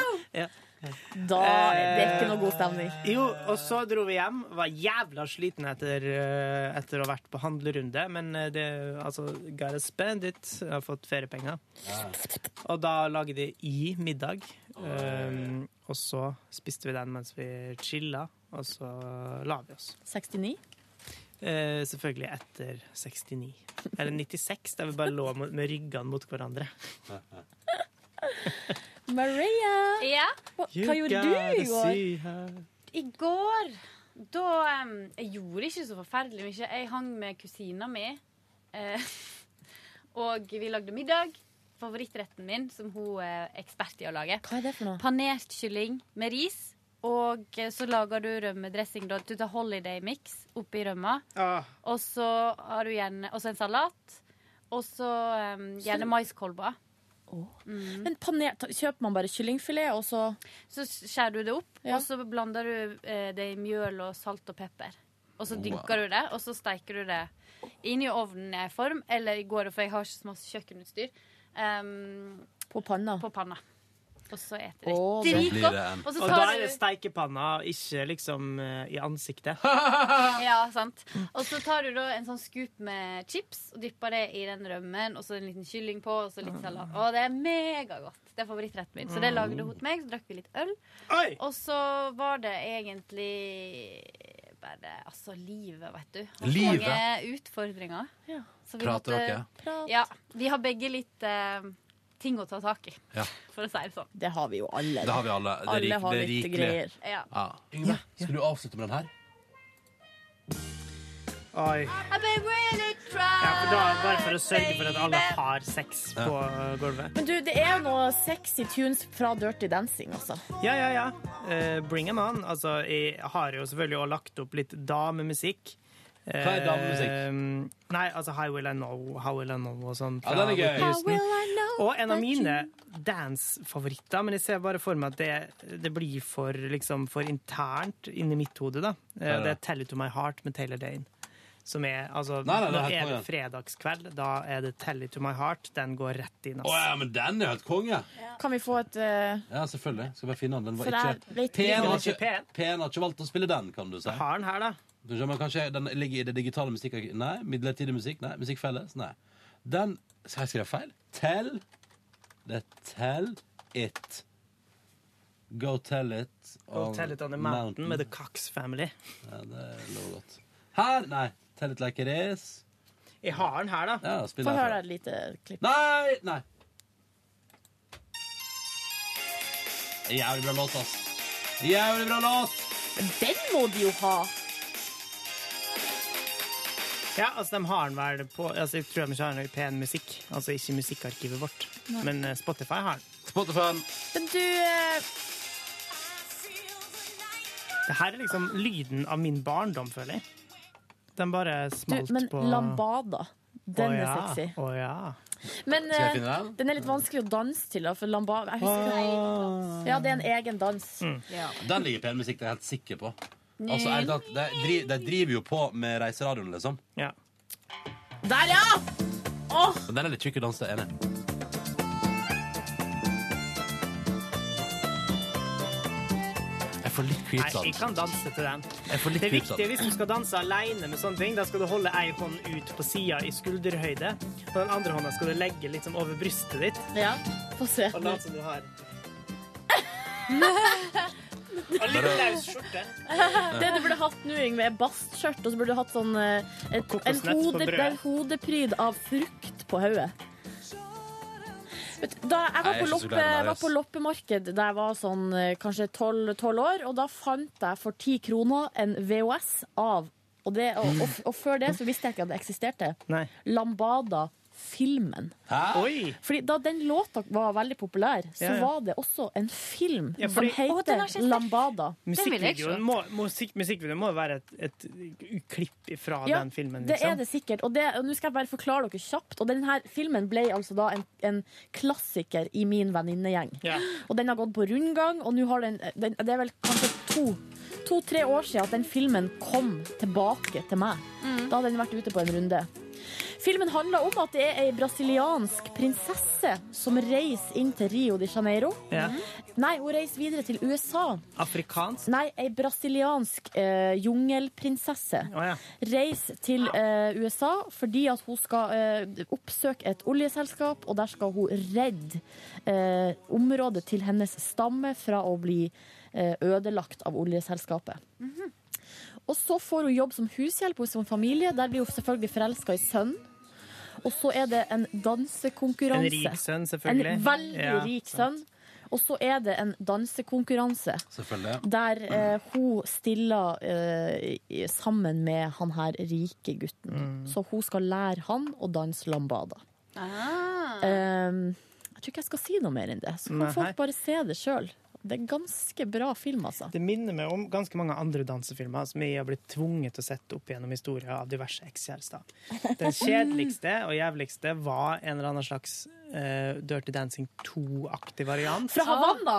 [SPEAKER 5] au.
[SPEAKER 4] Ja. Eh,
[SPEAKER 5] Da er det ikke noe god stemning.
[SPEAKER 4] Jo, og så dro vi hjem. Var jævla sliten etter, eh, etter å ha vært på handlerunde. Men eh, det, altså, gotta spend it. Jeg har fått feriepenger. Og da lagde de i middag. Um, og så spiste vi den mens vi chilla, og så la vi oss.
[SPEAKER 5] 69?
[SPEAKER 4] Eh, selvfølgelig etter 69. Eller 96, der vi bare lå mot- med ryggene mot hverandre.
[SPEAKER 5] Maria,
[SPEAKER 17] Ja.
[SPEAKER 5] hva, hva gjorde du i går?
[SPEAKER 17] I går da em, Jeg gjorde ikke så forferdelig mye. Jeg hang med kusina mi. Eh, og vi lagde middag. Favorittretten min, som hun er ekspert i å lage.
[SPEAKER 5] Hva er det for noe?
[SPEAKER 17] Panert kylling med ris. Og eh, så lager du rømmedressing. da. Du tar Holiday Mix oppi rømma. Og så har du gjerne og så en salat. Og så em,
[SPEAKER 5] Så-
[SPEAKER 17] gjerne maiskolber.
[SPEAKER 5] Men paner, ta- Kjøper man bare kyllingfilet, og så
[SPEAKER 17] Så skjærer du det opp, og så blander du eh, det i mjøl og salt og pepper. Og så dynker du det, og så steiker du det inn i ovnen i en form. Eller i går, for jeg har ikke så masse kjøkkenutstyr. ehm,
[SPEAKER 5] på panna?
[SPEAKER 17] på panna. Og så eter
[SPEAKER 5] Åh,
[SPEAKER 2] blir
[SPEAKER 17] det
[SPEAKER 2] det
[SPEAKER 17] dritgodt.
[SPEAKER 2] en-
[SPEAKER 17] Og så
[SPEAKER 4] Og da
[SPEAKER 17] tar
[SPEAKER 4] er det
[SPEAKER 17] du
[SPEAKER 4] steikepanna, ikke liksom eh, i ansiktet.
[SPEAKER 17] Ja, sant. Og så tar du da en sånn scoop med chips og dypper det i den rømmen, og så en liten kylling på, og så litt salat. Å, det er megagodt. Det er favorittretten min. Så det lagde hun til meg, så drakk vi litt øl.
[SPEAKER 4] Oi!
[SPEAKER 17] Og så var det egentlig bare Altså, livet, vet du. Har så
[SPEAKER 2] Livet?
[SPEAKER 17] Mange utfordringer.
[SPEAKER 5] Ja.
[SPEAKER 17] Så vi
[SPEAKER 2] Prater
[SPEAKER 17] måtte-
[SPEAKER 2] dere?
[SPEAKER 17] Ja. Vi har begge litt eh, ting å ta tak i,
[SPEAKER 2] Ja.
[SPEAKER 17] for å si det sånn.
[SPEAKER 5] Det har vi jo alle.
[SPEAKER 2] Det har vi alle. Det er,
[SPEAKER 5] Alle
[SPEAKER 2] rik,
[SPEAKER 5] har
[SPEAKER 2] det er
[SPEAKER 5] litt
[SPEAKER 2] rikelig.
[SPEAKER 5] greier.
[SPEAKER 17] Ja.
[SPEAKER 2] Ja. Yngve, skal du avslutte med den her?
[SPEAKER 4] Oi.
[SPEAKER 17] I've been really
[SPEAKER 4] Ja, for da,
[SPEAKER 17] trying.
[SPEAKER 4] bare for å sørge for at alle har sex på eh, gulvet.
[SPEAKER 5] Men du, det er jo noe sexy tunes fra Dirty Dancing, altså.
[SPEAKER 4] Ja, ja, ja. Eh, bring 'em on. Altså, jeg har jo selvfølgelig også lagt opp litt damemusikk.
[SPEAKER 2] Hva er damemusikk?
[SPEAKER 4] Eh, nei, altså How Will I Know, How Will I Know og sånn.
[SPEAKER 2] Ja, den er gøy.
[SPEAKER 4] fra 2000.
[SPEAKER 2] How Will I Know
[SPEAKER 4] Og en av
[SPEAKER 2] that you-
[SPEAKER 4] mine dance-favoritter, men jeg ser bare for meg at det, det blir for, liksom, for internt inni mitt hode, da. Eh,
[SPEAKER 2] Ja, ja.
[SPEAKER 4] Det er Tell It To My Heart med Taylor Dane. Som er, altså,
[SPEAKER 2] Nei, nei, det er
[SPEAKER 4] nå
[SPEAKER 2] helt
[SPEAKER 4] er det
[SPEAKER 2] konge.
[SPEAKER 4] fredagskveld, da er det Tell It To My Heart. Den går rett inn. ass.
[SPEAKER 2] Å ja, men den er helt konge!
[SPEAKER 5] Kan vi få et eh,
[SPEAKER 2] Ja, selvfølgelig. Skal bare finne den. Den var
[SPEAKER 5] For der
[SPEAKER 2] ikke
[SPEAKER 5] vet vi-
[SPEAKER 2] PN har
[SPEAKER 5] Den er ikke
[SPEAKER 2] ikke, PN har ikke valgt å spille den, kan du si.
[SPEAKER 4] Har den her, da?
[SPEAKER 2] Du skjønner, men kanskje den ligger i det digitale musikk... Nei. Midlertidig musikk? Nei. Musikk felles? Nei. Den Skal jeg skrive feil? Tell Det er tell it. Go tell it
[SPEAKER 4] Go
[SPEAKER 2] on
[SPEAKER 4] Tell It On The Mountain med The Cox Family.
[SPEAKER 2] Ja, det lover godt. Her? Nei. Tell it like it is.
[SPEAKER 4] Jeg har den her, da.
[SPEAKER 2] Ja, spill
[SPEAKER 5] Få
[SPEAKER 2] den
[SPEAKER 5] høre
[SPEAKER 2] herfra.
[SPEAKER 5] et lite klipp.
[SPEAKER 2] Nei! Nei. Jævlig bra låt, ass. Jævlig bra låt!
[SPEAKER 5] Den må de jo ha!
[SPEAKER 4] Ja, altså de har den vel på altså, Jeg tror de ikke har den i pen musikk. Altså ikke musikkarkivet vårt.
[SPEAKER 5] Nei.
[SPEAKER 4] Men eh, Spotify har den.
[SPEAKER 2] Spotify.
[SPEAKER 5] Men du eh,
[SPEAKER 4] Det her er liksom lyden av min barndom, føler jeg. Den bare smalt
[SPEAKER 5] Du, men
[SPEAKER 4] på
[SPEAKER 5] lambada, den
[SPEAKER 4] Å
[SPEAKER 5] er
[SPEAKER 4] ja,
[SPEAKER 5] sexy.
[SPEAKER 4] Å ja.
[SPEAKER 5] Men
[SPEAKER 4] Skal jeg
[SPEAKER 5] eh,
[SPEAKER 4] finne den?
[SPEAKER 5] den er litt vanskelig å danse til, da, for lambada jeg husker ikke- Ja, det er en egen dans.
[SPEAKER 2] Mm.
[SPEAKER 5] Ja.
[SPEAKER 2] Den ligger pen musikk, det er jeg helt sikker på. Altså, jeg, de, dri- de driver jo på med reiseradioen, liksom.
[SPEAKER 5] Der, ja! Åh!
[SPEAKER 2] Men den er litt tjukk å danse, jeg er enig. Jeg får litt
[SPEAKER 4] Nei,
[SPEAKER 2] creeps av
[SPEAKER 4] jeg
[SPEAKER 2] den.
[SPEAKER 4] kan danse til den.
[SPEAKER 2] Jeg får litt
[SPEAKER 4] Det
[SPEAKER 2] creeps av
[SPEAKER 4] viktige
[SPEAKER 2] den.
[SPEAKER 4] hvis du skal danse alene med sånne ting, da skal du holde ei hånd ut på sida i skulderhøyde, og den andre hånda skal du legge liksom over brystet ditt.
[SPEAKER 5] Ja, få se.
[SPEAKER 4] Og late som du har Og litt
[SPEAKER 5] Bare-
[SPEAKER 4] løs skjorte.
[SPEAKER 5] Det du burde hatt nå, Yngve, er bastskjørt, og så burde du hatt sånn eh, et, en,
[SPEAKER 4] kokosnøtt på
[SPEAKER 5] hode,
[SPEAKER 4] brødet.
[SPEAKER 5] det er en hodepryd av frukt på hodet. Vet du, Da jeg var
[SPEAKER 20] Nei, jeg
[SPEAKER 5] på,
[SPEAKER 20] synes du
[SPEAKER 5] loppe,
[SPEAKER 20] gleder meg,
[SPEAKER 5] var
[SPEAKER 20] ass.
[SPEAKER 5] på loppemarked da jeg var sånn eh, kanskje 12, 12 år, og da fant jeg for 10 kroner en VHS av og, det, og, og, og før det så visste jeg ikke at det eksisterte.
[SPEAKER 4] Nei.
[SPEAKER 5] Lambada-filmen.
[SPEAKER 2] Hæ?
[SPEAKER 4] Oi!
[SPEAKER 5] Fordi Da den låta var veldig populær, så
[SPEAKER 4] Ja, ja.
[SPEAKER 5] var det også en film
[SPEAKER 4] Ja, fordi-
[SPEAKER 5] som
[SPEAKER 4] Å, den har
[SPEAKER 5] heter
[SPEAKER 4] jeg sett.
[SPEAKER 5] Lambada.
[SPEAKER 4] Musikkvideoen må, musikk, musikkvideoen må være et, et klipp fra
[SPEAKER 5] Ja,
[SPEAKER 4] den filmen. liksom.
[SPEAKER 5] Det er det sikkert. Og, det, og nå skal jeg bare forklare dere kjapt. Og denne filmen ble altså da en, en klassiker i min venninnegjeng.
[SPEAKER 4] Ja.
[SPEAKER 5] Og den har gått på rundgang, og nå har den, den Det er vel kanskje to To-tre år siden at den filmen kom tilbake til meg. Da hadde den vært ute på en runde. Filmen handler om at det er ei brasiliansk prinsesse som reiser inn til Rio de Janeiro.
[SPEAKER 4] Ja.
[SPEAKER 5] Nei, hun reiser videre til USA.
[SPEAKER 4] Afrikansk?
[SPEAKER 5] Nei, ei brasiliansk eh, jungelprinsesse
[SPEAKER 4] Å, ja.
[SPEAKER 5] reiser til eh, USA fordi at hun skal eh, oppsøke et oljeselskap, og der skal hun redde eh, området til hennes stamme fra å bli eh, ødelagt av oljeselskapet.
[SPEAKER 4] Mhm.
[SPEAKER 5] Og så får hun jobb som hushjelp hos en familie. Der blir hun selvfølgelig forelska i sønnen. Og så er det en dansekonkurranse.
[SPEAKER 4] En rik sønn, selvfølgelig.
[SPEAKER 5] En veldig
[SPEAKER 4] Ja,
[SPEAKER 5] rik sønn. Og så er det en dansekonkurranse.
[SPEAKER 2] Selvfølgelig.
[SPEAKER 5] Der eh, hun stiller eh, i- sammen med han her rike gutten.
[SPEAKER 4] Mm.
[SPEAKER 5] Så hun skal lære han å danse lambada.
[SPEAKER 2] Ah.
[SPEAKER 5] Ehm, jeg tror ikke jeg skal si noe mer enn det. Så kan
[SPEAKER 4] Nei.
[SPEAKER 5] folk bare se det sjøl. Det er ganske bra film, altså.
[SPEAKER 4] Det minner meg om ganske mange andre dansefilmer som jeg har blitt tvunget til å sette opp gjennom historien av diverse ekskjærester. Den kjedeligste og jævligste var en eller annen slags eh, Dirty Dancing 2-aktig variant.
[SPEAKER 5] Fra Havanna!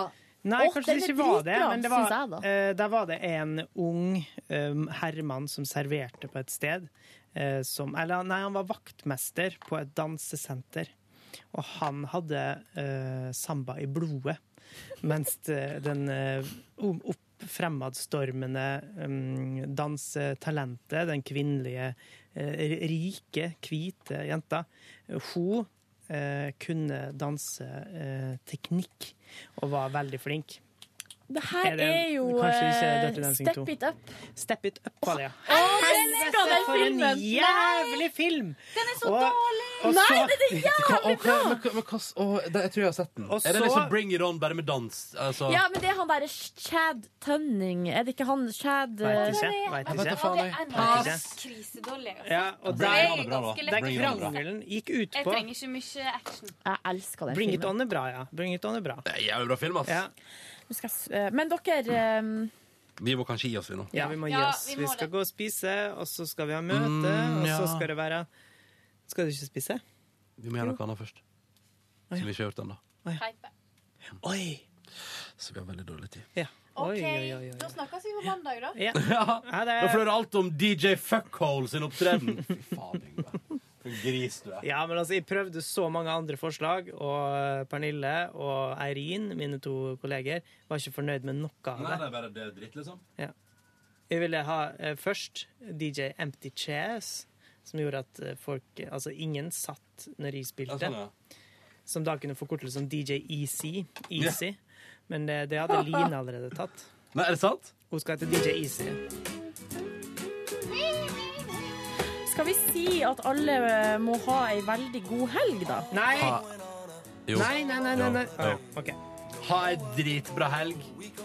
[SPEAKER 4] Nei,
[SPEAKER 5] Åh,
[SPEAKER 4] kanskje
[SPEAKER 5] den
[SPEAKER 4] det
[SPEAKER 5] er
[SPEAKER 4] ikke var det,
[SPEAKER 5] dritbra,
[SPEAKER 4] men det
[SPEAKER 5] synes
[SPEAKER 4] var,
[SPEAKER 5] jeg da.
[SPEAKER 4] eh, der var det en ung um, herremann som serverte på et sted. eh, som, eller nei, han var vaktmester på et dansesenter. Og han hadde eh, samba i blodet, mens eh, den eh, om- oppfremadstormende um, dansetalentet, den kvinnelige, eh, rike, hvite jenta, hun eh, kunne danseteknikk og var veldig flink.
[SPEAKER 5] Det her
[SPEAKER 4] Er
[SPEAKER 5] er,
[SPEAKER 4] det-
[SPEAKER 5] jo
[SPEAKER 4] kanskje ikke
[SPEAKER 5] eh,
[SPEAKER 4] Dirty Dancing 2.
[SPEAKER 5] Step It Up.
[SPEAKER 4] Step It Up var det, ja.
[SPEAKER 5] Å, jeg elsker den
[SPEAKER 4] For en
[SPEAKER 5] filmen!
[SPEAKER 4] jævlig film! Den er så dårlig!
[SPEAKER 5] Nei, den
[SPEAKER 2] Hva-
[SPEAKER 5] er jævlig
[SPEAKER 2] og
[SPEAKER 5] bra!
[SPEAKER 2] hva- men hva- men hva- å, det- Jeg tror jeg har sett den.
[SPEAKER 4] Og
[SPEAKER 2] Er det
[SPEAKER 4] så-
[SPEAKER 2] liksom Bring It On bare med dans? Altså.
[SPEAKER 5] Ja, men det er han derre Chad Tunning. Er det ikke han Chad
[SPEAKER 2] Vet ikke,
[SPEAKER 5] eh,
[SPEAKER 2] vet ikke. Jeg vet da faen, jeg.
[SPEAKER 17] Jeg
[SPEAKER 4] Vet
[SPEAKER 17] var
[SPEAKER 4] ikke.
[SPEAKER 17] krisedårlig. altså.
[SPEAKER 4] Ja, og
[SPEAKER 17] Det
[SPEAKER 4] der,
[SPEAKER 17] er ganske
[SPEAKER 4] der
[SPEAKER 17] lett.
[SPEAKER 4] krangelen gikk ut
[SPEAKER 17] Jeg
[SPEAKER 4] på
[SPEAKER 17] trenger ikke mye action.
[SPEAKER 5] Jeg elsker den
[SPEAKER 4] Bring It
[SPEAKER 5] filmen.
[SPEAKER 4] On er bra, ja. Bring It On er bra.
[SPEAKER 2] Det er jævlig bra film, ass.
[SPEAKER 4] Ja.
[SPEAKER 5] Nå skal jeg s- eh, Men dere eh,
[SPEAKER 21] Vi må kanskje gi oss, vi nå.
[SPEAKER 4] Ja, vi må gi
[SPEAKER 17] Ja,
[SPEAKER 4] oss.
[SPEAKER 17] vi må
[SPEAKER 4] Vi skal gå og spise, og så skal vi ha møte, og så
[SPEAKER 2] Mm, ja.
[SPEAKER 4] skal det være Skal du ikke spise?
[SPEAKER 2] Vi må gjøre noe annet først. Som vi ikke har gjort ennå.
[SPEAKER 4] Oi!
[SPEAKER 2] Så vi har veldig dårlig tid.
[SPEAKER 4] Ja.
[SPEAKER 17] OK,
[SPEAKER 4] Oi, oi, oi, oi.
[SPEAKER 17] da snakkes vi på mandag, da.
[SPEAKER 4] Ja. Ha det.
[SPEAKER 2] Da får du høre alt om DJ Fuckhole sin opptreden. Fy faen, Yngve. For en gris du er.
[SPEAKER 4] Ja, men altså, jeg prøvde så mange andre forslag, og Pernille og Eirin, mine to kolleger, var ikke fornøyd med noe av
[SPEAKER 2] Nei, det
[SPEAKER 4] det.
[SPEAKER 2] er bare det er dritt, liksom.
[SPEAKER 4] Ja. Jeg ville ha eh, først DJ Empty Chairs, som gjorde at eh, folk Altså, ingen satt når jeg spilte.
[SPEAKER 2] Ja, sånn, ja.
[SPEAKER 4] Som da kunne forkortes som E DJ Easy.
[SPEAKER 2] Ja.
[SPEAKER 4] Easy. Men eh, det, det hadde Line allerede tatt.
[SPEAKER 2] Nei, er det sant?
[SPEAKER 4] Hun skal hete E DJ Easy.
[SPEAKER 5] Skal vi si at alle eh, må ha ei veldig god helg, da?
[SPEAKER 4] Nei!
[SPEAKER 2] Jo.
[SPEAKER 4] Nei, nei, nei, nei, nei.
[SPEAKER 2] Jo.
[SPEAKER 4] Ah, ja. Ok.
[SPEAKER 2] Ha ei dritbra helg.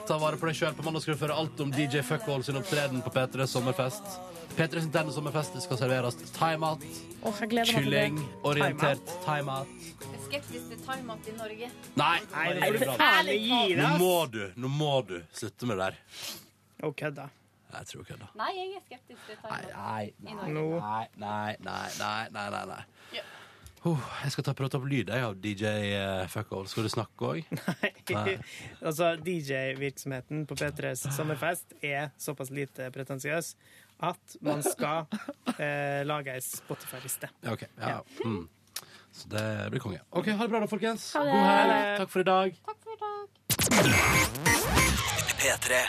[SPEAKER 2] Ta vare på deg sjøl. På mandag skal du føre alt om DJ Fuckhole sin opptreden på P3s sommerfest. P3s interne sommerfest det skal serveres timeout,
[SPEAKER 5] Åh, jeg gleder meg til det.
[SPEAKER 2] kylling, orientert timeout.
[SPEAKER 17] Jeg er skeptisk til time-out i Norge.
[SPEAKER 2] Nei,
[SPEAKER 4] Nei,
[SPEAKER 2] nå
[SPEAKER 4] nå får
[SPEAKER 2] gjorde
[SPEAKER 4] du
[SPEAKER 2] du bra.
[SPEAKER 4] faen meg gi deg,
[SPEAKER 2] Nå
[SPEAKER 4] ass!
[SPEAKER 2] må du nå må du slutte med det der.
[SPEAKER 4] Hun kødda.
[SPEAKER 2] Jeg tror ikke det.
[SPEAKER 17] Nei, jeg er skeptisk til time-out.
[SPEAKER 2] Nei, nei,
[SPEAKER 17] I
[SPEAKER 2] nei,
[SPEAKER 4] Norge.
[SPEAKER 2] nei, nei, nei, nei, nei, nei.
[SPEAKER 17] Ja.
[SPEAKER 2] Oh, jeg skal ta prøve å ta opp lyd jeg, av DJ eh, Fuckhole. Skal du snakke òg? Nei.
[SPEAKER 4] altså, DJ-virksomheten på P3s sommerfest er såpass lite pretensiøs at man skal eh, lage ei Spotify-liste.
[SPEAKER 2] Ja, OK. Ja. Mm. Så det blir konge. OK, ha det bra da, folkens.
[SPEAKER 5] det.
[SPEAKER 2] God helg. Takk for i dag.
[SPEAKER 17] Takk for i dag.
[SPEAKER 22] P3.